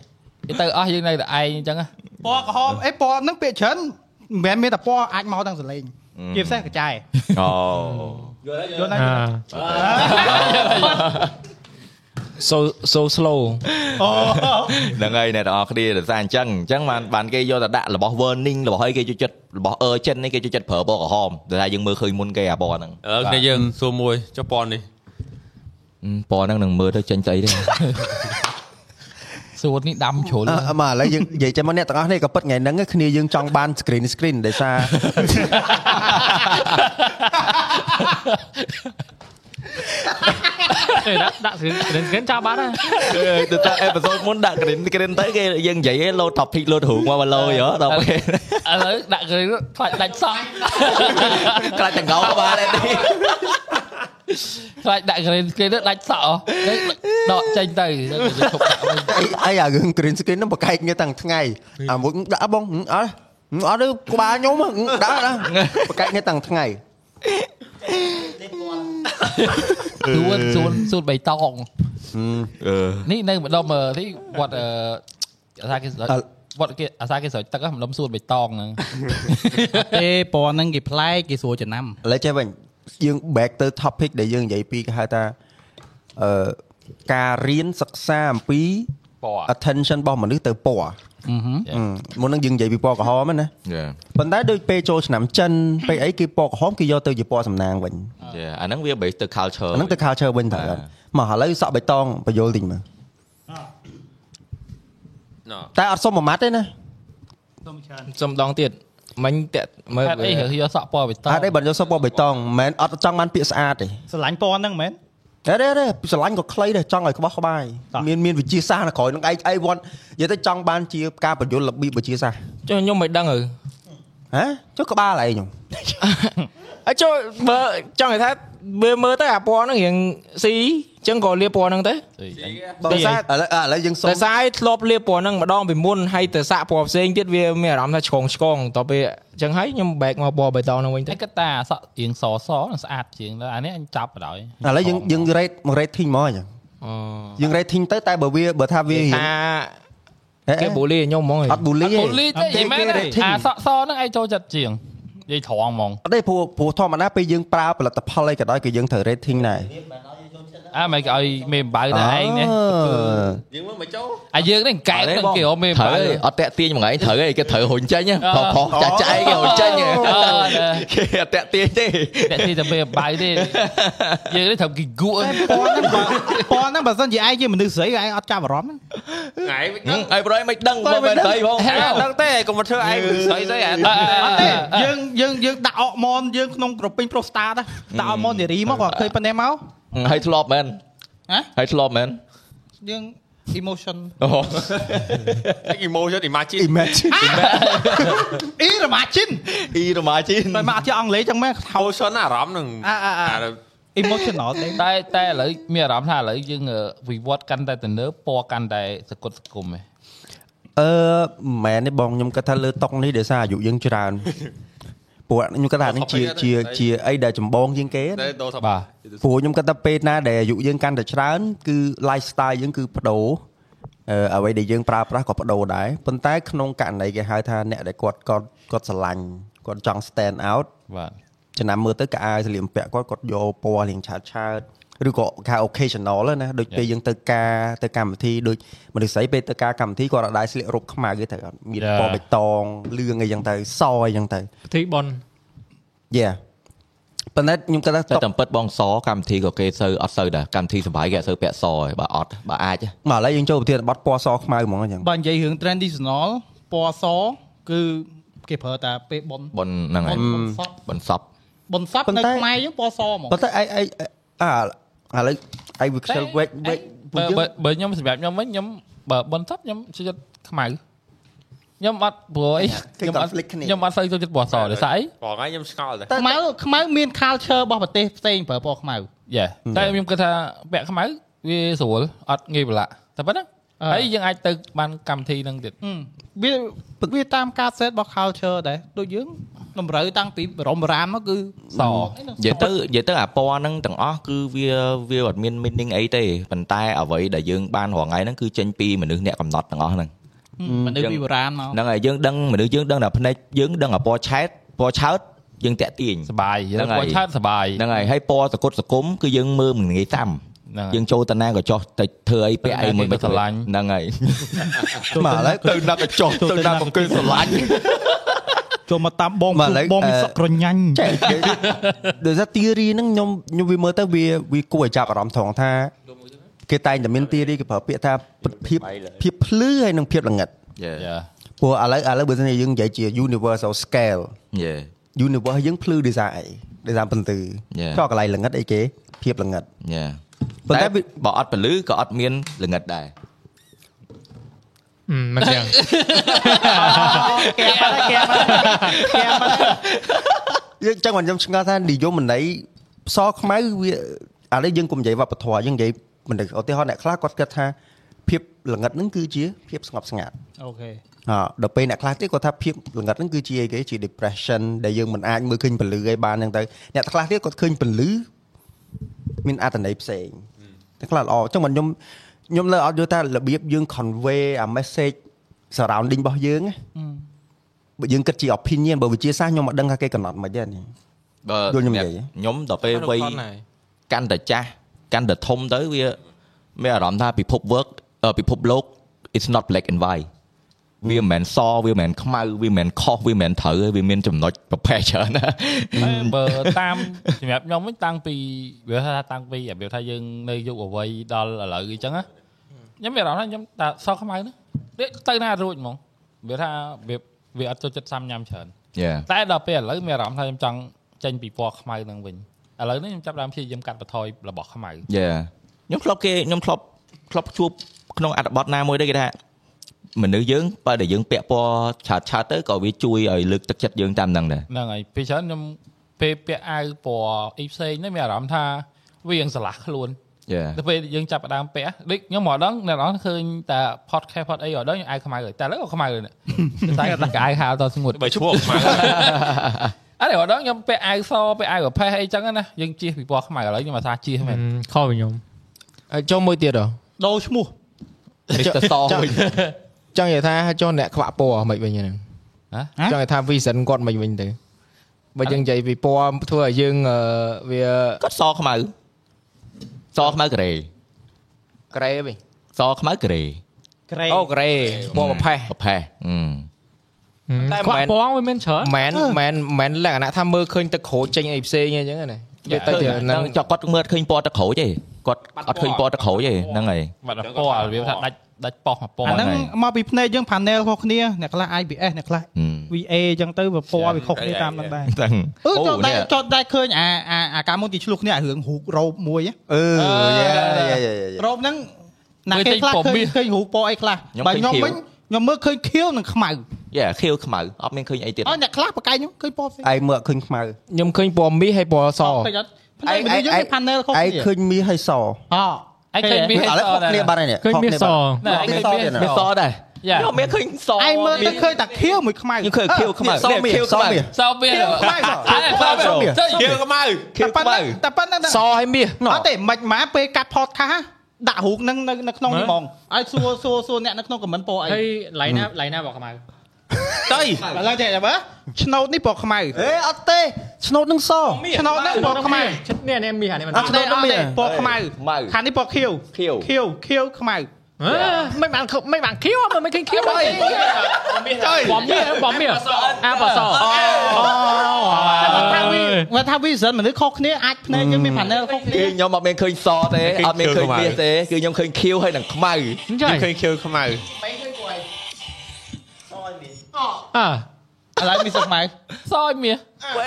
ទៅអស់យើងនៅតែឯងអញ្ចឹងហ៎ ពណ៌ក្រហមអេពណ៌ហ្នឹងពាក្យច្រើនមិនមែនមានតែពណ៌អាចមកទាំងសលេងជាពិសេសកញ្ចែ អូ យល់ទេ អា so so slow អូ ហ្នឹងហើយអ្នកទាំងអស់គ្នាដោយសារអញ្ចឹងអញ្ចឹងបានបានគេយកទៅដាក់របស់ warning របស់អីគេចូលចិត្តរបស់ urgent នេះគេចូលចិត្តប្រើពណ៌ក្រហមដោយសារយើងមើលឃើញមុនគេអាពណ៌ហ្នឹង ឥឡូវនេះយើងសួរមួយចុះប៉ុននេះ ហឹមពណ៌ហ្នឹងនឹងមើលទៅចេញស្អីទេ សួតនេះដាំជ្រុល អឺមកឥឡូវយើងនិយាយចាំមកអ្នកទាំងអស់នេះក៏ពិតថ្ងៃហ្នឹងគ្នាយើងចង់បាន screen screen ដោយសារ អេដាក់ដាក់ស្គរិនស្គរិនចាប់បាត់ហើយ ទៅតា episode មុនដាក់ green green ទៅគេយើងនិយាយឯង load topic load រូងមកមក load យោ ដល់ពេល ឥឡូវដាក់គ្រឿងខ្លាចដាច់សក់ ខ្លាចតង្កោបានទេ ខ្លាចដាក់ green screen ទៅដាច់សក់ហ៎ដកចេញទៅទៅឈប់ដាក់វិញ អីអីអារឿង green screen ហ្នឹងបកកែកគ្នាតាំងថ្ងៃអាមួយដាក់អត់បងហឹមអត់ហឹមអត់ទេក្បាលខ្ញុំហឹមដាក់អត់បកកែកគ្នាតាំងថ្ងៃ សួនសួនសួនបៃតង ហឹម នេះនៅម្ដុំអឺនេះវត្តអឺអាសាគេស្រោច អ่ะ វត្តគេអាសាគេស្រោចទឹកហ្នឹងម្ដុំសួនបៃតងហ្នឹង ទេពណ៌ហ្នឹងគេប្លែកគេស្រួលចំណាំ ឥឡូវចេះវិញយើង back ទៅ topic ដែលយើងនិយាយពីគេហៅថាអឺការរៀនសិក្សាអំពី ពណ៌ attention របស់មនុស្សទៅពណ៌ មុនហ្នឹងយើងនិយាយពីពណ៌ក្រហមហ្នឹងណា យ៉ា ប៉ុន្តែដូចពេលចូលឆ្នាំចិនពេលអីគេពណ៌ក្រហមគេយកទៅជាពណ៌សំណាងវិញ យ៉ាអាហ្នឹងវា based ទៅ culture អាហ្នឹងទៅ culture វិញតើមកឥឡូវសក់បៃតងបញ្យលតិចមើលតែអត់សុំមួយម៉ាត់ទេណា សុំដងទៀតមិញតាក់មើល ហេតុអីរើសយកសក់ពណ៌បៃតង អត់ទេបើយកសក់ពណ៌បៃតងមិនមែនអត់ចង់បានពាក្យស្អាតទេ ស្រឡាញ់ពណ៌ហ្នឹងមែន តែទេទេស្រឡាញ់ក៏ខ្លីដែរចង់ឲ្យក្បោះក្បាយមានមានវិជាសាស្ត្រនៅក្រោយហ្នឹងឯងឯងវ៉ាន់និយាយទៅចង់បានជាការបញ្យលរបៀបវិជាសាស្ត្រ ចុះខ្ញុំមិនដឹងហ៎ ហ៎ចុះក្បាលឯងខ្ញុំ អត់ចុះបើចង់និយាយថាមើលមើលទៅអាពណ៌ហ្នឹងរៀងស៊ីអញ្ចឹងក៏លាបពណ៌ហ្នឹងទៅ បើ ដោយ ឥសារឡូវឥឡូវយើងសុំ តែសាយធ្លាប់លាបពណ៌ហ្នឹងម្ដងពីមុនហើយទៅសាក់ពណ៌ផ្សេងទៀតវាមានអារម្មណ៍ថាឆ្កងឆ្កងតទៅពេលអញ្ចឹងហើយខ្ញុំបែកមកពណ៌បៃតងហ្នឹងវិញទៅ ឯងគាត់ថាសក់រៀងសសនឹងស្អាតជាងដល់អានេះអញចាប់បណ្ដោយ ឥឡូវយើងយើង rate មក rating មកអញ្ចឹងយើង rating ទៅតែបើវាបើថាវា ថាគេបូលីខ្ញុំហ្មងហ៎ អត់ bully ទេ អូលីទេយីមែនទេអាសក់សហ្នឹងឯងចូលចិត្តជាងនិយាយត្រង់ហ្មង អត់ទេព្រោះព្រោះធម្មតាពេលយើងប្រើផលិតផលអីក៏ដោយគឺយើងត្រូវ rating ដែរ អាមិនគេឲ្យមេអំបៅតែឯងណា យើងមើលមកចូល អាយើងនេះកែក ឥឡូវ នឹង បង គេហៅមេអំ ត្រូវទេបៅអត់តាក់ទាញមួយថ្ងៃត្រូវទេគេត្រូវរុញចេញហ៎ផផចាច់ចាយគេរុញចេញហ៎ អឺ គេអត់តាក់ទាញទេ តែទីតែមេអំបៅទេយើងនេះត្រូវគេគក់ ពណ៌ហ្នឹង បើពណ៌ហ្នឹងបើសិនជាឯងជាមនុស្សស្រីឯងអត់ចាប់អារម្មណ៍ ថ្ងៃវិញដឹង អីប្រយមិនដឹងបងមិនស្អីផង អត់ដឹងទេកុំមកធ្វើឯងស្អីស្អីអា អត់ទេ ហ្នឹងយើងយើងយើងដាក់អរម៉ូនយើងក្នុងក្រពេញប្រូស្តាតណាដាក់អរម៉ូននារី មកក៏ឃើញប៉ុណ្ណេះមក ហើយធ្លាប់មែន ហ៎ ហើយធ្លាប់មែន យើង emotion អូ អី emotion imagine imagine អ៊ីរម៉ាជីន អ៊ីរម៉ាជីន តែមកអត់ជាអង់គ្លេសចឹងមែន emotion អារម្មណ៍នឹង À, emotional ទេ តែតែឥឡូវមានអារម្មណ៍ថាឥឡូវយើងអឺវិវត្តកាន់តែទៅលើពណ៌កាន់តែសកុតសកុំឯង អឺមិនមែនទេបងខ្ញុំគាត់ថាលើតុកនេះដោយសារអាយុយើង ច្រើនព្រោះខ្ញុំគាត់ថានេះជាជាជាអីដែលចម្បងជាងគេណា តែដោះថា បាទ ព្រោះខ្ញុំគាត់ថាពេលណាដែលអាយុយើងកាន់តែច្រើនគឺ lifestyle យើងគឺបដូរអឺអ្វីដែលយើងប្រើប្រាស់ក៏បដូរដែរប៉ុន្តែក្នុងករណីគេហៅថាអ្នកដែលគាត់គាត់គាត់ស្រឡាញ់គាត់ចង់ stand out បាទ ចំណាំមើលទៅកាអាវសលៀកបំពាក់គាត់គាត់យកពណ៌លៀងឆើតឆើតឬក៏កា occasional ហ្នឹងណាដូចពេលយើងទៅការទៅកម្មវិធីដូចមនុស្សស្រីពេលទៅការកម្មវិធីគាត់អត់ដែរស្លៀករົບខ្មៅទេត្រូវអត់មានពណ៌បៃតងលឿងអីយ៉ាងទៅសអីយ៉ាងទៅ ពិធីបន yeah ប៉ុន្តែខ្ញុំគាត់ តែ ថាតុក តាមពិតបងសកម្មវិធីក៏គេសូវអត់សូវដែរកម្មវិធីសុបាយគេអត់សូវពាក់សឯងបើអត់បើអាច មកឥឡូវយើងចូលប្រធានបទពណ៌សខ្មៅហ្មងអញ្ចឹង បើនិយាយរឿង traditional ពណ៌សគឺគេប្រើតែពេលបន បនហ្នឹងហើយ បនសព បន្សព បនសពនៅខ្មែរយើងពណ៌សហ្មង ប៉ុន្តែឯងឯងអាឥឡូវឯងវាខ្ជិលវែកវែកពួបើកយើ បើ ង បើខ្ញុំសម្រាប់ខ្ញុំវិញខ្ញុំបើបនសពខ្ញុំចូលចិត្តខ្មៅខ្ញុំអត់ព្រោះអីខ្ញុំអត់ខ្ញុំអត់សូវចូលចិត្តពណ៌សដោយសារអី បងថ្ងៃខ្ញុំស្កល់តែ ខ្មៅខ្មៅមាន culture របស់ប្រទេសផ្សេងប្រើពណ៌ខ្មៅ យ៉ាតែខ្ញុំគិតថាពាក់ខ្មៅវាស្រួលអត់ងាយប្រឡាក់តែប៉ុណ្ណឹង អឺ ហើយយើងអាចទៅបានកម្មវិធីហ្នឹងទៀត ហឹមវាវាតាមការ set របស់ culture ដែរដូចយើងតម្រូវតាំងពីបរមរាមមកគឺ ស និយាយទៅនិយាយទៅអាពណ៌ហ្នឹងទាំងអស់គឺវាវាអត់មាន meaning អីទេប៉ុន្តែអ្វីដែលយើងបានរាល់ថ្ងៃហ្នឹងគឺចេញពីមនុស្សអ្នកកំណត់ទាំងអស់ហ្នឹង មនុស្សពីបុរាណមក ហ្នឹងហើយយើងដឹងមនុស្សយើងដឹងតែភ្នែកយើងដឹងអាពណ៌ឆែតពណ៌ឆើតយើងតាក់ទាញ សបាយ ហ្នឹ ហ្នឹង ង ហើយ គាត់ឆាតសបាយ ហ្នឹងហើយហើយពណ៌សកុតសគុំគឺយើងមើលមិនងាយតាម ហ្នឹយើងយើង ងចូលតាណាក៏ចោះតិចធ្វើអីពាក់អី ទៅណា មួយ គេ មិន ក៏ស្រឡាញ់ ហ្នឹងហើយ មកឥឡូវ ទៅណាក៏ចោះទៅណាក៏គេស្រឡាញ់ ចូលមកតាមបង មកឥឡូវ បង អឺ មានសក់ក្រញាញ់ ចែកដោយសារ theory ហ្នឹងខ្ញុំខ្ញុំវាមើលទៅវាវាគួរឲ្យចាប់អារម្មណ៍ត្រង់ថាគេតែងតែមាន theory គេប្រើពាក្យថាភាពភាពភ្លឺហើយនិងភាពល្ងិត យេ ព្រោះឥឡូវឥឡូវបើសិនជាយើងនិយាយជា universal scale យេ universe យើងភ្លឺដោយសារអីដោយសារបន្ទឺ Yeah. ចោះកន្លែងល្ងិតអីគេភាពល្ងិត យេ ប៉ុ ប៉ុ ន្តែន្តែ វា បើអត់ពលឺក៏អត់មានល្ងិតដែរ ហឹមមិនចឹង យើងចឹងមិនខ្ញុំឆ្ងល់ថានិយមន័យសខ្មៅវាឥឡូវយើងកុំនិយាយវប្បធម៌យើងនិយាយមិនដឹងឧទាហរណ៍អ្នកខ្លះគាត់គិតថាភាពល្ងិតហ្នឹងគឺជាភាពស្ងប់ស្ងាត់ អូខេ អ่าដល់ពេលអ្នកខ្លះទៀតគាត់ថាភាពល្ងិតហ្នឹងគឺជាអីគេជា depression ដែលយើងមិនអាចមើលឃើញពន្លឺអីបានហ្នឹងទៅអ្នកខ្លះទៀតគាត់ឃើញពន្លឺមានអត្ថន័យផ្សេងតែខ្លះល្អចឹងមិនខ្ញុំខ្ញុំលើអត់យល់ថារបៀបយើង convey អា message surrounding របស់យើងណាបើយើងគិតជា opinion បើវិជាសាស្ត្រខ្ញុំមិនដឹងថាគេកំណត់មិនទេនេះ បើ យល់ខ្ញុំនិយាយ ខ្ញុំដល់ពេលវ័យកាន់តែចាស់កាន់តែធំទៅវាមានអារម្មណ៍ថាពិភព work អឺពិភពលោក it's not black and white វាមិនមែនសវាមិនមែនខ្មៅវាមិនមែនខុសវាមិនមែនត្រូវទេវាមានចំណុចប្រភេទច្រើនណាស់ បើតាមសម្រាប់ខ្ញុំវិញតាំងពីវាថាតាំងពីរបៀបថាយើងនៅយុវវ័យដល់ឥឡូវអញ្ចឹងណាខ្ញុំមានអារម្មណ៍ថាខ្ញុំតាសោះខ្មៅណានេះទៅណារួចហ្មងវាថាវាវាអត់ចូលចិត្តសាំញ៉ាំច្រើន Yeah. តែដល់ពេលឥឡូវមានអារម្មណ៍ថាខ្ញុំចង់ចេញពីពណ៌ខ្មៅហ្នឹងវិញឥឡូវនេះខ្ញុំចាប់ផ្ដើមព្យាយាមកាត់បន្ថយរបស់ខ្មៅ យ៉ាខ្ញុំធ្លាប់គេខ្ញុំធ្លាប់ធ្លាប់ជួបក្នុងអត្ថបទណាមួយដែរគេថាមនុស្សយើងបើតែយើងពាក់ពណ៌ឆាតឆាតទៅក៏វាជួយឲ្យលើកទឹកចិត្តយើងតាមហ្នឹងដែរ ហ្នឹងហើយពេលច្រើនខ្ញុំពេលពាក់អាវពណ៌អីផ្សេងហ្នឹងមានអារម្មណ៍ថាវាយើងស្រឡះខ្លួន Yeah. ដល់ពេលយើងចាប់ផ្ដើមពាក់ដូចខ្ញុំមកដល់អ្នកនរឃើញតែ podcast pod អីអត់ដល់ខ្ញុំអាវខ្មៅហើយតែឥឡូវក៏ខ្មៅហើយនេះ តែកាយហាលតស្ងួត បើឈ្មោះខ្មៅ អត់ទេអត់ដល់ខ្ញុំពាក់អាវសពាក់អាវប្រផេះអីចឹងណាយើងជិះពីពណ៌ខ្មៅឥឡូវខ្ញុំមកថាជិះមែន ខុសពីខ្ញុំ ចូលមួយទៀតហ៎ ដូរឈ្មោះ Mr. Saw វិញ ចង់និយាយថាចុះអ្នកខ្វាក់ពណ៌ហ្មិនវិញហ្នឹងចង់និយាយថា vision គាត់ហ្មិនវិញទៅបើយើងនិយាយពីពណ៌ធ្វើឲ្យយើងអឺវា គាត់សខ្មៅសខ្មៅក្រេ ក្រេវិញ សខ្មៅក្រេ ក្រេអូក្រេពណ៌ប្រផេះ ប្រផេះអឺ តែ ខ្វា មិនមែ ក់ ន ពងវាមានច្រើន មែនមែនមែនលក្ខណៈថាមើលឃើញទឹកក្រូចចេញអីផ្សេងអីចឹងណាវាទៅជា នឹ ហ្នឹង ង ចុះគាត់មើលអត់ឃើញពណ៌ទឹកក្រូចទេគាត់អត់ឃើញពណ៌ទឹកក្រូចទេហ្នឹងហើយ បាត់ពណ៌វាថាដាច់ដាច់ប៉ោះពណ៌ អាហ្នឹហ្នឹងងហើយ មកពីភ្នែកយើង panel ខុសគ្នាអ្នកខ្លះ IPS អ្នកខ្លះ VA អញ្ចឹងទៅវាពណ៌វាខុសគ្នាតាមហ្នឹងដែរ ហ្នឹង អឺ អូ ចូលតែ នេះ ចូលតែឃើញអាអាអាកាលមុនទីឆ្លុះគ្នាអារឿងរូបរោបមួយហ៎ អឺយ៉ាយ៉ាយ៉ា យ៉ា រោបហ្នឹងណាគេខ្លះឃើញឃើញរូបពណ៌អីខ្លះបើខ្ញុំវិញខ្ញុំមើលឃើញខៀវនិងខ្មៅ យ៉ាខៀវខ្មៅអត់មានឃើញអីទៀត អត់អ្នកខ្លះបកកាយខ្ញុំឃើញពណ៌ផ្សេង ឯងមើលឃើញខ្មៅ ខ្ញុំឃើញពណ៌មាសហើយពណ៌ស ពេចអត់ភ្នែកមនុស្សយើងមាន panel ខុស ឯង គ្នា ឃើញមាសហើយស អូ ឯងឃើញវា ឥឡូវខុសគ្នាបាត់ហើយនេះមានណែឯងឃើញវាឃើញមាសសសដែរខ្ញុំមានឃើញស ឯងមើលទៅឃើញតែខៀវមួយខ្មៅ ខ្ញុំឃើញខៀវខ្មៅ សមាសសមាស សវាសវា ខៀវខ្មៅខៀវ តែខ្មៅប៉ុណ្ណឹងតែប៉ុណ្ណឹងតែ សហើយមាស អត់ទេមិនម៉ាពេលកាត់ podcast ហ่ะដាក់រូបហ្នឹងនៅនៅក្នុងហ្មងឲ្យសួរសួរសួរអ្នកនៅក្នុង comment ពណ៌អី ហើយឡៃណាឡៃណារបស់ខ្មៅ ទៅ ឥឡូវចេះមើលឆ្នោតនេះពណ៌ខ្មៅ អេអត់ទេឆ្នោតនឹងស ឆ្នោតហ្នឹងពណ៌ខ្មៅ នេះនេះមាសអានេះមិន អត់ឆ្នោត អត់ទេ មាស ពណ៌ខ្មៅ ខ្មៅ ខាងនេះពណ៌ខៀវ ខៀវ ខៀវខៀវខ្មៅ មិនបានមិនបានខៀវមិនមិនឃើញខៀវទេបំមាសបំមាសអាបសអូ វាថា vision មនុស្សខុសគ្នាអាចភ្នែកយើងមាន panel ខុសគ្នា គេខ្ញុំអត់មានឃើញសទេអត់មានឃើញមាសទេគឺខ្ញុំឃើញខៀវហើយនឹងខ្មៅ ចា ឃើញខៀវខ្មៅ អើ ឥឡូវមានសខ្មៅ សឲ្យមា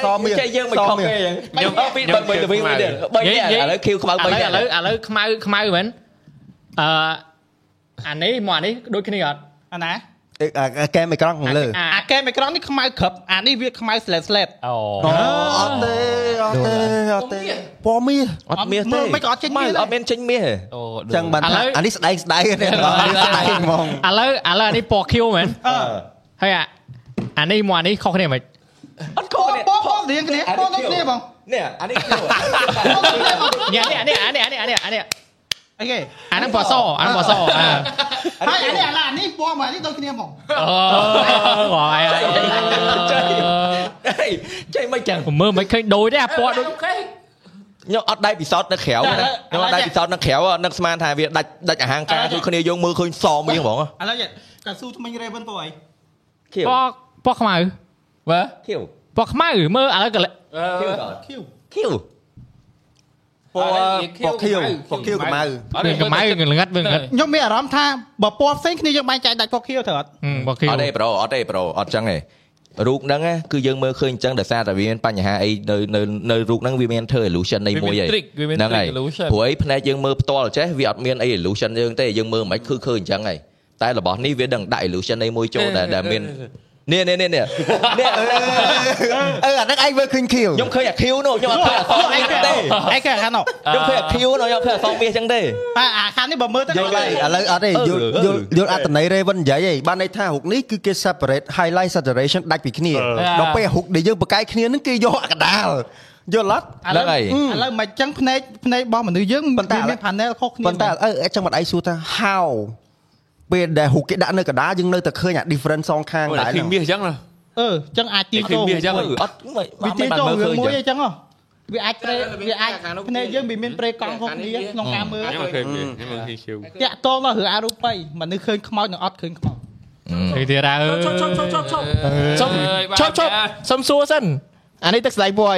ស សមាស ចេះយើងមិនខុសគេខ្ញុំអត់ពី3 3ទៅវិញទៀត3នេះឥឡូវខៀវខ្មៅ ឥឡូវ 3នេះ ឥឡូវឥឡូវខ្មៅខ្មៅមែនអឺអានេះមកអានេះដូចគ្នាអត់ អាណា អេអាកែមីក្រង់ខាងលើ អា អាកែមីក្រូនេះខ្មៅក្រឹបអានេះវាខ្មៅ slash slash អូ អូអត់ទេអត់ទេអត់ទេពណ៌មាស អត់មាសទេ មើលមិនក៏អត់ចេញមាស អត់មានចេញមាសទេ អូដូច ចឹងបានថាអានេះស្ដែងស្ដែងនេះស្ដែងហ្មង ឥឡូវឥឡូវអានេះពណ៌ខៀវមែន អឺ ហើយអាអានេះមកអានេះខុសគ្នាមិន អត់ខុ ព ស ណ៌ នេះ ពណ៌ពណ៌រៀងគ្នាពណ៌ដូចគ្នាបង នេះអានេះ ខ្ញុំ នេះនេះនេះអានេះអានេះអានេះអានេះ អីគេ អានឹងបសអានឹងបសអើ ហើយអានេះអាឡានេះពណ៌មកអានេះដូចគ្នាបង អូហើយ ហេចេះមិនចឹង មើលមិនឃើញដូចទេអាពណ៌ដូច ខ្ញុំអត់ដៃពិសោធន៍នៅក្រៅណាខ្ញុំអត់ដៃពិសោធន៍នៅក្រៅនឹកស្មានថាវាដាច់ដាច់អាហាងការជួយគ្នាយើងមើលឃើញសមៀងហ្មង ឥឡូវកាស៊ូថ្មិញ Raven ពណ៌អី ខៀវ ពណ៌ពណ៌ខ្មៅ បើ ខៀវ ពណ៌ខ្មៅមើលឥឡូវក៏ ខៀវ ខៀវ ខៀវ ពណ៌ពណ៌ខៀវពណ៌ខៀវខ្មៅ វាខ្មៅវាងឹតវាងឹត ខ្ញុំមានអារម្មណ៍ថាបើពណ៌ផ្សេងគ្នាយើងបែងចែកដាច់ពណ៌ខៀវទៅអត់ ពណ៌ខៀវ អត់ទេប្រូអត់ទេប្រូអត់ចឹងទេរូបហ្នឹងគឺយើងមើលឃើញចឹងដោយសារតែវាមានបញ្ហាអីនៅនៅនៅរូបហ្នឹងវាមានធ្វើ illusion នៃមួយឯង trick វាមាន ហ្នឹងហើ trick យ illusion ព្រោះឯភ្នែកយើងមើលផ្ទាល់ចេះវាអត់មានអី illusion យើងទេយើងមើលមិនខ្មិចគឺឃើញអញ្ចឹងហើយតែរបស់នេះវាដឹងដាក់ illusion អីមួយចូលដែលដែលមាននេះនេះនេះនេះនេះ អឺអាហ្នឹងឯងមើលឃើញខៀវ ខ្ញុំឃើញអា Q នោះខ្ញុំអត់ឃើញអសរមាសទេ ឯងគេអាខាងនោះ ខ្ញុំឃើញអា Q នោះខ្ញុំអត់ឃើញអសរមាសអញ្ចឹងទេ តែអាខាងនេះបើមើលទៅ យល់ហើយឥឡូវអត់ទេយល់យល់យល់អត្តន័យ Raven និយាយឯងបានន័យថារូបនេះគឺគេ separate highlight saturation ដាច់ពីគ្នាដល់ពេលរូបដែលយើងបកកាយគ្នាហ្នឹងគេយកអាកដាលយល់អត់ ឥឡូវ ហ្នឹងហើយ ឥឡូវមិនចឹងភ្នែកភ្នែករបស់មនុស្សយើង ប៉ុ មិន ន្តែឥឡូវ មាន panel ខុសគ្នា ប៉ុន្តែអឺអញ្ចឹងមិនឯងសួរថា how ពេលដែលហូគេដាក់នៅកណ្ដាលយើងនៅតែឃើញអា different សងខាង មើល ដែ តែ រ ឃើញមាសអញ្ចឹងណា អឺចឹងអាចទី ឯ ចូល ងឃើញមាសអញ្ចឹង អត់មិន វាទី មិនបាន ចូល មើល រឿង ឃើញ មួយ អ អីចឹងហ៎វាអាចព្រេវាអាច ខាងនោះ ភ្នែកយើងវាមានព្រេកង់ខុសខាងគ្នានេះ ក្នុងការមើល ខ្ញុំឃើញខ្ញុំឃើញខៀវ តាក់តងដល់រឿងអរូបីមនុស្សឃើញខ្មោចនិងអត់ឃើញខ្មោច ទីទៀតដែរអើយ សុំឈប់ឈប់សុំសួរសិនអានេះទឹកស្ដាយពួយ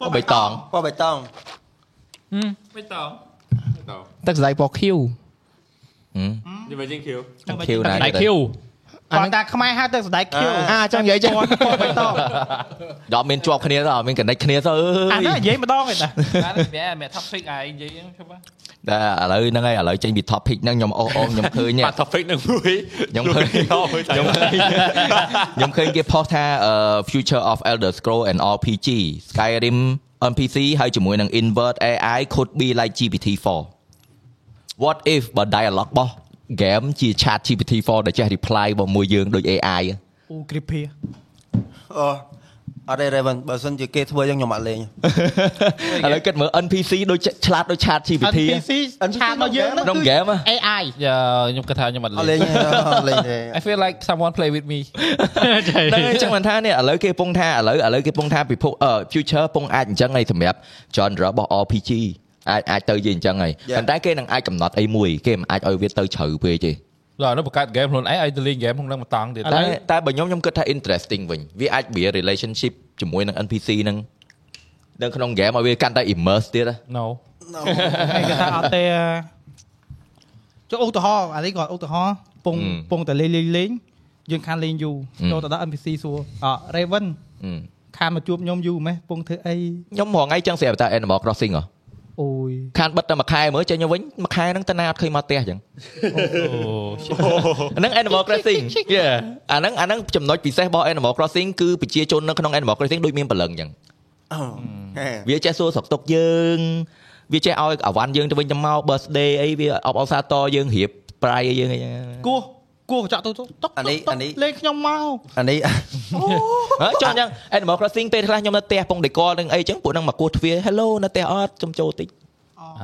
ពណ៌បៃតង ពណ៌បៃតង បៃតង តោះ ទឹកស្ដាយពណ៌ខៀវ និយាយជាងខៀវ ខៀវណាស់ ដៃខៀវ អា គាត់ នេះ ថាខ្មែរហៅទឹកស្ដាយខៀវ អាចង់និយាយចឹង ដល់មានជាប់គ្នាដល់មានកណិចគ្នាទៅអើ អា យ នេះនិយាយម្ដងឯណា បានវាមែន topic ឯងនិយាយឈប់ តែឥឡូវហ្នឹងហើយឥឡូវចេញពី topic ហ្នឹងខ្ញុំអូសអូសខ្ញុំឃើញនេះ បាទ topic នឹងមួយ ខ្ញុំឃើញ ខ្ញុំឃើញ ខ្ញុំឃើញគេ post ថាអឺ Future of Elder Scroll and RPG Skyrim NPC ហើយជាមួយនឹង Invert AI could be like GPT-4 What if បើ dialogue របស់ game ជា chat GPT-4 ដែលចេះ reply របស់មួយយើងដូច AI អូគ្រីភី អូអត់ទេ Raven បើសិនជាគេធ្វើយ៉ាងខ្ញុំអត់លេង ឥឡូវគិតមើល NPC ដូចឆ្លាតដូច chat GPT NPC ឆាតរបស់យើងហ្នឹង ក្នុង game ហ៎ AI ខ្ញុំគិតថាខ្ញុំអត់ អត់ លេ លេ ង ងទេអត់លេងទេ I feel like someone play with me ហ្នឹងហើយចឹងមិនថានេះឥឡូវគេពងថាឥឡូវឥឡូវគេពងថាពិភពអឺ future ពងអាចអញ្ចឹងហើយសម្រាប់ genre របស់ RPG អាចអាចទៅជាអញ្ចឹងហើយប៉ុន្តែគេនឹងអាចកំណត់អីមួយគេមិនអាចឲ្យវាទៅជ្រៅពេកទេ ដល់នោះបង្កើត game ខ្លួនឯងឲ្យទៅលេង game ក្នុងនឹងមួយតង់ទៀត តែតែបើខ្ញុំខ្ញុំគិតថា interesting វិញវាអាច be relationship ជាមួយនឹង NPC ហ្នឹងនៅក្នុង game ឲ្យវាកាន់តែ immerse ទៀតណា No គេថាអត់ទេចុះឧទាហរណ៍អានេះគាត់ឧទាហរណ៍ពង អឺ ពងតែលេងលេងលេងយើងខានលេងយូរ អឺ ចូលទៅដល់ NPC សួរអ Raven ហឹម ខានមកជួបខ្ញុំយូរម៉េះពងធ្វើអី ខ្ញុំរហងៃចឹងស្រាប់តែ Animal Crossing ហ៎ អូយ ខានបិទតែមួយខែមើលចេញទៅវិញមួយខែហ្នឹងតាណាអត់ឃើញមកផ្ទះចឹង អាហ្នឹង Animal Crossing យ៉ាអាហ្នឹងអាហ្នឹងចំណុចពិសេសរបស់ Animal Crossing គឺប្រជាជននៅក្នុង Animal Crossing ដូចមានពលឹងអញ្ចឹង អូហេ វាចេះសួរស្រុកទុកយើងវាចេះឲ្យអាវ៉ាន់យើងទៅវិញទៅមក birthday អីវាអបអរសាទរយើងរៀបប្រៃឲ្យយើងអីចឹង គោះគោះកញ្ចក់ទៅទុកទុក អានេះអានេះ លេងខ្ញុំមក អានេះ ហ៎ចុះអញ្ចឹង Animal Crossing ពេលខ្លះខ្ញុំនៅផ្ទះពង decor នឹងអីចឹងពួកហ្នឹងមកគោះទ្វារ hello នៅផ្ទះអត់ចំចូលតិច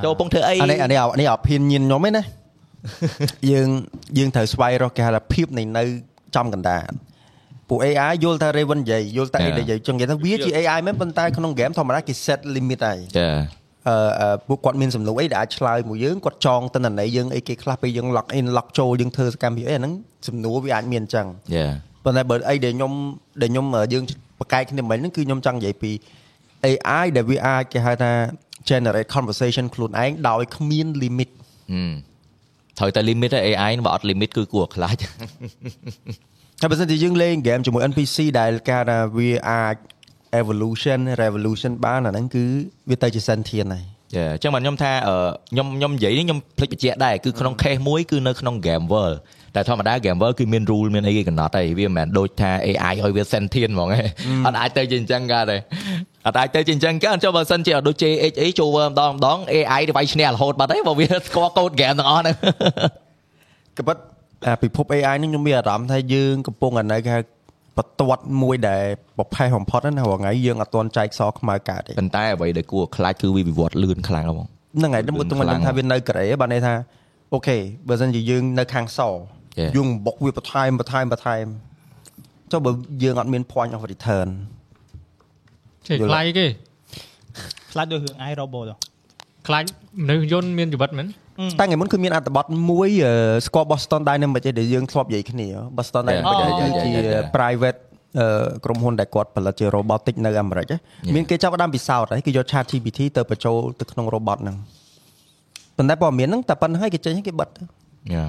ចូលពងធ្វើអី អានេះអានេះអានេះអភិនញៀនខ្ញុំឯ ណា យើងយើងត្រូវស្វែងរកគេហៅថាភាពនៃនៅចំកណ្ដាលពួក AI យល់ថា Raven និយាយយល់ថាអីនិយាយចឹងនិយាយថាវាជា AI មែនប៉ុន្តែក្នុង game ធម្មតាគេ set limit ហើយ ចា អឺអឺពួកគាត់មានសំណួរអីដែលអាចឆ្លើយមួយយើងគាត់ចងតិន្នន័យយើងអីគេខ្លះពេលយើង log in log ចូលយើងធ្វើសកម្មភាពអីអាហ្នឹងសំណួរវាអាចមានចឹង យ៉ា ប៉ុន្តែបើអីដែលខ្ញុំដែលខ្ញុំអឺយើងបកកែកគ្នាមិញហ្នឹងគឺខ្ញុំចង់និយាយពី AI ដែលវាអាចគេហៅថា generate conversation ខ្លួនឯងដោយគ្មាន limit ហឹមត្រូវតែ limit ឲ្យ AI ហ្នឹងបើអត់ limit គឺគួរខ្លាច ហើយបើសិនជាយើងលេង game ជាមួយ NPC ដែលគេហៅថាវាអាច evolution revolution បានអាហ្នឹងគឺវាទៅជា sentient ហើយ ចាអញ្ចឹងបាទខ្ញុំថាអឺខ្ញុំខ្ញុំនិយាយនេះខ្ញុំភ្លេចបញ្ជាក់ដែរគឺក្នុង case មួយគឺនៅក្នុង game world តែធម្មតា game world គឺមាន rule មានអីគេកំណត់ហើយវាមិនមែនដូចថា AI ឲ្យវា sentient ហ្មងឯងអត់អាចទៅជាអញ្ចឹងកើតទេអត់អាចទៅជាអញ្ចឹងកើតចុះបើសិនជាដូច JH អីចូល world ម្ដងម្ដង AI វាយឈ្នះរហូតបាត់ហើយបើវាស្គាល់ code game ទាំងអស់ហ្នឹង ក៏ប៉ុន្តែអាពិភព AI ហ្នឹងខ្ញុំមានអារម្មណ៍ថាយើងកំពុងអានៅ គេហៅបន្ទាត់មួយដែលប្រផេះបំផុតហ្នឹងណារាល់ថ្ងៃយើងអត់ទាន់ចែកសខ្មៅកើតទេ ប៉ុន្តែអ្វីដែលគួរខ្លាចគឺវាវិវត្តលឿនខ្លាំងហ្មង ហ្នឹងហើយខ្ញុំទងខ្ញុំថាវានៅកូរ៉េបានន័យថាអូខេបើសិនជាយើងនៅខាងស Yeah. យើងបុកវាបន្ថែមបន្ថែមបន្ថែមចុះបើយើងអត់មាន point of return ចេះខ្លាចគេ ខ្លាចដូចរឿង AI robot ទៅ ខ្លាចមនុស្សយន្តមានជីវិតមែន តែថ្ងៃមុនគឺមានអត្ថបទមួយអឺស្គាល់ Boston Dynamics ឯងដែលយើងធ្លាប់និយាយគ្នា Boston Yeah, Dynamics yeah, yeah, គឺជា yeah, yeah, yeah. private អឺក្រុមហ៊ុនដែលគាត់ផលិតជា robotic នៅអាមេរិកហ៎មានគេចាប់ផ្ដើមពិសោធន៍ហើយគេយក ChatGPT ទៅបញ្ចូលទៅក្នុង robot ហ្នឹងប៉ុន្តែព័ត៌មានហ្នឹងតែប៉ុណ្្នឹងហើយគេចេញហើយគេបិទទៅ យ៉ា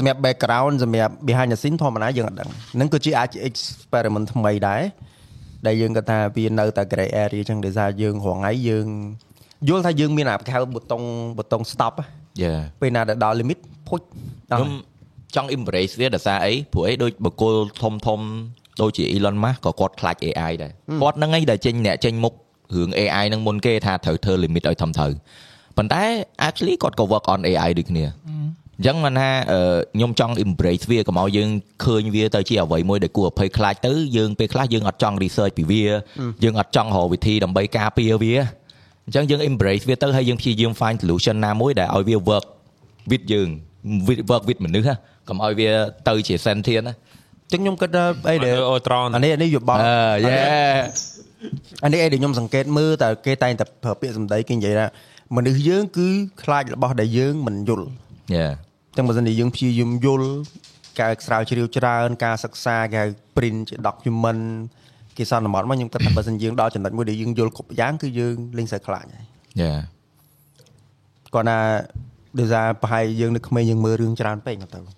សម្រាប់ background សម្រាប់ behind the scene ធម្មតាយើងអត់ដឹងហ្នឹងគឺជាអាចជា experiment ថ្មីដែរដែលយើងគាត់ថាវានៅតែ gray area ចឹងដោយសារយើងរងថ្ងៃយើងយល់ថាយើងមានអាកៅប៊ូតុងប៊ូតុង stop ហ៎ យ៉ា ពេលណាដែលដល់ limit ភុចដល់ ខ្ញុំចង់ embrace វាដោយសារអីព្រោះអីដូចបុគ្គលធំធំៗដូចជា Elon Musk ក៏គាត់ខ្លាច AI ដែរគាត់ហ្នឹងឯងដែលចេញអ្នកចេញមុខរឿង AI ហ្នឹងមុនគេថាត្រូវធ្វើ limit ឲ្យធំទៅប៉ុន្តែ actually គាត់ក៏ work on AI ដូចគ្នាអញ្ចឹងមិនថាអឺខ្ញុំចង់ embrace វាកុំឲ្យយើងឃើញវាទៅជាអ្វីមួយដែលគួរឲ្យភ័យខ្លាចទៅយើងពេលខ្លះយើងអត់ចង់ research ពីវាយើងអត់ចង់រកវិធីដើម្បីការពារវាអញ្ចឹងយើង embrace វាទៅហើយយើងព្យាយាម find solution ណាមួយដែលឲ្យវា work with យើង with work with មនុស្សណាកុំឲ្យវាទៅជា sentient ណា ចឹងខ្ញុំគិតថាអីដែល អូត្រន អានេះអានេះយោបល់ អឺយេ អានេះអីដែលខ្ញុំសង្កេតមើលតែគេតែងតែប្រើពាក្យសម្ដីគេនិយាយថាមនុស្សយើងគឺខ្លាចរបស់ដែលយើងមិនយល់ យេ ចឹងបើសិនជាយើងព្យាយាមយល់ ការស្រាវជ្រាវច្រើនការសិក្សាគេហៅ print ជា document គេសន្មតមកខ្ញុំគិតថាបើសិនយើងដល់ចំណុចមួយដែលយើងយល់គ្រប់យ៉ាងគឺយើងលេងសើចខ្លាចហើយ យ៉ា គាត់ណាដូចថាប្រហែលយើងនៅក្មេងយើងមើលរឿងច្រើនពេកហ្នឹងទៅ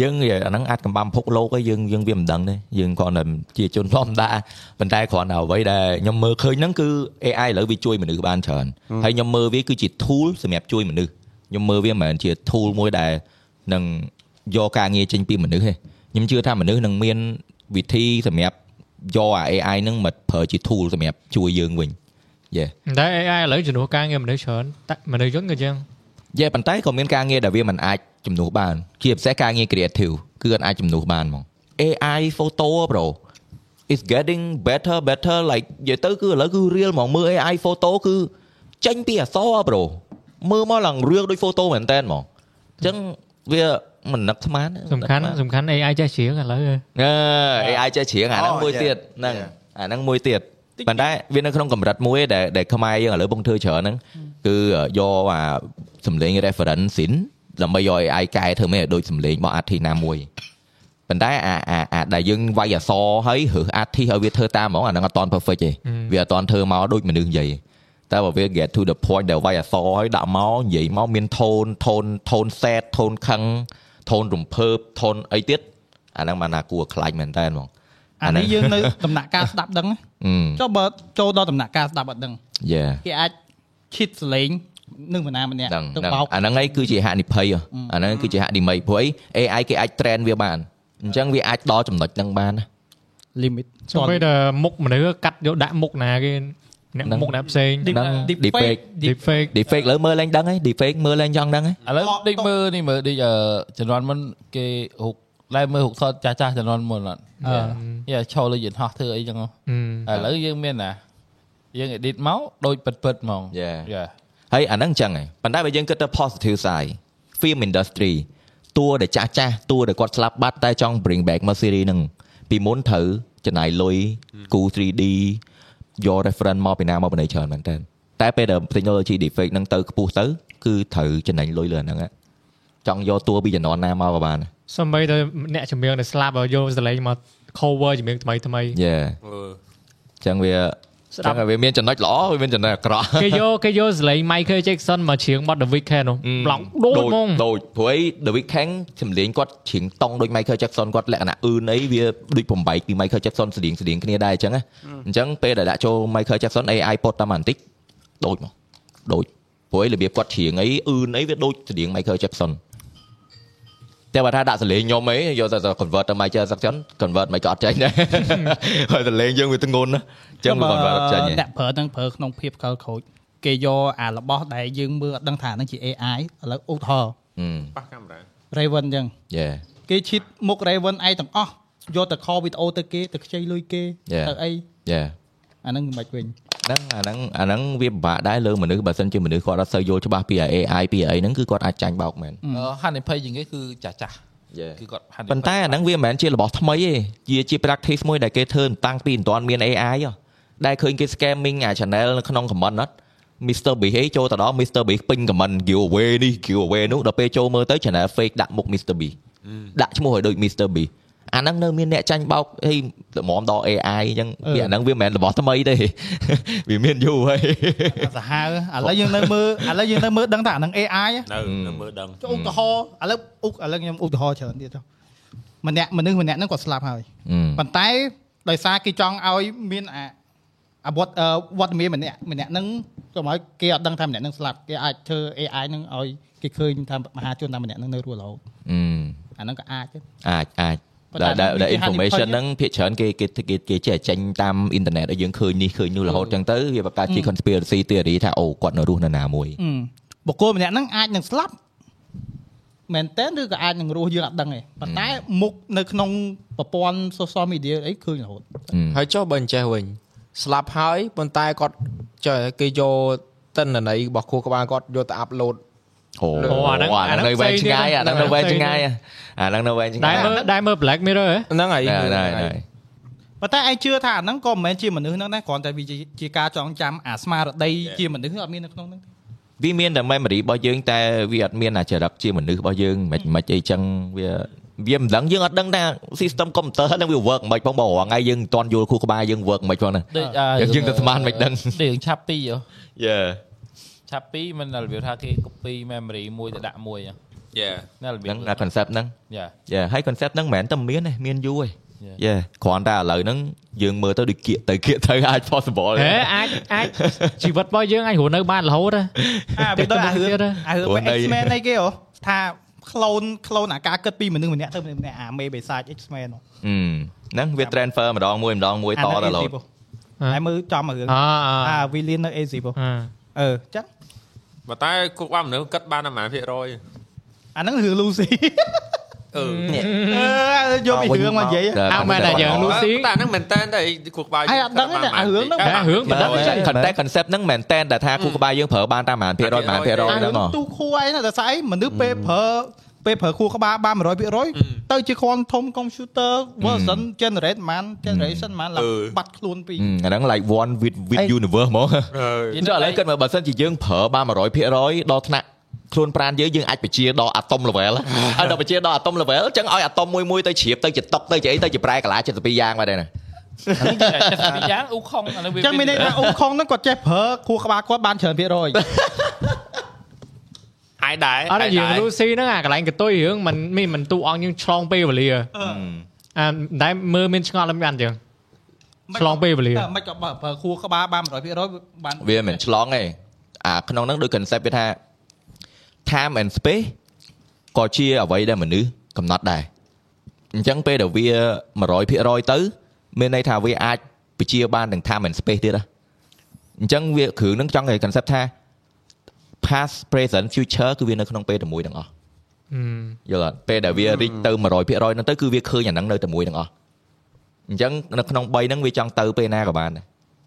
យើងអាហ្នឹងអាចកំបាំភុកលោកឯងយើងយើងវាមិនដឹងទេយើងគ្រាន់តែជាជនធម្មតាប៉ុន្តែគ្រាន់តែអ្វីដែលខ្ញុំមើលឃើញហ្នឹងគឺ AI ឥឡូវវាជួយមនុស្សបានច្រើនហើយខ្ញុំមើលវាគឺជា tool សម្រាប់ជួយមនុស្សខ្ញុំមើលវាមិនមែនជា tool មួយដែលនឹងយកការងារចេញពីមនុស្សទេខ្ញុំជឿថាមនុស្សនឹងមានវិធីសម្រាប់យកអា AI ហ្នឹងមកប្រើជា tool សម្រាប់ជួយយើងវិញយេ តែ AI ឥឡូវជំនួសការងារមនុស្សច្រើនតែមនុស្សយន្តក៏ចឹង យេប៉ុន្តែក៏មានការងារដែលវាមិនអាចជំនួសបាន ជាពិសេសការងារ creative គឺអត់អាចជំនួសបានហ្មង AI photo bro is getting better better like និយាយទៅគឺឥឡូវគឺ real ហ្មងមើល AI photo គឺចេញពីអក្សរ bro មើលមកឡើងរឿងដូច photo មែនតើហ្មងអញ្ចឹងវាមិននឹកស្មានទេ សំខាន់ នឹកស្មាន សំខាន់ AI ចេះជ្រៀងឥឡូវហ៎ អឺ AI ចេះច្រៀងអាហ្នឹង អូ មួយ yeah, ទៀតហ្នឹងអាហ្នឹងមួយទៀតប៉ុន្តែវានៅក្នុងកម្រិតមួយដែលដែលខ្មែរយើងឥឡូវបងធ្វើច្រើនហ្នឹងគឺយកអាសំឡេង reference in ដើម្បីយក AI កែធ្វើមិនឲ្យដូចសំឡេងរបស់ artist ណាមួយប៉ុន្តែអាអាអាដែលយើងវាយអក្សរហើយរើស artist ឲ្យវាធ្វើតាមហ្មងអាហ្នឹងអត់តន់ perfect ទេវាអត់តន់ធ្វើមកដូចមនុស្សនិយាយតែបើវា get to the point ដែលវាយអក្សរឲ្យដាក់មកនិយាយមកមាន tone tone tone sad tone ខឹង tone រំភើប tone អីទៀតអាហ្នឹងបានថាគួរខ្លាចមែនតើហ្មង អានេះយើងនៅ ដំណាក់កាលស្ដាប់ដឹងណា អឺ ចុះបើចូលដល់ដំណាក់កាលស្ដាប់អត់ដឹង យ៉ា គេអាចឈិតសលេងនឹងម្នាម្នាក់ ដឹង ទៅ ដឹង បោក អាហ្នឹងឯងគឺជាហានិភ័យហ៎អាហ្នឹងគឺជាហានិភ័យព្រោះអី AI គេអាច train វាបានអញ្ចឹងវាអាចដល់ចំណុចហ្នឹងបានណា limit ចុះពេលដែលមុខមនុស្សកាត់យកដាក់មុខណាគេអ្នកមុខណាផ្សេង Deep- uh, ដឹង deep deep fake deep fake deep fake លើមើលឡើងដឹងហី deep fake មើលឡើងចង់ដឹងហី ឥឡូវដេកមើលនេះមើលដេកអឺជំនាន់មុនគេហុកតែមើលហុកសតចាស់ចាស់ៗជំនាន់មុនអត់ អឺ យ៉ាឈរលើយន្តហោះធ្វើអីចឹងហ៎ អឺ ឥឡូវយើងមានណាយើង edit មកដូចពិតពិតៗហ្មង យ៉ា យ៉ា ហើយអាហ្នឹងអញ្ចឹងហីប៉ុន្តែបើយើងគិតទៅ positive side film industry តួដែលចាស់ចាស់តួដែលគាត់ស្លាប់បាត់តែចង់ bring back មក series ហ្នឹងពីមុនត្រូវចំណាយលុយគូ 3D យក reference មកពីណាមកបណ្ដៃច្រើនមែនតើតែពេលដែល technology deep fake ហ្នឹងទៅខ្ពស់ទៅគឺត្រូវចំណាយលុយលើអាហ្នឹងហ៎ចង់យកតួពីជំនាន់ណាមកក៏បាន សំបីតែអ្នកចម្រៀងដែលស្លាប់ហើយយកសលេងមក cover ចម្រៀងថ្មីថ្មី យេ អឺ ចឹងវា ស្ដា ចឹ ប់ ងវាមានចំណុចល្អវាមានចំណុចអាក្រក់ គេយកគេយកសលេង Michael Jackson មកច្រៀង What the Weeknd នោះប្លង់ដូចហ្មង ដូចព្រោះឯ The Weeknd ចម្រៀងគាត់ច្រៀងតង់ដូច Michael Jackson គាត់លក្ខណៈអឺនអីវាដូចបំបែកពី Michael Jackson ស្តៀងស្តៀងគ្នាដែរអញ្ចឹងណាអញ្ចឹងពេលដែលដាក់ចូល Michael Jackson AI ពត់តាមបន្តិចដូចមកដូចព្រោះឯរបៀបគាត់ច្រៀងអីអឺនអីវាដូចស្តៀង Michael Jackson តែបើថាដាក់សលេងខ្ញុំអីយកតែ convert ទៅ Michael Jackson convert មិនក៏អត់ចាញ់ដែរ ហើយសលេងយើងវាទងន់ណាស់អញ្ចឹងវា convert អត់ចាញ់ទេ អ្នកប្រើហ្នឹងប្រើក្នុងភាពកលខូចគេយកអារបស់ដែលយើងមើលអត់ដឹងថាហ្នឹងជា AI ឥឡូវឧទាហរណ៍ ប៉ះកាមេរ៉ា Raven អញ្ចឹង Ừ, Yeah គេឈិតមុខ Raven ឯងទាំងអស់យកទៅខលវីដេអូទៅគេទៅខ្ចីលុយគេ Yeah. ទៅអី Yeah អាហ្នឹងមិនបាច់វិញ ហ្នឹងអាហ្នឹងអាហ្នឹងវាពិបាកដែរលើមនុស្សបើសិនជាមនុស្សគាត់អត់សូវយល់ច្បាស់ពី AI ពីអីហ្នឹងគឺគាត់អាចចាញ់បោកមែន អឺហានិភ័យជាងគេគឺចាស់ចាស់ៗគឺគាត់ហានិភ័យ ប៉ុន្តែអាហ្នឹងវាមិនមែនជារបស់ថ្មីទេជាជា practice មួយដែលគេធ្វើតាំងពីមិនទាន់មាន AI ហ៎ដែលឃើញគេ scamming អា channel នៅក្នុង comment អត់ Mr Beast អីចូលទៅដល់ Mr Beast ពេញ comment giveaway នេះ giveaway នោះដល់ពេលចូលមើលទៅ channel fake ដាក់មុខ Mr Beast ដាក់ឈ្មោះឲ្យដូច Mr Beast អាហ្នឹងនៅមានអ្នកចាញ់បោកអីល្មមដល់ AI អញ្ចឹងវាអាហ្នឹងវាមិនមែនរបស់ថ្មីទេ វាមានយូរហើយ អាសា ហាវឥឡូវយើងនៅមើលឥឡូវយើងនៅមើលដឹងថាអាហ្នឹង AI ហ៎ នៅនៅមើលដឹង ចុះឧទាហរណ៍ឥឡូវឧឥឡូវខ្ញុំឧទាហរណ៍ច្រើនទៀតចុះម្នាក់មនុស្សម្នាក់ហ្នឹងគាត់ស្លាប់ហើយប៉ុន្តែដោយសារគេចង់ឲ្យមានអាអាវត្តអឺវត្តមានម្នាក់ម្នាក់ហ្នឹងកុំឲ្យគេអត់ដឹងថាម្នាក់ហ្នឹងស្លាប់គេអាចធ្វើ AI ហ្នឹងឲ្យគេឃើញថាមហាជនថាម្នាក់ហ្នឹងនៅរស់រហូត អឺ អាហ្នឹងក៏អាចដែរ អាចអាច ប៉ុន្តែ ដែលដែល វា ដែល ជា information ហានិភ័យ ហ្នឹងភាគច្រើនគេគេគេគេចេះចេញតាមអ៊ីនធឺណិតឲ្យយើងឃើញនេះឃើញនោះរហូតចឹងទៅវាបង្កើតជា conspiracy theory ថាអូគាត់នៅរស់នៅណាមួយ អឺបុគ្គលម្នាក់ហ្នឹងអាចនឹងស្លាប់មែនតើឬក៏អាចនឹងរស់យើងអត់ដឹងទេប៉ុន្តែមុខនៅក្នុងប្រព័ន្ធ social media អីឃើញរហូត ហើយចុះបើអញ្ចេះវិញស្លាប់ហើយប៉ុន្តែគាត់ចុះគេយកតិន្នន័យរបស់ខួរក្បាលគាត់យកទៅអាប់ឡូត អូ អូអាហ្នឹង អាហ្នឹងនៅវែងឆ្ងាយអាហ្នឹងនៅវែង ផ្សេង ឆ្ងាយ ទៀត អាហ្នឹងនៅវែងឆ្ងា ដែ យ រមើលដែរមើល Black Mirror ហ៎ ហ្នឹងហើយ ដែរដែរ ហ្នឹង ដែរ ហើយ ប៉ុន្តែឯងជឿថាអាហ្នឹងក៏មិនមែនជាមនុស្សហ្នឹងដែរគ្រាន់តែវាជាជាការចងចាំអាស្មារតីជាមនុស្សអត់មាននៅក្នុងហ្នឹង វាមានតែ memory របស់យើងតែវាអត់មានអាចរិតជាមនុស្សរបស់យើងមិនមិនអីចឹងវាវាមិនដឹងយើងអត់ដឹងថា system computer ហ្នឹងវា work មិនផងបងរាល់ថ្ងៃយើងមិនទាន់យល់ខួរក្បាលយើង work មិនផងហ្នឹង ដូចអ យើងយើងទៅស្មានមិនដឹង ដូចយើងឆាប់ពីហ៎ Yeah ឆាប់ពីមិនដល់របៀបថាគេ copy memory មួយទៅដាក់មួយហ៎ Dạ. Yeah ណារបៀប ហ្នឹងណា concept ហ្នឹង Yeah យ៉ាហើយ concept ហ្នឹងមិនមែនតែមានទេមានយូរឯង Yeah. យ៉ាគ្រាន់តែឥឡូវហ្នឹងយើងមើលទៅដូចគៀកទៅគៀកទៅអាច possible ហេអាចអាចជីវិតរបស់យើងអាចរស់នៅបានរហូតហ៎ អាវាដូចអារឿង ទៀតហ៎ អារឿង ព្រោះ បែប នៅ X-Men អីគេហ៎ថា clone clone អាការគិតពីមនុស្សម្នាក់ទៅមនុស្សម្នាក់អាមេបេសាច X-Men ហឹហ៎មហ្នឹងវា transfer ម្ដងមួយម្ដងមួយត អា ទៅ នៅ ឡូ AC ត ពោះហើយមើលចំអារឿង អ អា អា Villain នៅ AC ពោះ អា អឺចឹង បើតែគូកបានមនុស្សគិតបានតែ1%អឺ អាហ្នឹងរឿង Lucy Ừ. អឺយកពីរឿងមកនិយាយ អមែនតែយើង Lucy តែហ្នឹងមែនតើតែគូកបាយ ហើយអត់ដឹងទេអារឿងហ្នឹង តែរឿង មិន បដឹង ងណ្ដចឹចឹង ង content concept ហ្នឹងមិនមែនតែនតែថាគូក្បាលយើងប្រើបានតាម100% 100% អា ហ្នឹង រឿង ហ៎ ទូខួរអីណាតែស្អីមនុស្សពេលប្រើពេលប្រើខួរក្បាលបាន100%ទៅជាquantum computer version generate ហ្មាន generation ហ្មានឡើងបាត់ខ្លួនពី អាហ្នឹង like one with with universe ហ្មង អ យើងចុះឥឡូវគិតមើលបើសិនជាយើងប្រើបាន100%ដល់ថ្នាក់ខ្លួនប្រានយើងយើងអាចបញ្ជាដល់ atom level ហើយដល់បញ្ជាដល់ atom level អញ្ចឹងឲ្យ atom មួយមួយៗទៅជ្រាបទៅជាតុកទៅជាអីទៅជាប្រែកាឡា72យ៉ាងបាទដែរណា ពីយ៉ាងអ៊ូខុងឥឡូវវា ចឹងមានន័យថាអ៊ុំខុងហ្នឹងគាត់ចេះប្រើខួរក្បាលគាត់បានច្រើនភាគរយ អាយដែរ អត់យើង Lucy ហ្នឹងអាកន្លែងកន្ទុយរឿងមិនមានមិនទូអង្គយើងឆ្លងពេលវេលាអាតែមើលមានឆ្ងល់អត់បានចឹង ឆ្លងពេលវេលា តែមិនក៏បើប្រើខួរក្បាលបាន100%បាន វាមិនឆ្លងទេអាក្នុងហ្នឹងដូច concept វាថា time and space ក៏ជាអ្វីដែលមនុស្សកំណត់ដែរអញ្ចឹងពេលដែលវា100%ទៅមានន័យថាវាអាចបញ្ជាបានទាំង time and space ទៀតហ៎អញ្ចឹងវាគ្រឿងហ្នឹងចង់ឲ្យ concept ថា past present future គឺវានៅក្នុងពេលតែមួយទាំងអស់ ហឹម យល់អត់ពេលដែលវារីកទៅ100%ហ្នឹងទៅគឺវាឃើញអាហ្នឹងនៅតែមួយទាំងអស់អញ្ចឹងនៅក្នុង3ហ្នឹងវាចង់ទៅពេលណាក៏បានដែរ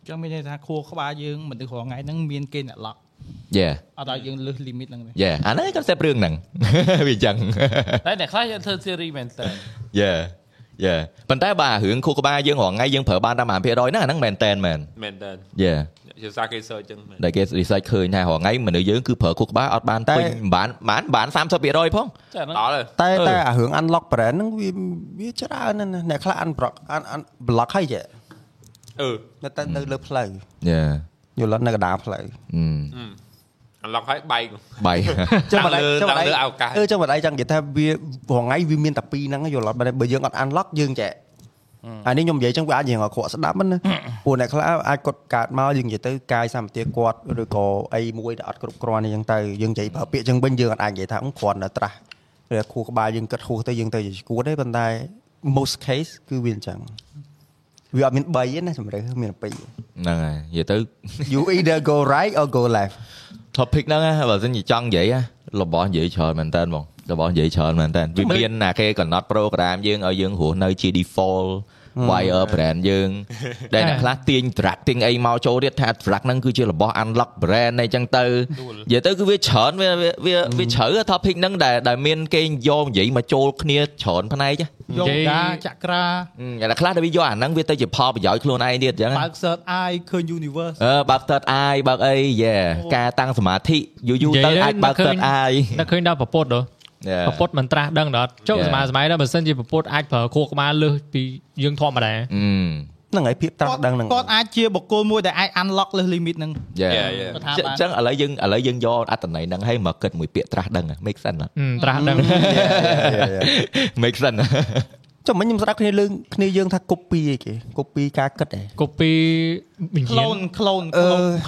ចឹងមានន័យថាខួរក្បាលយើងមនុស្សរងថ្ងៃហ្នឹងមានគេអ្នកឡក់ Yeah អត់ឲ្យយើងលើស limit ហ្នឹងទេ Yeah អាហ្នឹង concept រឿង ហ្នឹង វាអញ្ចឹង តែអ្នកខ្លះយើងធ្វើ series មែនតើ យ៉ាយ៉ាប៉ុន្តែបាទរឿងខួរក្បាលយើងរាល់ថ្ងៃយើងប្រើបានតាម100%ហ្នឹងអាហ្នឹងមែនតែនមែន មែនតើ យ៉ា ជាសារគេសើចឹងមែន ដែលគេ research ឃើញថារាល់ថ្ងៃមនុស្សយើងគឺប្រើខួរក្បាលអត់បានពេញបានបានបាន30%ផង ចាហ្នឹង ដល់ហើយ តែ អឺ តែអារឿង unlock brand ហ្នឹងវាវាច្រើនណាស់ណាអ្នកខ្លះ unblock un- un- block ហើយចេះ អឺ នៅតែនៅលើផ្លូវ យ៉ា យល់អត់នៅកណ្ដាលផ្លូវ អាឡុកឲ្យបែក បាយ ចាំលើ ម្ ចាំលើឱកាស អឺចាំម្ដងចឹងនិយាយថាវារងថ្ងៃវាមានតែពីរហ្នឹងយល់អត់បើបើយើងអត់ unlock យើងចេះអានេះខ្ញុំនិយាយចឹងវាអាចយើងអក្រក់ស្ដាប់ហ្នឹងណាព្រោះអ្នកខ្លះអាចគាត់កើតមកយើងនិយាយទៅកាយសម្បទាគាត់ឬក៏អីមួយដែលអត់គ្រប់គ្រាន់អីចឹងទៅយើងនិយាយប្រើពាក្យចឹងវិញយើងអត់អាចនិយាយថាអឺគ្រាន់តែត្រាស់ឬខួរក្បាលយើងគិតហួសទៅយើងទៅជាឈួតទេប៉ុន្តែ most case គឺវាអញ្ចឹងវាអត់មាន3ទេណាជំរឿមានតែ2 ហ្នឹងហើយនិយាយទៅ you either go right or go left topic ហ្នឹងណាបើសិនជាចង់និយាយណារបស់និយាយច្រើនមែនតើហ្មងរបស់និយាយច្រើនមែនតើវាមានណាគេកំណត់ program យើងឲ្យយើងរស់នៅ ជា default wire brand យើងដែលអ្នកខ្លះទាញ tracking អីមកចូលទៀតថា track ហ្នឹងគឺជារបស់ unlock brand អីចឹងទៅនិយាយទៅគឺវាច្រើនវាវាវាវាជ្រៅ topic ហ្នឹងដែលដែលមានគេយកនិយាយមកចូលគ្នាច្រើនផ្នែកណា យូហ្គាចក្រា ហឹមអ្នកខ្លះដែលវាយកអាហ្នឹងវាទៅជាផលប្រយោជន៍ខ្លួនឯងទៀតចឹងណា បើក search eye ឃើញ universe អឺបើក third eye បើកអីយ៉ាការតាំងសមាធិយូរយូរ និយា ទៅ យ អាចបើក ឃើញ third eye តែឃើញដល់ប្រពុតដល់ Yeah. ប្រពុតមិនត្រាស់ដឹងដល់អត់ចុះ Yeah. សម័យសម័យដល់បើសិនជាប្រពុតអាចប្រើខួរក្បាលលើសពីយើងធម្មតា អឺ ហ្នឹងហើយភាពត្រាស់ដឹងហ្នឹង គាត់អាចជាបុគ្គលមួយដែលអាច unlock លើស limit ហ្នឹង Yeah. Yeah, yeah. គាត់ថា ចឹង បាន ចឹងឥឡូវយើងឥឡូវយើងយកអត្តន័យហ្នឹងឲ្យមកគិតមួយពាក្យត្រាស់ដឹង make sense អត់ ហឹមត្រាស់ដឹង make sense ចុះមិញខ្ញុំស្ដាប់គ្នាលើគ្នាយើងថា copy អីគេ copy ការគិតឯង copy វិញ្ញាណ clone clone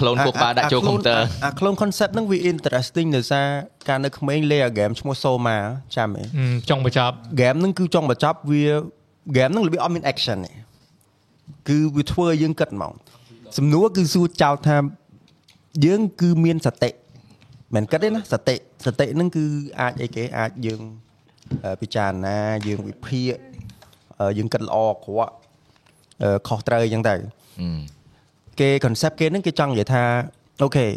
clone ក្លូនគូក្បាលដាក់ចូល computer អា clone concept ហ្នឹងវា interesting ដោយសារការនៅក្មេងលេង game ឈ្មោះ Soma ចាំឯង ហឹមចង់បញ្ចប់ game ហ្នឹងគឺចង់បញ្ចប់វា game ហ្នឹងរបៀបអត់មាន action ទេគឺវាធ្វើឲ្យយើងគិតហ្មងសំណួរគឺសួរចោទថាយើងគឺមានសតិមិនគិតទេណាសតិសតិហ្នឹងគឺអាចអីគេអាចយើងអឺពិចារណាយើងវិភាគអឺយើងគិតល្អអាក្រក់អឺខុសត្រូវអញ្ចឹងទៅ គេ concept គេហ្នឹងគេចង់និយាយថាអូខេឥ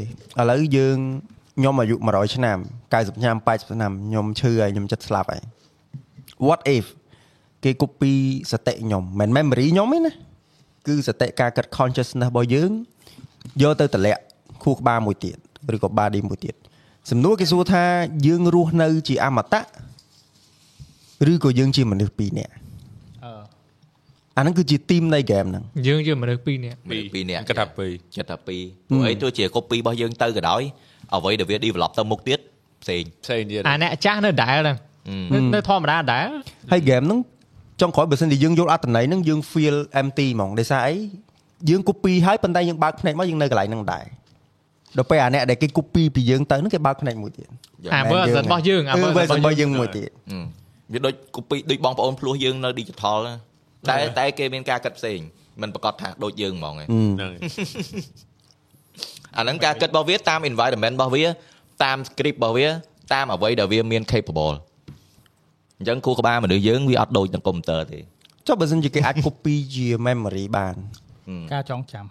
ឡូវយើងខ្ញុំអាយុ100ឆ្នាំ90ឆ្នាំ80ឆ្នាំខ្ញុំឈឺហើយខ្ញុំចិត្តស្លាប់ហើយ what if គេ copy សតិខ្ញុំមិន memory ខ្ញុំទេណាគឺសតិការគិត consciousness របស់យើងយកទៅតម្លាក់ខួរក្បាលមួយទៀត ឬក៏ body មួយទៀតសំណួរគេសួរថាយើងរស់នៅជាអមតៈឬក៏យើងជាមនុស្សពីរនាក់ អឺ អាហ្នឹងគឺជា team នៃ game ហ្នឹង យើងជាមនុស្សពីរនាក់ ពីពីរនាក់គិតថា2ចិត្តថា2ព្រោះអីទោះជា copy របស់យើងទៅក៏ដោយអ្វីដែលវា develop ទៅមុខទៀតផ្សេងផ្សេងទៀត អាអ្នកចាស់នៅដែរហ្នឹងនៅនៅធម្មតាដែរ ហើយ game ហ្នឹងចុងក្រោយបើសិនជាយើងយល់អត្ថន័យហ្នឹងយើង feel empty ហ្មងដោយសារអីយើង copy ហើយប៉ុន្តែយើងបើកភ្នែកមកយើងនៅកន្លែងហ្នឹងដែរដល់ពេលអាអ្នកដែលគេ copy ពីយើងទៅហ្នឹងគេបើកភ្នែកមួយទៀត អា version របស់យើងអា អា version version របស់ របស់ យើយើងងមួយទៀត វាដូច copy ដូចបងប្អូនភ្លោះយើងនៅ digital ណាតែតែគេមានការគិតផ្សេងมันប្រកាសថាដូចយើងហ្មងឯង ហ្នឹង Ừ. អាហ្នឹងការគិតរបស់វាតាម environment របស់វាតាម script របស់វាតាមអ្វីដែលវាមាន capable អញ្ចឹងគូក្បាលមនុស្សយើងវាអត់ដូចនឹង computer ទេ ចុះបើសិនជាគេអាច copy ជា memory បាន ការចងចាំ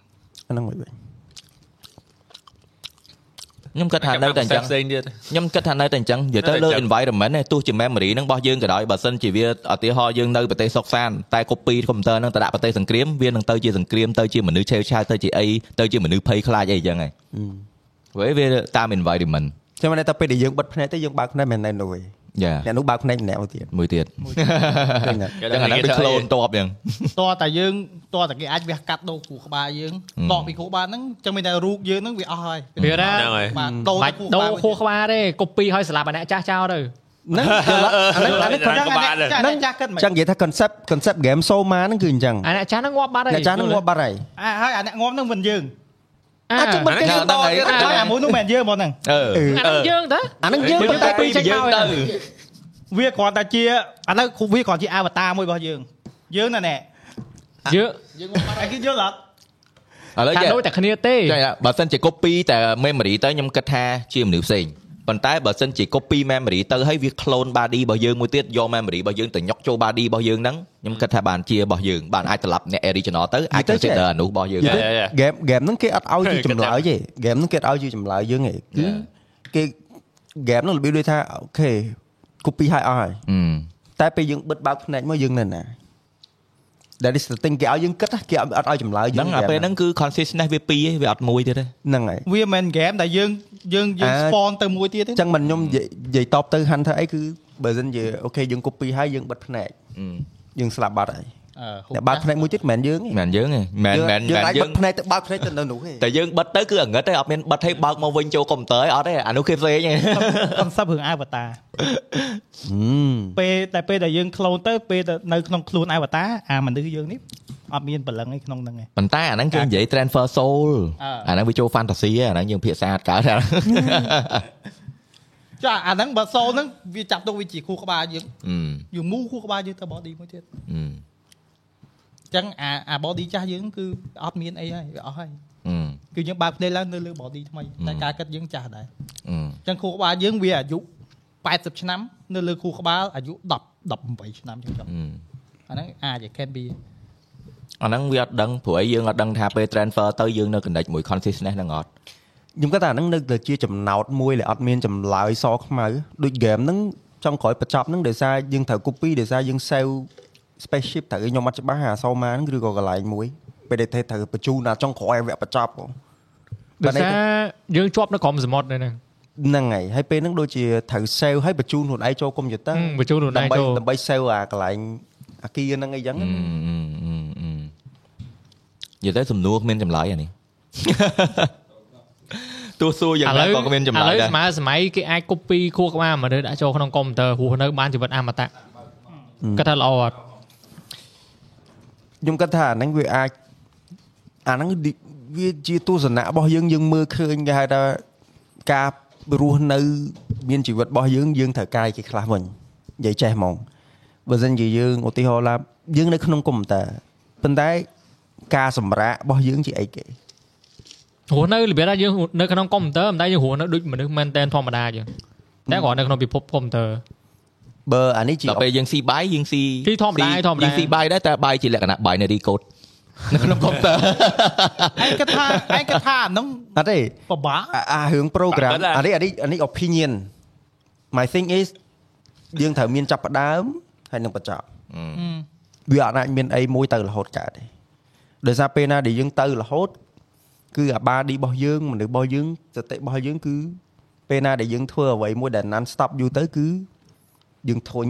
អាហ្នឹងមួយវិញ ខ្ញុំគិតថានៅតែអញ្ចឹង ផ្សេងទៀត ខ្ញុំគិតថានៅតែអញ្ចឹងនិយាយទៅលើ environment ឯងទោះជា memory ហ្នឹងរបស់យើងក៏ដោយបើសិនជាវាឧទាហរណ៍យើងនៅប្រទេសសុកសានតែ copy computer ហ្នឹងទៅដាក់ប្រទេសសង្គ្រាមវានឹងទៅជាសង្គ្រាមទៅជាមនុស្សឆេវឆាវទៅជាអីទៅជាមនុស្សភ័យខ្លាចអីអញ្ចឹងឯងព្រោះវាតាម environment ចាំមែនតែពេលដែលយើងបិទភ្នែកទៅយើងបើកភ្នែកមែនតែនោះឯង យ៉ា អ្នកនោះបើកភ្នែកម្នាក់មួយទៀត មួយ ទៀត ចឹងណា អញ្ចឹងអាហ្នឹងដូច clone តប អញ្ចឹង តោះតែយើងតោះតែគេអាចវះកាត់ដូរគូក្បាលយើង ហឹម ដកពីគូក្បាលហ្នឹងចឹងមានតែរូបយើងហ្នឹងវាអស់ហើយ វារ៉ា បាទដូរ បាច់ដូរខួរក្បាលទេ copy ឲ្យស្លាប់អាអ្នកចាស់ចោលទៅ ហ្នឹងអាហ្នឹងអាហ្នឹងអា ហ្នឹង ហ្នឹង ចាស់គិតមិន ចឹងនិយាយថា concept concept game Soma ហ្នឹងគឺអញ្ចឹង អាអ្នកចាស់ហ្នឹងងាប់បាត់ហើយ អ្នកចាស់ហ្នឹងងាប់បាត់ហើយ អាហើយអាអ្នកងំហ្នឹងមិនយើង អាចឹងមិ អានហ្នឹងដឹងហើយ អាអាមួយនោះមិនមែនយើងហ្មងហ្នឹង អឺ អាហ្នឹងយើងទៅ អាហ្នឹងយើង យើង តែ តែពី ចេញ យើង មក ទៅ វាគ្រាន់តែជាឥឡូវវាគ្រាន់ជាអវតារមួយរបស់យើង យើងណាស់ណែ យើង យើងងំបាត់ហើយគេយល់អត់ ឥឡូវចាថាដូចតែគ្នាទេ ចាបើសិនជា copy តែ memory ទៅខ្ញុំគិតថាជាមនុស្សផ្សេងប៉ុន្តែបើសិនជា copy memory ទៅហើយវា clone body របស់យើងមួយទៀតយក memory របស់យើងទៅញុកចូល body របស់យើងហ្នឹងខ្ញុំគិតថាបានជារបស់យើងបានអាចត្រឡប់អ្នក original ទៅអាច consider អានោះរបស់យើង game game ហ្នឹងគេអត់ឲ្យជាចម្លើយទេ game ហ្នឹងគេអត់ឲ្យជាចម្លើយយើងទេគឺគេ game ហ្នឹងរបៀបដូចថាអូខេ copy ឲ្យអស់ហើយ Ừ. តែពេលយើងបិទបើកភ្នែកមកយើងនៅណា That is the thing គេឲ្យយើងគិតណាគេអត់ឲ្យចម្លើយយើ ហ្នឹង ង អាពេលហ្នឹងគឺ consciousness វាពីរឯងវាអត់មួយទៀតទេ ហ្នឹងហើយ វាមិនមែនហ្គេមតែយើងយើងយើង អើ spawn ទៅមួយទៀតទេ ចឹងមិនខ្ញុំនិយាយនិយាយតបទៅហាន់ថាអីគឺបើសិនជាអូខេយើង copy ហើយយើងបិទភ្នែកយើងស្លាប់បាត់ហើយ អឺហូប តែបើកភ្នែកមួយទៀតមិនមែនយើងទេ មិនយើងឯងមិន យើង មិន យើង មិន អាចបិទយើង ភ្នែកទៅបើកភ្នែកទៅនៅនោះទេ តែយើងបិទទៅគឺអង្ឹតទេអត់មានបិទឲ្យបើកមកវិញចូលកុំព្យូទ័រឯងអត់ទេអានោះគេផ្សេងឯង concept រឿងអវតារពេលតែពេលដែលយើង clone ទៅពេលដែលនៅក្នុងខ្លួនអវតារអាមនុស្សយើងនេះអត់មានព្រលឹងអីក្នុងហ្នឹងឯង ប៉ុន្តែអាហ្នឹងគេនិយាយ transfer soul អឺ អាហ្នឹងវាចូល fantasy ឯងអាហ្នឹងយើងភាសាអត់កើត អាហ្នឹង ចាអាហ្នឹងបើសូលហ្នឹងវាចាប់ទុកវាជាខួរក្បាលយើង អឺ យើងមូខួរក្បាលយើងទៅ body មួយទៀតអ អឺ ញ្ចឹងអាអា body ចាស់យើងគឺអត់មានអីហើយវាអស់ហើយ អឺ គឺយើងបើកភ្នែកឡើងនៅលើ body ថ្មីតែ អឺ ការគិតយើងចាស់ដែរ អឺ អញ្ចឹងខួរក្បាលយើងវាអាយុ80ឆ្នាំនៅលើខួរក្បាលអាយុ10 18ឆ្នាំចឹងចុះ អឺ អាហ្នឹងអាច can be អាហ្នឹងវាអត់ដឹងព្រោះអីយើងអត់ដឹងថាពេល transfer ទៅយើងនៅ connect មួយ consciousness ហ្នឹងអត់ ខ្ញុំគាត់ថាអាហ្នឹងនៅតែជាចំណោទមួយដែលអត់មានចម្លើយសខ្មៅដូច game ហ្នឹងចង់ក្រោយបញ្ចប់ហ្នឹងដោយសារយើងត្រូវ copy ដោយសារយើង save spaceship ត្រូវខ្ញុំអត់ច្បាស់អាសម៉ាហ្នឹងឬក៏កន្លែងមួយពេលដែលត្រូវបញ្ជូនដល់ចុងក្រោយឲ្យវគ្គបញ្ចប់ហ៎ ដោយសារយើងជាប់នៅក្រុមសមុទ្រនៅហ្នឹង ហ្នឹងហើយហើយពេលហ្នឹងដូចជាត្រូវ save ហើយបញ្ជូនខ្លួនឯងចូលកុំព្យូទ័រ ហឹមបញ្ជូនខ្លួនឯង ដើម្បី ចូល ដើម្បី save អាកន្លែងអាគីហ្នឹងអីចឹង អឺអឺអឺអឺនិយាយទៅសំណួរគ្មានចម្លើយអានេះ ទោះសួរយ៉ាងណាក៏គ្មានចម្លើយដែឥរ វសម័យសម័យគេអាច copy ខួរក្បាលមនុស្សដាក់ចូលក្នុងកុំព្យូទ័រហួរនៅបានជីវិតអមតៈគាត់ថាល្អអត់ ខ្ញុំគាត់ថាអាហ្នឹងវាអាចអាហ្នឹងឌីវាជាទស្សនៈរបស់យើងយើងមើលឃើញគេហៅថាការរស់នៅ មានជីវិតរបស់យើងយើងត្រូវកាយគេខ្លះវិញនិយាយចេះហ្មងបើមិនជាយើងឧទាហរណ៍ឡាយើងនៅក្នុងកុំព្យូទ័រប៉ុន្តែការសម្រាករបស់យើងជាអីគេ ហួរនៅរបៀបថាយើងនៅក្នុងកុំព្យូទ័រមិនតែយើងហួរនៅដូចមនុស្សមែនតែនធម្មតាយើងតែគាត់នៅក្នុងពិភពកុំព្យូទ័រ បើអានេះជា ដល់ពេលយើងស៊ីបាយយើងស៊ី ស៊ីធម្មតា ស៊ី ធម្មតា យើងស៊ីបាយដែរតែបាយជាលក្ខណៈ binary code នៅក្នុងកុំ ព្យូទ័រ ឯងគិតថាឯងគិតថាអាហ្នឹង អត់ទេ ពិបាក អាអារឿង program បាក់ទឹកដែរ អានេះអានេះអានេះ opinion my thing is យើងត្រូវមានចាប់ផ្ដើមហើយនឹងបញ្ចប់វាអត់អាចមានអីមួយទៅរហូតកើតទេដោយសារពេលណាដែលយើងទៅរហូត គឺអាបាឌីរបស់យើងមនុស្សរបស់យើងសតិរបស់យើងគឺពេលណាដែលយើងធ្វើអ្វីមួយដែល non stop យូរទៅគឺយើងធុញ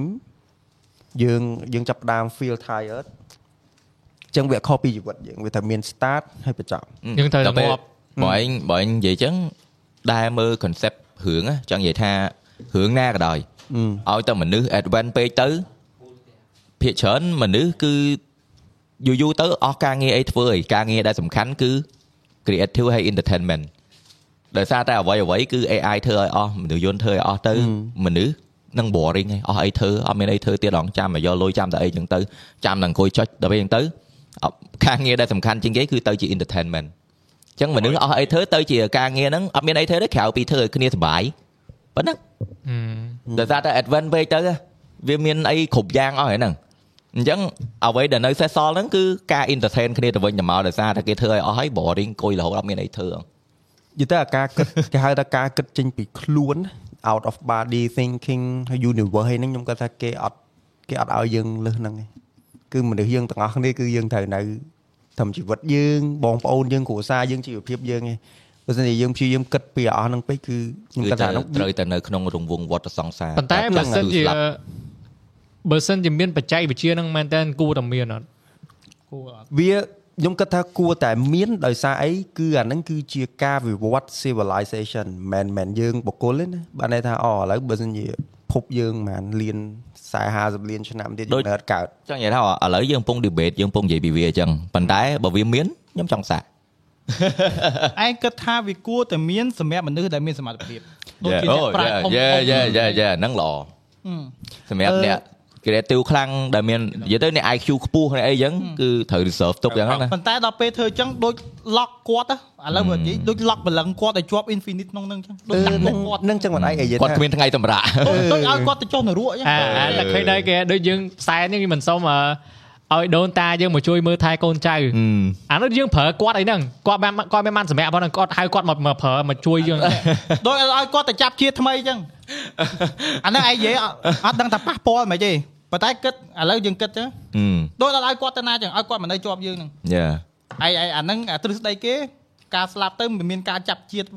យើងយើងចាប់ផ្ដើម feel tired អញ្ចឹងវាខុសពីជីវិតយើងវាត្រូវមាន start ហើយបញ្ចប់ Ừ. យើងត្រូវតែងាប់ បងឯងបងឯងនិយាយចឹងដែរមើល concept រឿងណាចង់និយាយថារឿងណាក៏ដោយឲ្យតែមនុស្ស advance ពេកទៅភាកច្រើនមនុស្សគឺយូរយូរទៅអស់ការងារអីធ្វើអីការងារដែលសំខាន់គឺ creative ហើយ entertainment ដោយសារតែអ្វីអ្វីគឺ AI ធ្វើឲ្យអស់មនុស្សយន្តធ្វើឲ្យអស់ទៅមនុស្សនឹង boring ហើយអស់អីធ្វើអត់មានអីធ្វើទៀតឡងចាំមកយកលុយចាំតែអីចឹងទៅចាំតែអង្គុយចុចដល់ពេលចឹងទៅអត់ការងារដែលសំខាន់ជាងគេគឺទៅជា entertainment អញ្ចឹងមនុស្សអស់អីធ្វើទៅជាការងារហ្នឹងអត់មានអីធ្វើទេក្រៅពីធ្វើឲ្យគ្នាសុបាយប៉ុណ្ណឹង ដោយសារតែ advance ពេកទៅវាមានអីគ្រប់យ៉ាងអស់ហើយហ្នឹងអញ្ចឹងអ្វីដែលនៅសេសសល់ហ្នឹងគឺការ entertain គ្នាទៅវិញទៅមកដោយសារតែគេធ្វើឲ្យអស់ហើយ boring អង្គុយរហូតអត់មានអីធ្វើអង និយាយទៅអាការគិត គេហៅថាការគិតចេញពីខ្លួន out of body thinking ហើយ universe ហ្នឹងខ្ញុំគាត់ថាគេអត់គេអត់ឲ្យយើងលើសហ្នឹងឯងគឺមនុស្សយើងទាំងអស់គ្នាគឺយើងត្រូវនៅធ្វើជីវិតយើងបងប្អូនយើងគ្រួសារយើងជីវភាពយើងឯងបើមិនទេយើងព្យាយាមគិតពីអស់ហ្នឹងពេកគឺខ្ញុំ គឺ គាត់ថាតែហ្នឹង ត្រូវតែនៅក្នុងរង្វង់វដ្តសង្សារ ប៉ុន្តែបើសិនជា ស្លាប់ បើសិនជាមានបច្ចេកវិទ្យាហ្នឹងមែនតើគួរតែមានអត់ គួរអត់ វាខ្ញុំគិតថាគួរតែមានដោយសារអីគឺអាហ្នឹងគឺជាការវិវត្ត civilization មិនមែនយើងបុគ្គលទេណាបានន័យថាអូឥឡូវបើសិនជាភពយើងហ្មងលាន40 50លានឆ្នាំទៀតយើងនៅអត់កើត ចង់និយាយថាឥឡូវយើងកំពុង debate យើងកំពុងនិយាយពីវាអញ្ចឹងប៉ុន្តែបើវាមានខ្ញុំចង់សាក ឯងគិតថាវាគួរតែមានសម្រាប់មនុស្សដែលមានសមត្ថភាព Yeah, អូយ៉ាយ៉ាយ៉ាយ៉ាយ៉ាហ្នឹងល្អសម្រាប់អ្នក creative ខ្លាំងដែលមាននិយាយទៅអ្នក IQ ខ្ពស់អ្នកអីអញ្ចឹងគឺត្រូវ reserve ទុកយ៉ាងហ្នឹងណា ប៉ុន្តែដល់ពេលធ្វើអញ្ចឹងដូច lock គាត់ហ៎ឥឡូវមកនិយាយដូច lock បលឹងគាត់ឲ្យជាប់ infinite ក្នុងហ្នឹងអញ្ចឹងដូចដាក់ទុកគាត់ នឹងចឹងមិនអាយនិយាយ គាត់គ្មានថ្ងៃសម្រាប់ ដូចឲ្យគាត់ទៅចុះនរកអញ្ចឹង អាអាតែឃើញដែរគេដូចយើងផ្សែនហ្នឹងគេមិនសុំអឺឲ្យដូនតាយើងមកជួយមើលថែកូនចៅអានោះយើងប្រើគាត់អីហ្នឹងគាត់បានគាត់មានបានសម្រាប់ប៉ុណ្ណឹងគាត់ហៅគាត់មកមកប្រើមកជួយយើង ដោយឲ្យគាត់ទៅចាប់ជាតិថ្មីអញ្ចឹង អាហ្នឹងឯងនិយាយអត់អត់ដឹងថាប៉ះពាល់មិនអីទេប៉ុន្តែគិតឥឡូវយើងគិតចឹងដោយអត់ឲ្យគាត់ទៅណាចឹងឲ្យគាត់មកនៅជាប់យើងហ្នឹង យ៉ា ឯងឯងអាហ្នឹងអាទ្រឹស្ដីគេការស្លាប់ទៅមិនមានការចាប់ជាតិ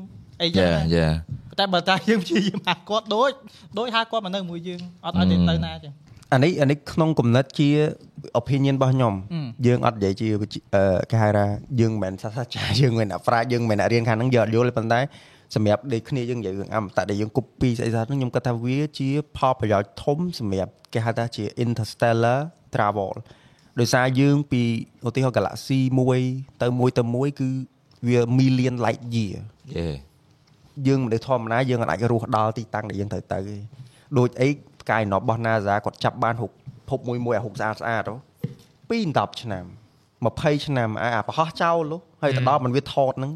អីចឹង Yeah, ទេ yeah. តែបើតាយើងព្យាយាមហៅគាត់ដូចដូចហៅគាត់មកនៅមួយយើងអត់ឲ្យទៅ អឺ ទៅណាចឹង អានេះអានេះក្នុងគំនិតជា opinion របស់ខ្ញុំ អឺ យើងអត់និយាយជាវិជ្ជាអឺគេហៅថា យើងមិនមែនសាស្ត្រាចារ្យយើងមិនមែនអ្នកប្រាជ្ញយើងមិនមែនអ្នករៀនខាងហ្នឹងយើងអត់យល់ទេប៉ុន្តែសម្រាប់ដូចគ្នាយើងនិយាយរឿងអមតៈដែលយើងគប់ពីស្អីស្អាតហ្នឹងខ្ញុំគាត់ថាវាជាផលប្រយោជន៍ធំសម្រាប់គេហៅថាជា interstellar travel ដោយសារយើងពីឧទាហរណ៍ galaxy មួយទៅមួយទៅមួយគឺវា million light year យេ យើងមនុស្សធម្មតាយើងអត់អាចរស់ដល់ទីតាំងដែលយើងត្រូវទៅទេដូចអីផ្កាយណបរបស់ NASA គាត់ចាប់បានរូបភពមួយមួយអារូបស្អាតស្អាតហ៎ពី10ឆ្នាំ20ឆ្នាំអាអាប្រហោះចោលហ៎ហើយទៅដល់មិនវាថតហ្នឹង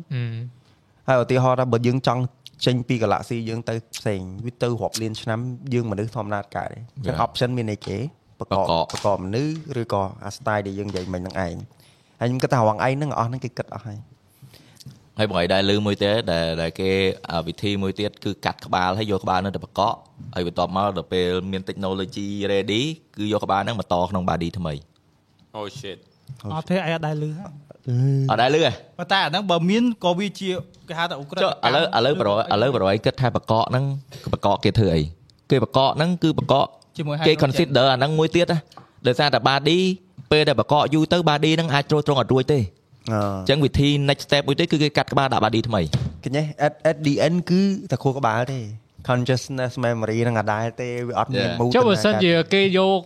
ហើយឧទាហរណ៍ថាបើយើងចង់ចេញពី Galaxy យើងទៅផ្សេងវាទៅរាប់លានឆ្នាំយើងមនុស្សធម្មតាកើតទេអញ្ចឹង option មានអីគេបកបប្រកបមនុស្សឬក៏អា style ដែលយើងនិយាយមិញហ្នឹងឯងហើយខ្ញុំគិតថារងឯងហ្នឹងអស់ហ្នឹងគេគិតអស់ហើយ ហើយបងឯងដែរលឺមួយទៀតដែលដែលគេអ่าវិធីមួយទៀតគឺកាត់ក្បាលហើយយកក្បាលហ្នឹងទៅប្រកបហើយបន្ទាប់មកដល់ពេលមាន technology ready គឺយកក្បាលហ្នឹងមកតក្នុង body ថ្មី អូ shit អត់ទេឯងអត់ដែរលឺហ៎ អត់ដែរលឺទេ ប៉ុន្តែអាហ្នឹងបើមានក៏វាជាគេហៅថាអូក្រិត ចុះឥឡូវឥឡូវប្រឥឡូវប្រយគិតថាប្រកបហ្នឹងប្រកបគេធ្វើអីគេប្រកបហ្នឹងគឺប្រកប ជាមួយហៅ គេ consider អាហ្នឹងមួយទៀតណាដោយសារតែ body ពេលដែលប្រកបយូរទៅ body ហ្នឹងអាចទ្រទ្រង់អត់រួចទេ អឺអញ្ចឹងវិធី next step មួយទៀតគឺគេកាត់ក្បាលដាក់ body ថ្មី គញ៉េះ at at DN គឺតែខួរក្បាលទេ consciousness memory ហ្នឹងអាដែលទេវាអត់មាន mood ចុះបើសិនជាគេយក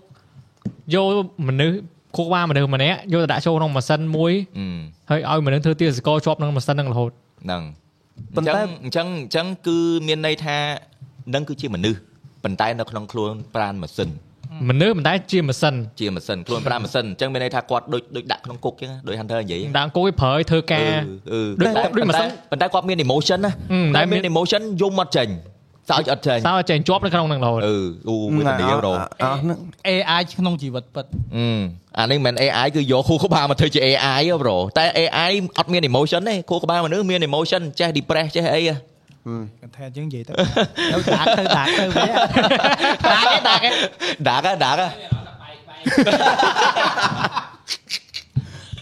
យកមនុស្សគូកវ៉ាមនុស្សម្នាក់យកទៅដាក់ចូលក្នុងម៉ាស៊ីនមួយ ហឹម ហើយឲ្យមនុស្សធ្វើទាសកលជាប់នឹងម៉ាស៊ីនហ្នឹងរហូត ហ្នឹង ប៉ុន្តែ អញ្ចឹងអញ្ចឹងអញ្ចឹងគឺមានន័យថានឹងគឺជាមនុស្សប៉ុន្តែនៅក្នុងខ្លួនប្រានម៉ាស៊ីន មនុស្សមិនតែជាម៉ាស៊ីន ជាម៉ាស៊ីនខ្លួនប្រានម៉ាស៊ីនអញ្ចឹងមានន័យថាគាត់ដូចដូចដាក់ក្នុងគុកអញ្ចឹងណាដូច Hunter និយាយ ដាក់អង្គុយប្រើឲ្យធ្វើការ អឺ ដូដូចចតែ ដូច ប៉ុ ម៉ា ន្តែ ស៊ីន ប៉ុន្តែគាត់មាន emotion ណា អឺតែ តែ មាន មាន emotion យំអត់ចេញសើចអត់ចេញ តើចែងជាប់នៅក្នុងហ្នឹងរហូត អឺអូវេទនារហូត អស់ហ្នឹង AI ក្នុងជីវិតពិត អឺអានេះមិនមែន AI គឺយកខួរក្បាលមកធ្វើជា AI ហ៎ប្រូតែ AI អត់មាន emotion ទេខួរក្បាលមនុស្សមាន emotion ចេះ depress ចេះអីហ៎ កន្ថែនយើងនិយាយទៅ ដាក់ទៅដាក់ទៅវា ដាក់ទេដាក់ទេ ដាក់ទេដាក់ទេ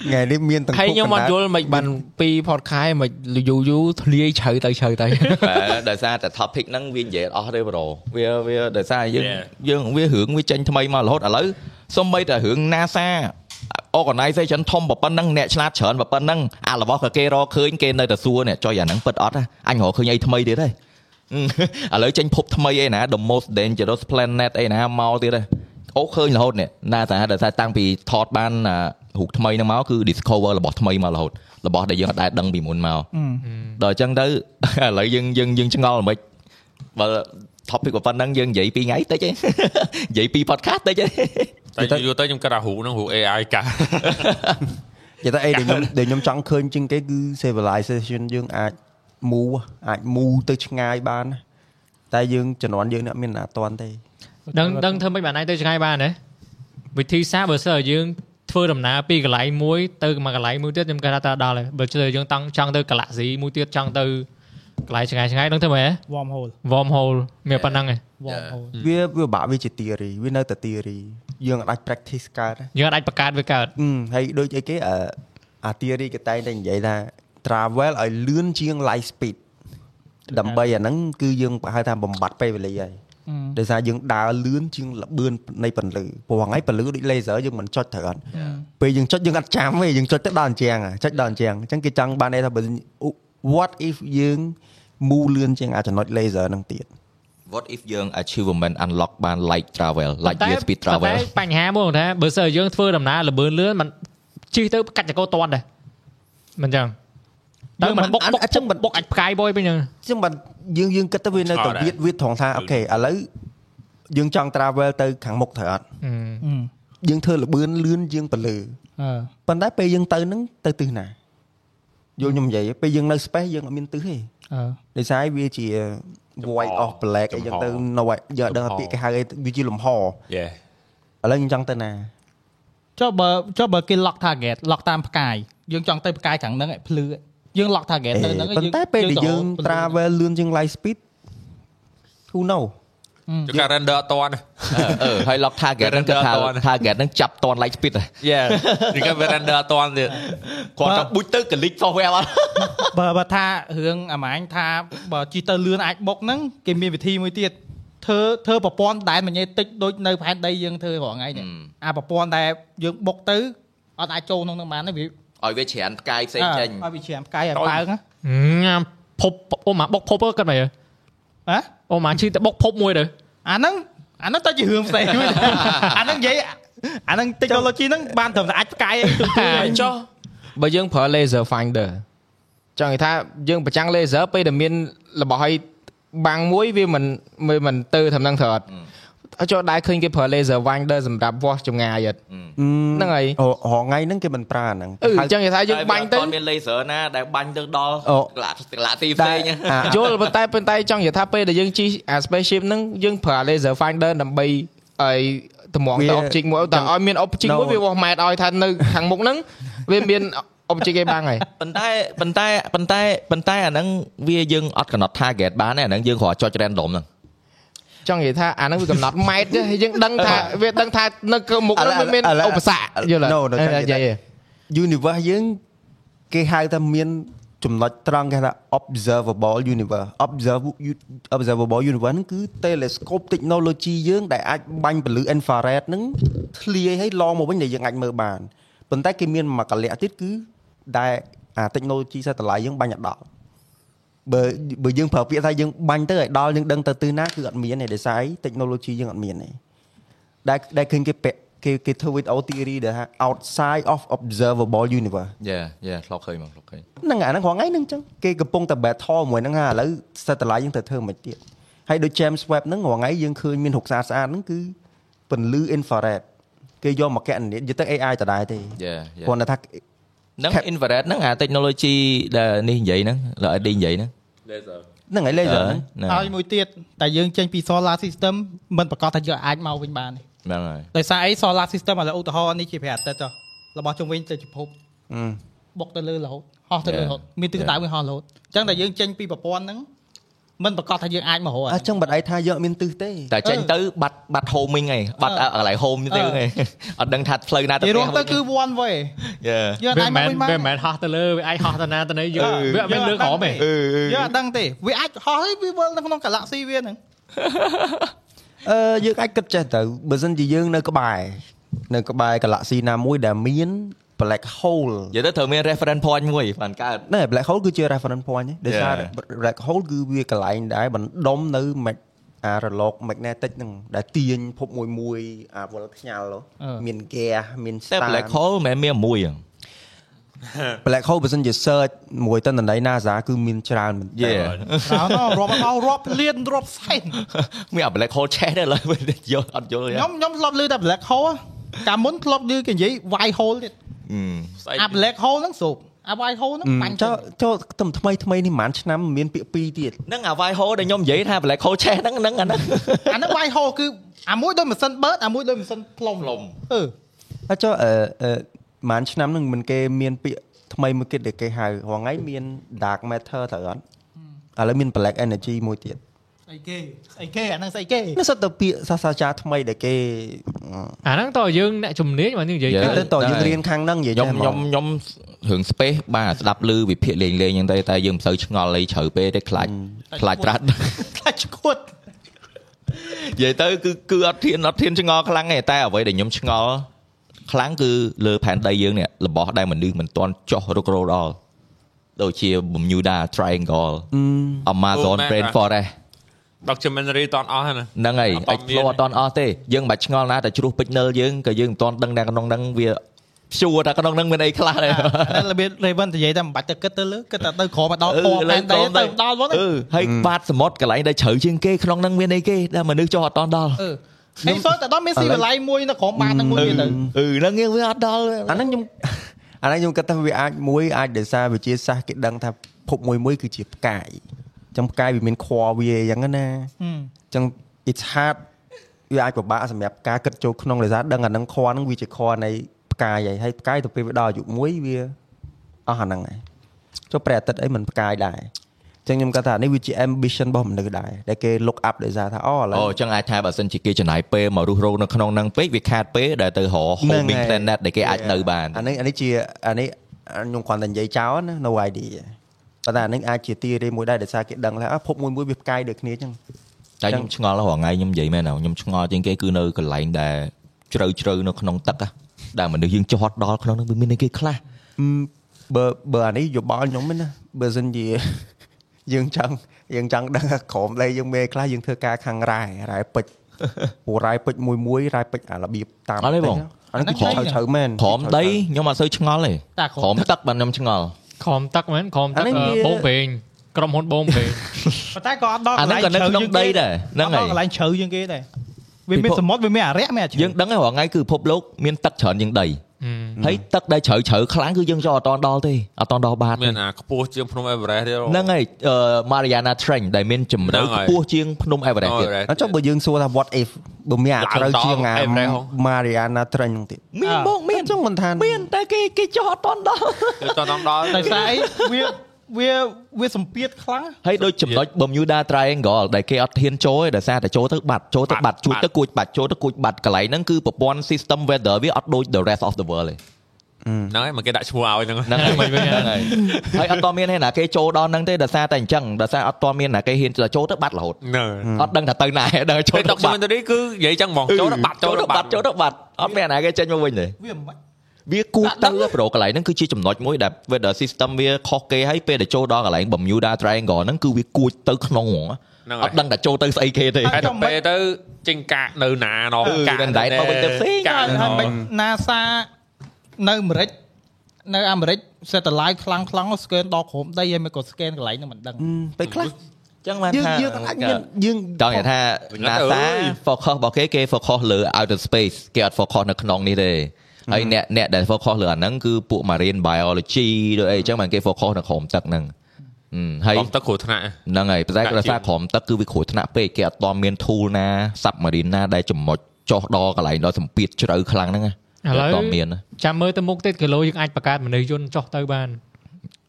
ថ្ងៃនេះមានទាំង ហើយខ្ញុំអត់យល់មិនបានពី podcast មិនយូរយូរធ្លាយជ្រៅទៅជ្រៅទៅ បាទដោយសារតែ topic ហ្នឹងវានិយាយអត់អស់ទេប្រូវាវាដោយសារយើង Yeah. យើងវារឿងវាចេញថ្មីមករហូតឥឡូវសូម្បីតែរឿង NASA organization ធំប៉ុណ្ណឹងអ្នកឆ្លាតច្រើនប៉ុណ្ណឹងអារបស់ក៏គេរកឃើញគេនៅតែសួរអ្នកចុយអាហ្នឹងពិតអត់ហ៎អញរកឃើញអីថ្មីទៀត ទេអឺឥឡូវចេញភពថ្មីឯណា the most dangerous planet ឯណាមកទៀតទេអូឃើញរហូតនេះ NASA ដោយសារតាំងពីថតបានអារូបថ្មីហ្នឹងមកគឺ discover របស់ថ្មីមករហូតរបស់ដែលយើងអត់ដែលដឹងពីមុនមក ដល់អញ្ចឹងទៅ ឥឡូវយើងយើងយើងឆ្ងល់ហ្មិចបើ topic ប៉ុណ្ណឹងយើងនិយាយពីរថ្ងៃតិចឯង និយាយពី podcast តិចឯង តែយូរៗទៅខ្ញុំគិតថារូហ្នឹងរូ AI កាស និយាយតែអីដែលខ្ញុំដែលខ្ញុំចង់ឃើញជាងគេគឺ civilization យើងអាច move អាច move ទៅឆ្ងាយបានណាតែយើងជំនាន់យើងអ្នកមានអត់តាន់ទេ ដឹងដឹងធ្វើមិនបានឯងទៅឆ្ងាយបានទេវិធីសាស្ត្របើសិនជាយើងធ្វើដំណើរពីកន្លែងមួយទៅមកកន្លែងមួយទៀតខ្ញុំគិតថាតើដល់ហើយបើជឿយើងតង់ចង់ទៅកាឡាក់ស៊ីមួយទៀតចង់ទៅកន្លែងឆ្ងាយឆ្ងាយដឹងធ្វើម៉េច warm hole warm hole មានប៉ុណ្ណឹងឯង warm hole វាវាបាក់វាជា theory វានៅតែ theory យើងអាច practice កើតណា យើងអត់អាចបង្កើតវាកើត អឺហើយដូចអីគេអឺអា theory គេតែងតែនិយាយថា travel ឲ្យលឿនជាង light speed ដើម្បីអាហ្នឹងគឺយើងហៅថាបំបត្តិពេលវេលាហើយដោយសារយើងដើរលឿនជាងល្បឿននៃពន្លឺព្រោះហ្នឹងឯងពន្លឺដូច laser យើងមិនចុចត្រូវអត់ពេលយើងចុចយើងអត់ចាំទេយើងចុចទៅដល់អញ្ចឹងចុចដល់អញ្ចឹងអញ្ចឹងគេចង់បានន័យថាបើ what if យើង move លឿនជាងអាចំណុច laser ហ្នឹងទៀត What if យើង achievement unlock បាន like travel like year speed ប៉ុន្តែ travel បញ្ហាមួយថាបើសិនជាយើងធ្វើដំណើរល្បឿនលឿនมันជិះទៅកាច់ចកោតន់ដែរមិនចឹងទៅ យើង มั មិន ន បុក អាន បុក អញ្ចឹងមិន បុកអាចផ្កាយបុយពេញហ្នឹង ចឹងបាទយើងយើងគិតទៅវានៅតែ ឆ្ងល់ដែរ វាវាត្រង់ថាអូខេឥឡូវយើងចង់ travel ទៅខាងមុខត្រូវអត់ យើងធ្វើលបឿនលឿនជាងពលឺ អឺ ប៉ុន្តែពេលយើងទៅហ្នឹងទៅទិសណាយល់ខ្ញុំនិយាយពេលយើងនៅ space យើងអត់មានទិសទេ អឺ ដោយសារវាជា void of black អីចឹងទៅ no យើងអត់ដឹងថាពាក្យគេហៅអីវាជាលំហឥ យេ ឡូវយើងចង់ទៅណា ចុះបើចុះបើគេ lock target lock តាមផ្កាយយើងចង់ទៅផ្កាយខាងហ្នឹងឯងភ្លឺឯងយើង lock target ទៅហ្នឹងឯង ប៉ុន្តែពេលដែលយើង ទៅរហូត travel លឿនជាង light speed who know ជួយការ render អត់តាន់ អឺហើយ lock target ហ្នឹងគឺថា Render អត់ទាន់ target ហ្នឹងចាប់តន់ like speed ហ៎ យេនិយាយវា render អត់តាន់ទៀត គាត់ថាបុចទៅ click software អត់ បើបើថារឿងអាម៉ាញ់ថាបើជីទៅលឿនអាចបុកហ្នឹងគេមានវិធីមួយទៀតធ្វើធ្វើប្រព័ន្ធដែនមញេតិចដូចនៅផែនដីយើងធ្វើរាល់ថ្ងៃនេះ អឺ អាប្រព័ន្ធដែលយើងបុកទៅអត់អាចចូលក្នុងហ្នឹងបានទេវា ឲ្យវាច្រានផ្កាយផ្សេងចេញ ឲ្យវាច្រាមផ្កាយឲ្យបើកណា ញ៉ាំភពអូម៉ាបុកភពអើគាត់មកយើ ហ៎ អូម៉ាឈឺតែបុកភពមួយទៅ អាហ្នឹងអាហ្នឹងទៅជារឿងផ្សេងមួយដែរអាហ្នឹងនិយាយអាហ្នឹង technology ហ្នឹងបានត្រឹមតែអាចផ្កាយឯងទូទៅឯ ង ចុះបើយើងប្រើ laser finder ចង់និយាយថាយើងប្រចាំង laser ពេលដែលមានរបស់ឲ្យបាំងមួយវាមិនវាមិនទៅធំនឹងត្រត់អត់ចូលដែរឃើញគេប្រើ laser finder សម្រាប់វាស់ចម្ងាយអត់ ហ្នឹងហើយ អូរហងៃហ្នឹងគេមិនប្រើអាហ្នឹង អឺអញ្ចឹងនិយាយថាយើងបាញ់ទៅ គាត់មាន laser ណាដែលបាញ់ទៅដល់ អូ កន្លាក់កន្លាក់ទីផ្សេងហ៎ អា យល់ប៉ុន្តែប៉ុន្តែចង់និយាយថាពេលដែលយើងជិះអា spaceship ហ្នឹងយើងប្រើ laser finder ដើម្បីឲ្យតម្រងទៅ object មួយតែឲ្យមាន object មួយវាវាស់ម៉ែត្រឲ្យថានៅខាងមុខហ្នឹងវាមាន object គេបាំងហើយ ប៉ុន្តែប៉ុន្តែប៉ុន្តែប៉ុន្តែអាហ្នឹងវាយើងអត់កំណត់ target បានទេអាហ្នឹងយើងគ្រាន់តែចុច random ហ្នឹង ចង់និយាយថាអាហ្នឹងវាកំណត់ម៉ែត្រទេហើយយើងដឹងថាវាដឹងថានៅក្រោមមុខហ្នឹងវាមាន ឥឡូវឥឡូវ ឧបសគ្គយល់ទេ No, no, ចង់និយាយ យយ universe យើងគេហៅថាមានចំណុចត្រង់គេថា observable universe observe observable universe ហ្នឹងគឺ telescope technology យើងដែលអាចបាញ់ពន្លឺ infrared ហ្នឹងធ្លាយឲ្យឡងមកវិញដែលយើងអាចមើលបានប៉ុន្តែគេមានមួយកលៈទៀតគឺដែលអា technology satellite យើងបាញ់ឲ្យដល់បើបើយើងប្រើពាក្យថាយើងបាញ់ទៅឲ្យដល់យើងដឹងទៅទិសណាគឺអត់មានទេដោយសារអី technology យើងអត់មានទេ ដែលដែលឃើញគេពាក់គេគេធ្វើវីដេអូ theory ដែលថា outside of observable universe Yeah yeah ធ្លាប់ឃើញមកធ្លាប់ឃើញ ហ្នឹងអាហ្នឹងរងថ្ងៃហ្នឹងចឹងគេកំពុងតែ battle មួយហ្នឹងហើយឥឡូវ satellite យើងទៅធ្វើមិនទៀតហើយដូច James Webb ហ្នឹងរងថ្ងៃយើងឃើញមានរូបស្អាតស្អាតហ្នឹងគឺពន្លឺ infrared គេយកមកកណនិតយកទៅ AI ដដែលទេ Yeah, yeah. គាត់ថា ហ្នឹង Cap- infrared ហ្នឹងអា technology ដែលនេះនិយាយហ្នឹងលើឲ្យឌីនិយាយហ្នឹង laser ហ្នឹងហើយ laser ហ្នឹង ហ្នឹង ហើយមួយទៀតតែយើងចេញពី solar system មិនប្រកាសថាយើងអាចមកវិញបានទេ ហ្នឹងហើយ ដោយសារអី solar system ឥឡូវឧទាហរណ៍នេះជាប្រអាទិត្យចុះរបស់ជុំវិញទៅជាភព អឺ បុកទៅលើរហូតហោះទៅលើ Yeah. រហូតមានទិសដៅវិញហោះរហូតអញ្ចឹងតែយើងចេញពីប្រព័ន្ធហ្នឹង មិនប្រកាសថាយើងអាចមករកអ ញ្ចឹងបាត់អីថាយើងអត់មានទិសទេ តែចេញទៅបាត់បាត់ homing ឯងបាត់កន្លែង home ទៅឯង អត់ដឹងថាផ្លូវណាទៅ និយាយរួមទៅគឺ one way យើ យើង វា អាច មិន មកវិញបាន វាមិនហោះទៅលើវាអាចហោះទៅណាទៅណាយើងវាអត់មានលើក្រោមទេ យើងអត់ដឹងទេវាអាចហោះទេវាវិលនៅក្នុង galaxy វាហ្នឹង អឺយើងអាចគិតចេះទៅបើមិនជាយើងនៅក្បែរនៅក្បែរ galaxy ណាមួយដែលមាន black hole និយាយទៅត្រូវមាន reference point មួយបានកើត ណែ black hole គឺជា reference point ទេដោយសារ black hole គឺវាកន្លែងដែលបណ្ដុំនៅអារឡុក magnetic ហ្នឹងដែលទាញភពមួយមួយអាវល់ខ្ញាល់មានហ្គាសមាន តែ black hole មិនមានមួយ black hole បើសិនជា search មួយទៅនៃ NASA គឺមានច្រើនមែន យេ ច្រើនរាប់មករាប់លានរាប់សែន មានអា black hole ឆេះ ដែរឡើយយកអត់យល់ ខ្ញុំខ្ញុំធ្លាប់ឮតែ black hole កាលមុនធ្លាប់ឮគេនិយាយ white hole ទៀតអា black hole ហ្នឹងស្រូបអា white hole ហ្នឹងបាញ់ ចោលចូលទំថ្មីថ្មីនេះប្រហែលឆ្នាំមានពាក្យពីរទៀត ហ្នឹងអា white hole ដែលខ្ញុំនិយាយថា black hole ឆេះហ្នឹងហ្នឹងអាហ្នឹង អាហ្នឹង white hole គឺអាមួយដូចម៉ាស៊ីនបឺតអាមួយដូចម៉ាស៊ីនផ្លុំ ផ្លុំ អឺ អាចចូលអឺប្រហែលឆ្នាំហ្នឹងមិនគេមានពាក្យថ្មីមួយទៀតដែលគេហៅរងៃមាន dark matter ត្រូវអត់ឥឡូវមាន black energy មួយទៀត ស្អីគេស្អីគេអាហ្នឹងស្អីគេ នេះសិតទៅពាក្យសាស្ត្រាចារ្យថ្មីដែលគេ អាហ្នឹងតើយើងអ្នកជំនាញមកនិយាយ ទៅតើយើងរៀនខាងហ្នឹងនិយាយ ខ្ញុំខ្ញុំខ្ញុំរឿង space បាទស្ដាប់ឮវិភាគលេងលេងហ្នឹងទៅតែយើងមិនសូវឆ្ងល់អីជ្រៅពេកទេខ្លាចខ្លាចប្រាត់ ខ្លាចឈួត និយាយទៅគឺគឺអត់ធានអត់ធានឆ្ងល់ខ្លាំងទេតែអ្វីដែលខ្ញុំឆ្ងល់ខ្លាំងគឺលើផែនដីយើងនេះរបស់ដែលមនុស្សមិនទាន់ចោះរុករោដល់ដូចជា Bermuda Triangle Amazon Rainforest documentary តន់អស់ហ្នឹង ហ្នឹងហើយ explore អត់តន់អស់ទេយើងមិនបាច់ឆ្ងល់ណាតែជ្រុះពេជ្រនិលយើងក៏យើងមិនទាន់ដឹងដែរក្នុងហ្នឹងវាព្យួរតែក្នុងហ្នឹងមាន អីខ្លះដែរ របៀប Raven និយាយតែមិនបាច់ទៅគិតទៅលើគិតតែទៅក្រោមមកដល់ពណ៌ផែនដីទៅដល់ហ្នឹង ហើយបាតសមុទ្រកន្លែងដែលជ្រៅជាងគេក្នុងហ្នឹងមានអីគេដែលមនុស្សចោះអត់តន់ដល់ ខ្ញុំសូមតែដល់មានស៊ីវិល័យមួយនៅក្រោមបានហ្នឹងមួយទៀតទៅ អឺហ្នឹងវាអត់ដល់ អាហ្នឹងខ្ញុំអាហ្នឹងខ្ញុំគិតថាវាអាចមួយអាចដោយសារវិជាសាស្ត្រគេដឹងថាភពមួយមួយគឺជាផ្កាយចំផ្កាយវាមានខွာវាអញ្ចឹងណាអញ្ចឹង it's hard វាអាចពិបាកសម្រាប់ការគិតចូលក្នុងដោយសារដឹងអានឹងខွာនឹងវាជាខွာនៃផ្កាយហើយហើយផ្កាយទៅពេលវាដល់អាយុមួយវាអស់អាហ្នឹងហើយចូលព្រះអាទិត្យអីមិនផ្កាយដែរអញ្ចឹងខ្ញុំគាត់ថានេះវាជា ambition របស់មនុស្សដែរដែលគេ look up ដោយសារថាអូឥឡូវ អូអញ្ចឹងអាចថាបើសិនជាគេចំណាយពេលមករស់រោងនៅក្នុងហ្នឹងពេកវាខាតពេលដែលទៅរក homing planet ដែលគេអាចនៅបាន អានេះអានេះជាអានេះខ្ញុំគ្រាន់តែនិយាយចោលណា no idea ប៉ុន្តែនឹងអាចជាទីរីមួយដែរដោយសារគេដឹងថាភពមួយមួយវាផ្កាយដូចគ្នាអញ្ចឹង តែខ្ញុំឆ្ងល់រាល់ថ្ងៃខ្ញុំនិយាយមែនខ្ញុំឆ្ងល់ជាងគេគឺនៅកន្លែងដែលជ្រៅជ្រៅនៅក្នុងទឹក ដែលមនុស្សយើងចោះដល់ក្នុងនោះវាមានអីគេខ្លះ បើបើអានេះយោបល់ខ្ញុំហ្នឹងណាបើសិនជា យើងចង់យើងចង់ ដឹងថាក្រមដីយើងមេខ្លះយើងធ្វើការខាងរ៉ែរ៉ែពេ ជ្រពូរ៉ែពេជ្រមួយមួយរ៉ែពេជ្រអារបៀបតាម អីបង អានេះគឺជ្រៅជ្រៅមែន ក្រមដីខ្ញុំអត់សូវឆ្ងល់ទេក្រមទឹកបានខ្ញុំឆ្ង ល់ ក្រុមទឹកមែនក្រុមទឹកបងពេងក្រុមហ៊ុនបងពេង ប៉ុន្តែក៏អត់ដល់ អាហ្នឹងក៏នៅក្នុងដីដែរហ្នឹងហើយក ន្លែងជ្រៅជាងគេដែរវាមានសមុទ្រវាមានអារក្សមានអាជ្រៅ យើងដឹងហើយរាល់ថ្ងៃគឺភពលោកមានទឹកច្រើនជាងដីហើយទឹកដែលជ្រៅជ្រៅខ្លាំងគឺយើងចូលអត់តដល់ទេអត់តដល់បាត មានអាខ្ពស់ជាងភ្នំអេវរ៉េសទៀត ហ្នឹងហើយ Mariana Trench ដែលមានជម្រៅខ្ពស់ជាងភ្នំអេវរ៉េសទៀត អញ្ចឹងបើយើងសួរថា what if បើមានអាត្រូវជាងអា Mariana Trench ហ្នឹងទៀត មានមកមាន អញ្ចឹងមិនថា មានតែគេគេចូលអត់ត ដល់ គេតតដល់ តែស្អី វាវាវាសម្ពាធខ្លាំង ហើយដូចចំណុច Bermuda Triangle ដែលគេអត់ធានចូលទេដោយសារតែចូលទៅបាត់ចូលទៅបាត់ជួយទៅគួចបាត់ចូលទៅគួចបាត់កន្លែងហ្នឹងគឺប្រព័ន្ធ system weather វាអត់ដូច the rest of the world ទេ ហ្នឹងហើយមកគេដាក់ឈ្មោះឲ្យហ្នឹង ហ្នឹងហើយហ្នឹងហើយហើយអត់តមានទេណាគេចូលដល់ហ្នឹងទេដោយសារតែអញ្ចឹងដោយសារអត់តមានណាគេហ៊ានចូលទៅបាត់រហូូតអត់ដឹងថាទៅណាដល់ចូលទៅបាត់ នេះគឺនិយាយអញ្ចឹងហ្មងចូលទៅបាត់ ចូលទៅបាត់ចូលទៅបាត់អត់មានណាគេចេញមកវិញទេ វាមិន វាគួរទៅប្រកន្លែងហ្នឹងគឺជាចំណុចមួយដែល weather system វាខុសគេហើយពេលដែលចូលដល់កន្លែង Bermuda Triangle ហ្នឹងគឺវាគួចទៅក្នុងហ្នឹងអត់ដឹងថាចូលទៅស្អីគេទេ តែទៅពេលទៅចេញកាកនៅណាណោះ កាកដែរទៅវិញទៅផ្សេង កាកហើយមិន NASA នៅអាមេរិកនៅអាមេរិក satellite ខ្លាំងខ្លាំង scan ដល់ក្រោមដីហើយមិនក៏ scan កន្លែងហ្នឹងមិនដឹង ពេលខ្លះចឹងបានថា យើងអាចមានយើង ចង់និយាយថា NASA focus របស់គេគេ focus លើ outer space គេអត់ focus នៅក្នុងនេះទេហើយអ្នកអ្នកដែល focus លើអាហ្នឹងគឺពួក marine biology ដូចអីចឹងបានគេ focus នៅក្រោមទឹកហ្នឹង ហើយក្រោមទឹកគ្រោះថ្នាក់ ហ្នឹងហើយប៉ុន្តែគាត់ថាក្រោមទឹកគឺវាគ្រោះថ្នាក់ពេកគេអត់ទាន់មាន tool ណា submarine ណាដែលចំណុចចោះដល់កន្លែងដល់សម្ពាធជ្រៅខ្លាំងហ្នឹងណា ឥឡូវ មាន ចាំមើលទៅមុខទៀតគីឡូយើងអាចបង្កើតមនុស្សយន្តចុះទៅបាន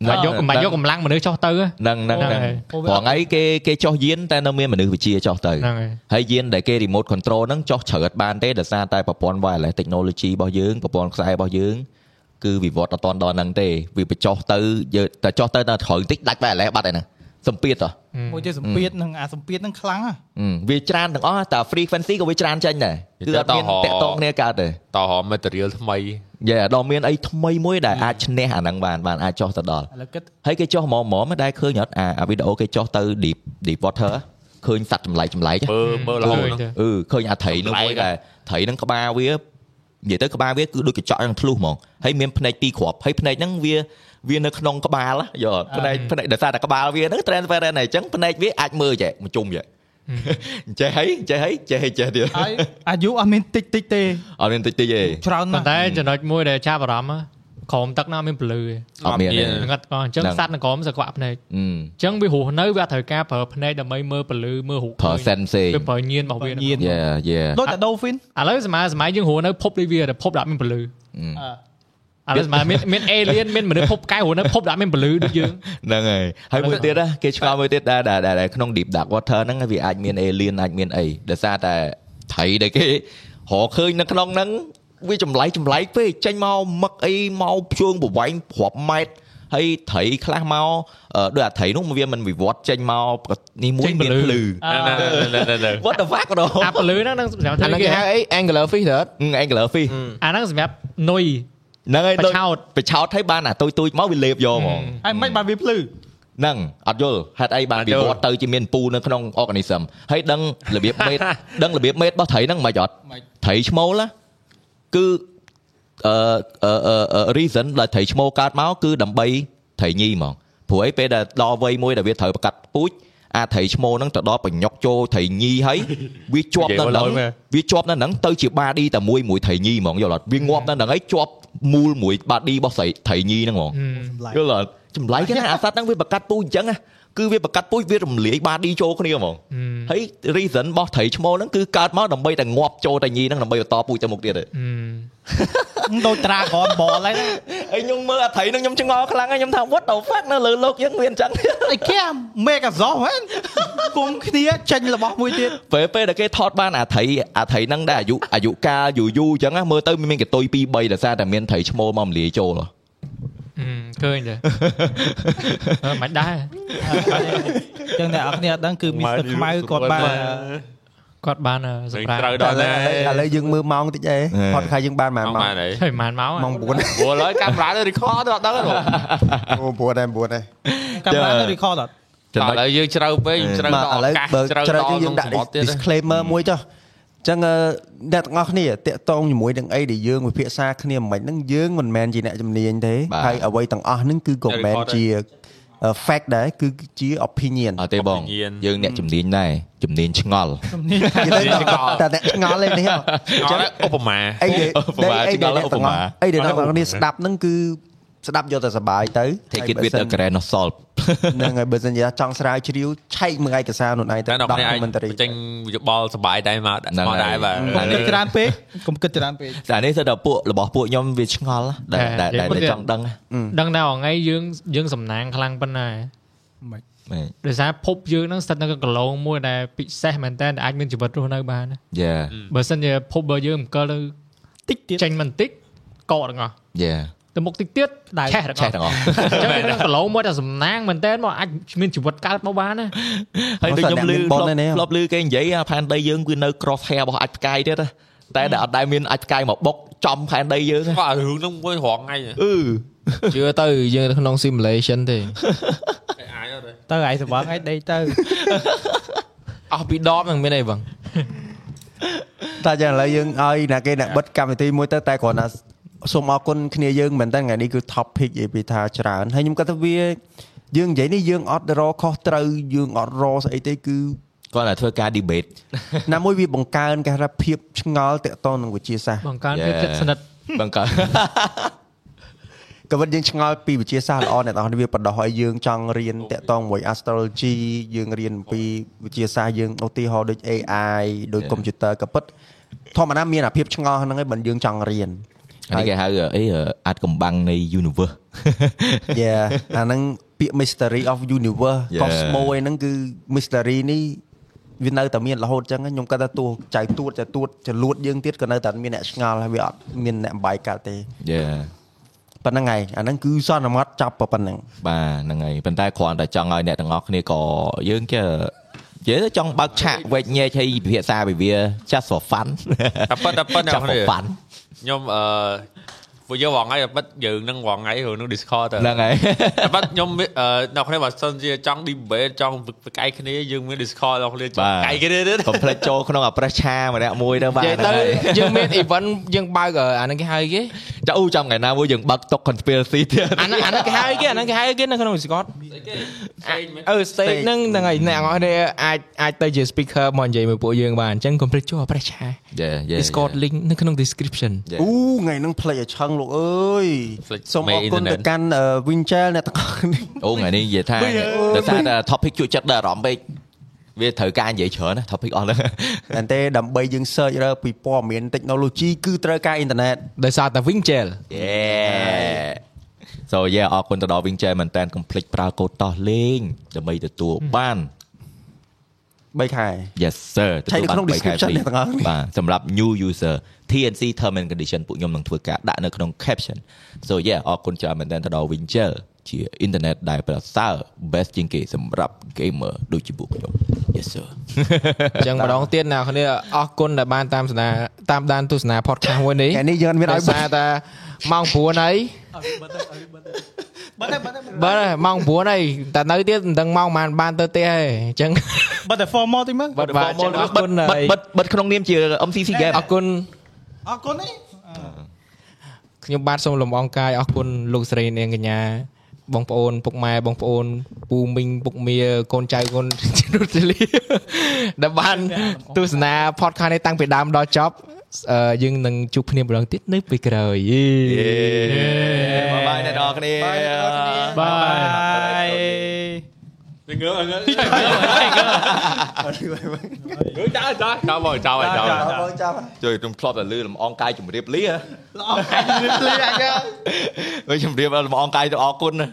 បាច់យកបាច់យកកម្លាំងមនុស្សចោះទៅហ៎ ហ្នឹងហ្នឹង ហ្នឹង ហ្នឹង ហើយ ព្រោះថ្ងៃគេគេចោះយានតែនៅមានមនុស្សវិជ្ជាចោះទៅ ហ្នឹងហើយ ហើយយានដែលគេ remote control ហ្នឹងចោះច្រើតបានទេដោយសារតែប្រព័ន្ធ wireless technology របស់យើងប្រព័ន្ធខ្សែរបស់យើងគឺវិវត្តអត់ទាន់ដល់ហ្នឹងទេវាបញ្ចោះទៅយើតែចោះទៅតែត្រូវបន្តិចដាច់ wireless បាត់ហើយហ្នឹងសម្ពាធហ៎ មួយទៀតសម្ពាធនឹងអាសម្ពាធនឹងខ្លាំងហ៎ អឺវាច្រើនទាំងអស់តែ frequency ក៏វាច្រើនចេញដែរគឺអត់មានតាក់តងគ្នាកើតទេ តោះ material ថ្មី យេដល់មានអីថ្មីមួយដែលអាចឈ្នះអាហ្នឹងបានបានអាចចោះទៅដល់ ឥឡូវគិត ហើយគេចោះហ្មងហ្មងដែរឃើញអត់អាអាវីដេអូគេចោះទៅ deep deep water ឃើញសត្វចម្លែកចម្លែក មើលមើលរហូតហ្នឹង អឺឃើញអាត្រីហ្នឹងមួយដែរត្រីហ្នឹងក្បាលវានិយាយទៅក្បាលវាគឺដូចកញ្ចក់យ៉ាងធ្លុះហ្មងហើយមានភ្នែកពីរគ្រាប់ហើយភ្នែកហ្នឹងវាវានៅក្នុងក្បាលហ៎យល់ភ្នែកភ្នែកដោយសារតែក្បាលវាហ្នឹង transparent ហើយអញ្ចឹងភ្នែកវាអាចមើលចេះមួយជុំចេះ ចេះហីចេះហីចេះហីចេះទៀត ហើយអាយុអត់មានតិចតិចទេ អត់មានតិចតិចទេ ច្រើនណាស់ ប៉ុន្តែចំណុចមួយដែលចាប់អារម្មណ៍ហ៎ក្រោមទឹកណាមានពលឺ អត់មានទេ ងាត់ក៏អញ្ចឹងសត្វនៅក្រោមសក្វាក់ភ្នែក អឺ អញ្ចឹងវារស់នៅវាអត់ត្រូវការប្រើភ្នែកដើម្បីមើលពលឺមើលរូប ប្រើ sense វាប្រើញៀនរបស់វា ញៀន Yeah, yeah ដូចតែ dolphin ឥឡូវសម័យសម័យយើងរស់នៅភពដូចវាតែភពដែលអត់មានពលឺឥឡូវសម័យមានមាន alien មានមនុស្សភពកាយរស់នៅភពដែលអត់មានពលឺដូចយើង ហ្នឹងហើយហើយមួយទៀតណាគេឆ្ងល់មួយទៀតដែរដែរដែរដែរក្នុង deep dark water ហ្នឹងវាអាចមាន alien អាចមានអីដោយសារតែថៃដែលគេរកឃើញនៅក្នុងហ្នឹងវាចម្លែកចម្លែកពេកចេញមកមកអីមកភ្ជើងប្រវែងប្រាប់ម៉ែត្រហើយត្រីខ្លះមកអឺដោយអាត្រីនោះវាមិនវិវត្តចេញមកនេះមួយមានភ្លឺ What the fuck ដល់ អាពលឺហ្នឹងនឹងសម្រាប់ អាហ្នឹងគេហៅអី angler fish ទៅអត់ angler fish អាហ្នឹងសម្រាប់នុយ ហ្នឹងហើយ ប ដូច ឆោត បិឆោតឲ្យបានអាទុយទុយមកវាលេបយកហ្មង ហើយមិនបានវាភ្លឺ ហ្នឹងអត់យល់ហេតុអីបានវាវត្តទៅជាមានពូនៅក្នុង organism ហើយដឹងរបៀបមេត ដឹងរបៀបមេតរបស់ត្រីហ្នឹងមិនអត់ត្រីឈ្មោលណាគឺអឺអឺអឺអឺ reason ដែលត្រីឈ្មោលកើតមកគឺដើម្បីត្រីញីហ្មងព្រោះអីពេលដែលដល់វ័យមួយដែលវាត្រូវប្រកាត់ពូជអាត្រីឈ្មោលហ្នឹងទៅដល់បញ្ញុកចូលត្រីញី ហើយវាជាប់នៅ និយាយមក ហ្នឹឡើយងមែន វាជាប់នៅហ្នឹងទៅជា body តែមួយមួយត្រីញីហ្មងយល់អត់វាងាប់នៅហ្នឹងហើយជាប់មូលមួយ body របស់ត្រីត្រីញីហ្នឹងហ្មង យល់អត់ចម្លែកណាស់អាសត្វហ្នឹងវាបកាត់ពូជអញ្ចឹងណាគឺវាបកាត់ពូជវារំលាយបាឌីចូលគ្នាហ្មងហើយ reason របស់ត្រីឈ្មោលហ្នឹងគឺកើតមកដើម្បីតែងាប់ចូលតែញីហ្នឹងដើម្បីបន្តពូជទៅមុខទៀតទេ ដូច Dragon Ball ហ្នឹង ហើយខ្ញុំមើល អាត្រីហ្នឹងខ្ញុំឆ្ងល់ខ្លាំងហើយខ្ញុំថា what the fuck នៅលើលោកយើងមានអញ្ចឹង អីគេ Megazord ហ្នឹងគុំគ្នាចេញរបស់មួយទៀត ពេលពេលដែលគេថតបានអាត្រីអាត្រីហ្នឹងដែរអាយុអាយុកាលយូរយូរអញ្ចឹងណាមើលទៅមានកតុយ2 3ដោយសារតែមានត្រីឈ្មោលមករំលាយចូលហ៎ ឃើញទេ អឺមិនដែរ អញ្ចឹងអ្នកនរគ្នាអត់ដឹងគឺ Mr ខ្មៅគាត់បាន គាត់បានសម្រាប់ ត្រូវដល់ណា ឥឡូវយើងមើលម៉ោងតិចអី podcast យើងបានមួយ ម៉ោង ម៉ោង បានហើយ ហើយប្រហែលម៉ោង ម៉ោង9 ព្រោះឥឡូវកាមេរ៉ានៅ record ទៅអត់ដឹងទេបង អូ9ដែរ9ដែរ កាមេរ៉ានៅ record អត់ តែឥឡូវយើងជ្រៅពេកយើងជ្រៅដល់ឱកាសជ្រៅ ជ្រើ ដល់ យើក្នុងង ដាក់ សម្បត្តិទៀត disclaimer មួយចុះអញ្ចឹងអឺអ្នកទាំងអស់គ្នាតាកតងជាមួយនឹងអីដែលយើងវិភាសាគ្នាមិនហ្នឹងយើងមិនមែនជាអ្នកជំនាញទេ បាទ ហើយអ្វីទាំងអស់ហ្នឹងគឺក៏មិនមែន Report ជាអឺ fact ដែរគឺជា opinion អត់ទេបង ញៀន យើងអ្នកជំនាញដែរជំនាញឆ្ងល់ និយាយទៅតែអ្នកឆ្ងល់លេងនេះហ៎ អញ្ចឹងឧបមា អីដែល ឧបមា ដែលអីដែល ឆ្ងអ្នកទាំងល់ឧប អស់អីដែលអ្នកទាំងអមាស់គ្នាស្ដាប់ហ្នឹងគឺស្ដាប់យកតែសប្បាយទៅ take it with a grain of salt ហ្នឹងហើយបើសិនជាចង់ស្រាវជ្រាវឆែកមើលឯកសារនោះឯងទៅ តែ ដ ដល់ ក នេះអាច commentary ចេញយោបល់សុបាយដែរមកដាក់ ហ្នឹង មក ហើយ ដែរបាទ គុំ អា គិ នេះ តច្រើនពេកគុំគិតច្រើនពេក តែនេះទៅដល់ពួករបស់ពួកខ្ញុំវាឆ្ងល់ណាដែលដែលដែលចង់ដឹងណា ដឹងតែថ្ងៃយើងយើងសំណាងខ្លាំងប៉ុណ្ណា មែន ដោយសារភពយើងហ្នឹងស្ថិតនៅក្នុងកន្លងមួយដែលពិសេសមែនតើអាចមានជីវិតរស់នៅបានណា Yeah បើសិនជាភពរបស់យើងមិនកិលទៅ តិចទៀត ចេញមិនតិចកកទាំងអស់ Yeah ទៅមុខតិចទៀត ដែរ ឆេះទាំងអ ឆេះ ស់ ទាំងអស់ អញ្ចឹងយើង កន្លងមួយតែសំណាងមែនតើមកអាចមានជីវិតកើតមកបានណា ហើយដូចខ្ញុំលឺ បងនេះ ធ្លាប់លឺគេនិយាយអាផែនដីយើងគឺនៅ cross hair របស់អាចផ្កាយទៀតណាតែដែលអត់ដែលមានអាចផ្កាយមកបុកចំផែនដីយើងណា គាត់ឲ្យរឿងហ្នឹងមួយរងថ្ងៃ អឺ ជឿទៅយើងនៅក្នុង simulation ទេ អាចអត់ទេ ទៅឯសវងឯដេកទៅ អស់ពីដបហ្នឹងមានអីបង តែយ៉ាងឥឡូវយើងឲ្យអ្នកគេអ្នកបិទកម្មវិធីមួយទៅតែគ្រាន់តែសូមអរគុណគ្នាយើងមែនតើថ្ងៃនេះគឺ topic និយាយពីថាច្រើនហើយខ្ញុំគាត់ថាវាយើងនិយាយនេះយើងអត់រកខុសត្រូវយើងអត់រកស្អីទេគឺ គាត់តែធ្វើការ debate ណាមួយវាបង្កើនការរភាពឆ្ងល់តាក់ទងនឹងវិជាសាស្ត្រ បង្កើនភាពចិត្តស្និទ្ធ បង្កើត ក៏ប៉ុន្តែយើងឆ្ងល់ពីវិជាសាស្ត្រល្អអ្នកនរគ្នាវាបដោះឲ្យយើងចង់រៀនតាក់ទងមួយ astrology យើងរៀនអំពីវិជាសាស្ត្រយើងឧទាហរណ៍ដូច AI ដូច computer ក៏ពិតធម្មតាមានអាភាពឆ្ងល់ហ្នឹងឯងបើយើងចង់រៀន អានេះគេហៅអីអាចកំបាំងនៃ universe យ៉ាអាហ្នឹងពាក្យ mystery of universe Yeah. cosmo ឯហ្នឹងគឺ mystery នេះវានៅតែមានរហូតចឹងខ្ញុំគាត់ថាទោះចៅទួតចៅទួតចលួតយើងទៀតក៏នៅតែមានអ្នកឆ្ងល់ហើយវាអត់មានអ្នកបាយកើតទេ yeah ប៉ុណ្្នឹងហើយអាហ្នឹងគឺសន្មត់ចាប់ប៉ុណ្្នឹង បាទហ្នឹងហើយប៉ុន្តែគ្រាន់តែចង់ឲ្យអ្នកទាំងអស់គ្នាក៏យើងគេនិយាយទៅចង់បើកឆាកវែកញែកឲ្យពិភាក្សាពីវា just for fun តែប៉ុតតែប៉ុតអ្នក just for នេះ fun ខ្ញុំអឺពួកយើងរងថ្ងៃតែប៉ិតយើងនឹងរងថ្ងៃឬនឹង Discord ទៅ ហ្នឹងហើយ តែប៉ិតខ្ញុំវាអឺអ្នកនេះបើសិនជាចង់ debate ចង់ប្រកែកគ្នាយើងមាន Discord អ្នកនេះចង់ប្រកែកគ្នាទៀត កុំភ្លេចចូលក្នុងអាប្រេសឆាម្នាក់មួយទៅបាទ និយាយទៅយើងមាន event យើងបើកអាហ្នឹងគេហៅគេ ចាអូចាំថ្ងៃណាមួយយើងបើកតុក conspiracy ទៀត អាហ្នឹងអាហ្នឹងគេហៅគេអាហ្នឹងគេហៅគេនៅក្នុង Discord អឺ stage ហ្នឹងហ្នឹងហើយអ្នកនរអស់គ្នាអាចអាចទៅជា speaker មកនិយាយមួយពួកយើងបានអញ្ចឹងកុំភ្លេចចូលអាប្រេសឆា យេយេ Discord link នៅក្នុង description អូថ្ងៃហ្នឹងផ្លេចឲ្យឆឹងលោកអើយសូមអរគុណ internet ទៅកាន់ uh, Winchell អ្នកទាំងអស់គ្នា អូថ្ងៃនេះនិយាយថា វិញអើយ ដោយសារតែ topic ជក់ចិត្តដល់អារម្មណ៍ពេកវាត្រូវការនិយាយច្រើនណា topic អស់ហ្នឹង តែនទេដើម្បីយើង search រើពីព័ត៌មាន technology គឺត្រូវការ internet ដោយសារតែ Winchell Yeah So yeah អរគុណទៅដល់ Wing Chair មែនតើកុំភ្លេចប្រើកូដតោះលេងដើម្បីទទួលបាន 3ខែ Yes sir ឆែកនៅក្នុង បីខែ description free អ្នកទាំងអស់គ្នា បាទសម្រាប់ new user TNC term and condition ពួកខ្ញុំនឹងធ្វើការដាក់នៅក្នុង caption So yeah អរគុណច្រើនមែនតើទៅដល់ Wing Chair ជា internet ដែលប្រសើរ best ជាងគេសម្រាប់ gamer ដូចជាពួកខ្ញុំ Yes sir អញ្ចឹងម្ដងទៀតអ្នកនរអរគុណដែលបានតាមស្នាតាមដានទស្សនា podcast មួយនេះ ថ្ងៃនេះយើងអត់មានឲ្យ ដោយសារតែម៉ោង9ហើយ បើតែបើតែ បើម៉ោង9ហើយតែនៅទៀតមិនដឹងម៉ោងប៉ុន្មានបានទៅទៀតហើយអញ្ចឹង បើតែ formal តិចមើល បាទបាទអញ្ចឹងអរគុណហើយ បិទបិទក្នុងនាមជា MCC game អរគុណ អរគុណទេ ខ្ញុំបាទសូមលំអងកាយអរគុណលោកសេរីនាងកញ្ញាបងប្អូនពុកម៉ែបងប្អូនពូមីងពុកមាកូនចៅកូនជំនុទលីដែលបានទស្សនា podcast នេះតាំងពីដើមដល់ចប់អឺយើងនឹងជួបគ្នាម្ដងទៀតនៅពេលក្រោយយេ Bye bye អ្នកនរគ្នា បាយ យើងងើងើយើងចៅចៅចៅបងចៅចៅ ជួយខ្ញុំធ្លាប់តែលឺលំអងកាយជម្រាបលា ល្អហើយលឿនលឿនអាច ជម្រាបលំអងកាយទៅអរគុណណា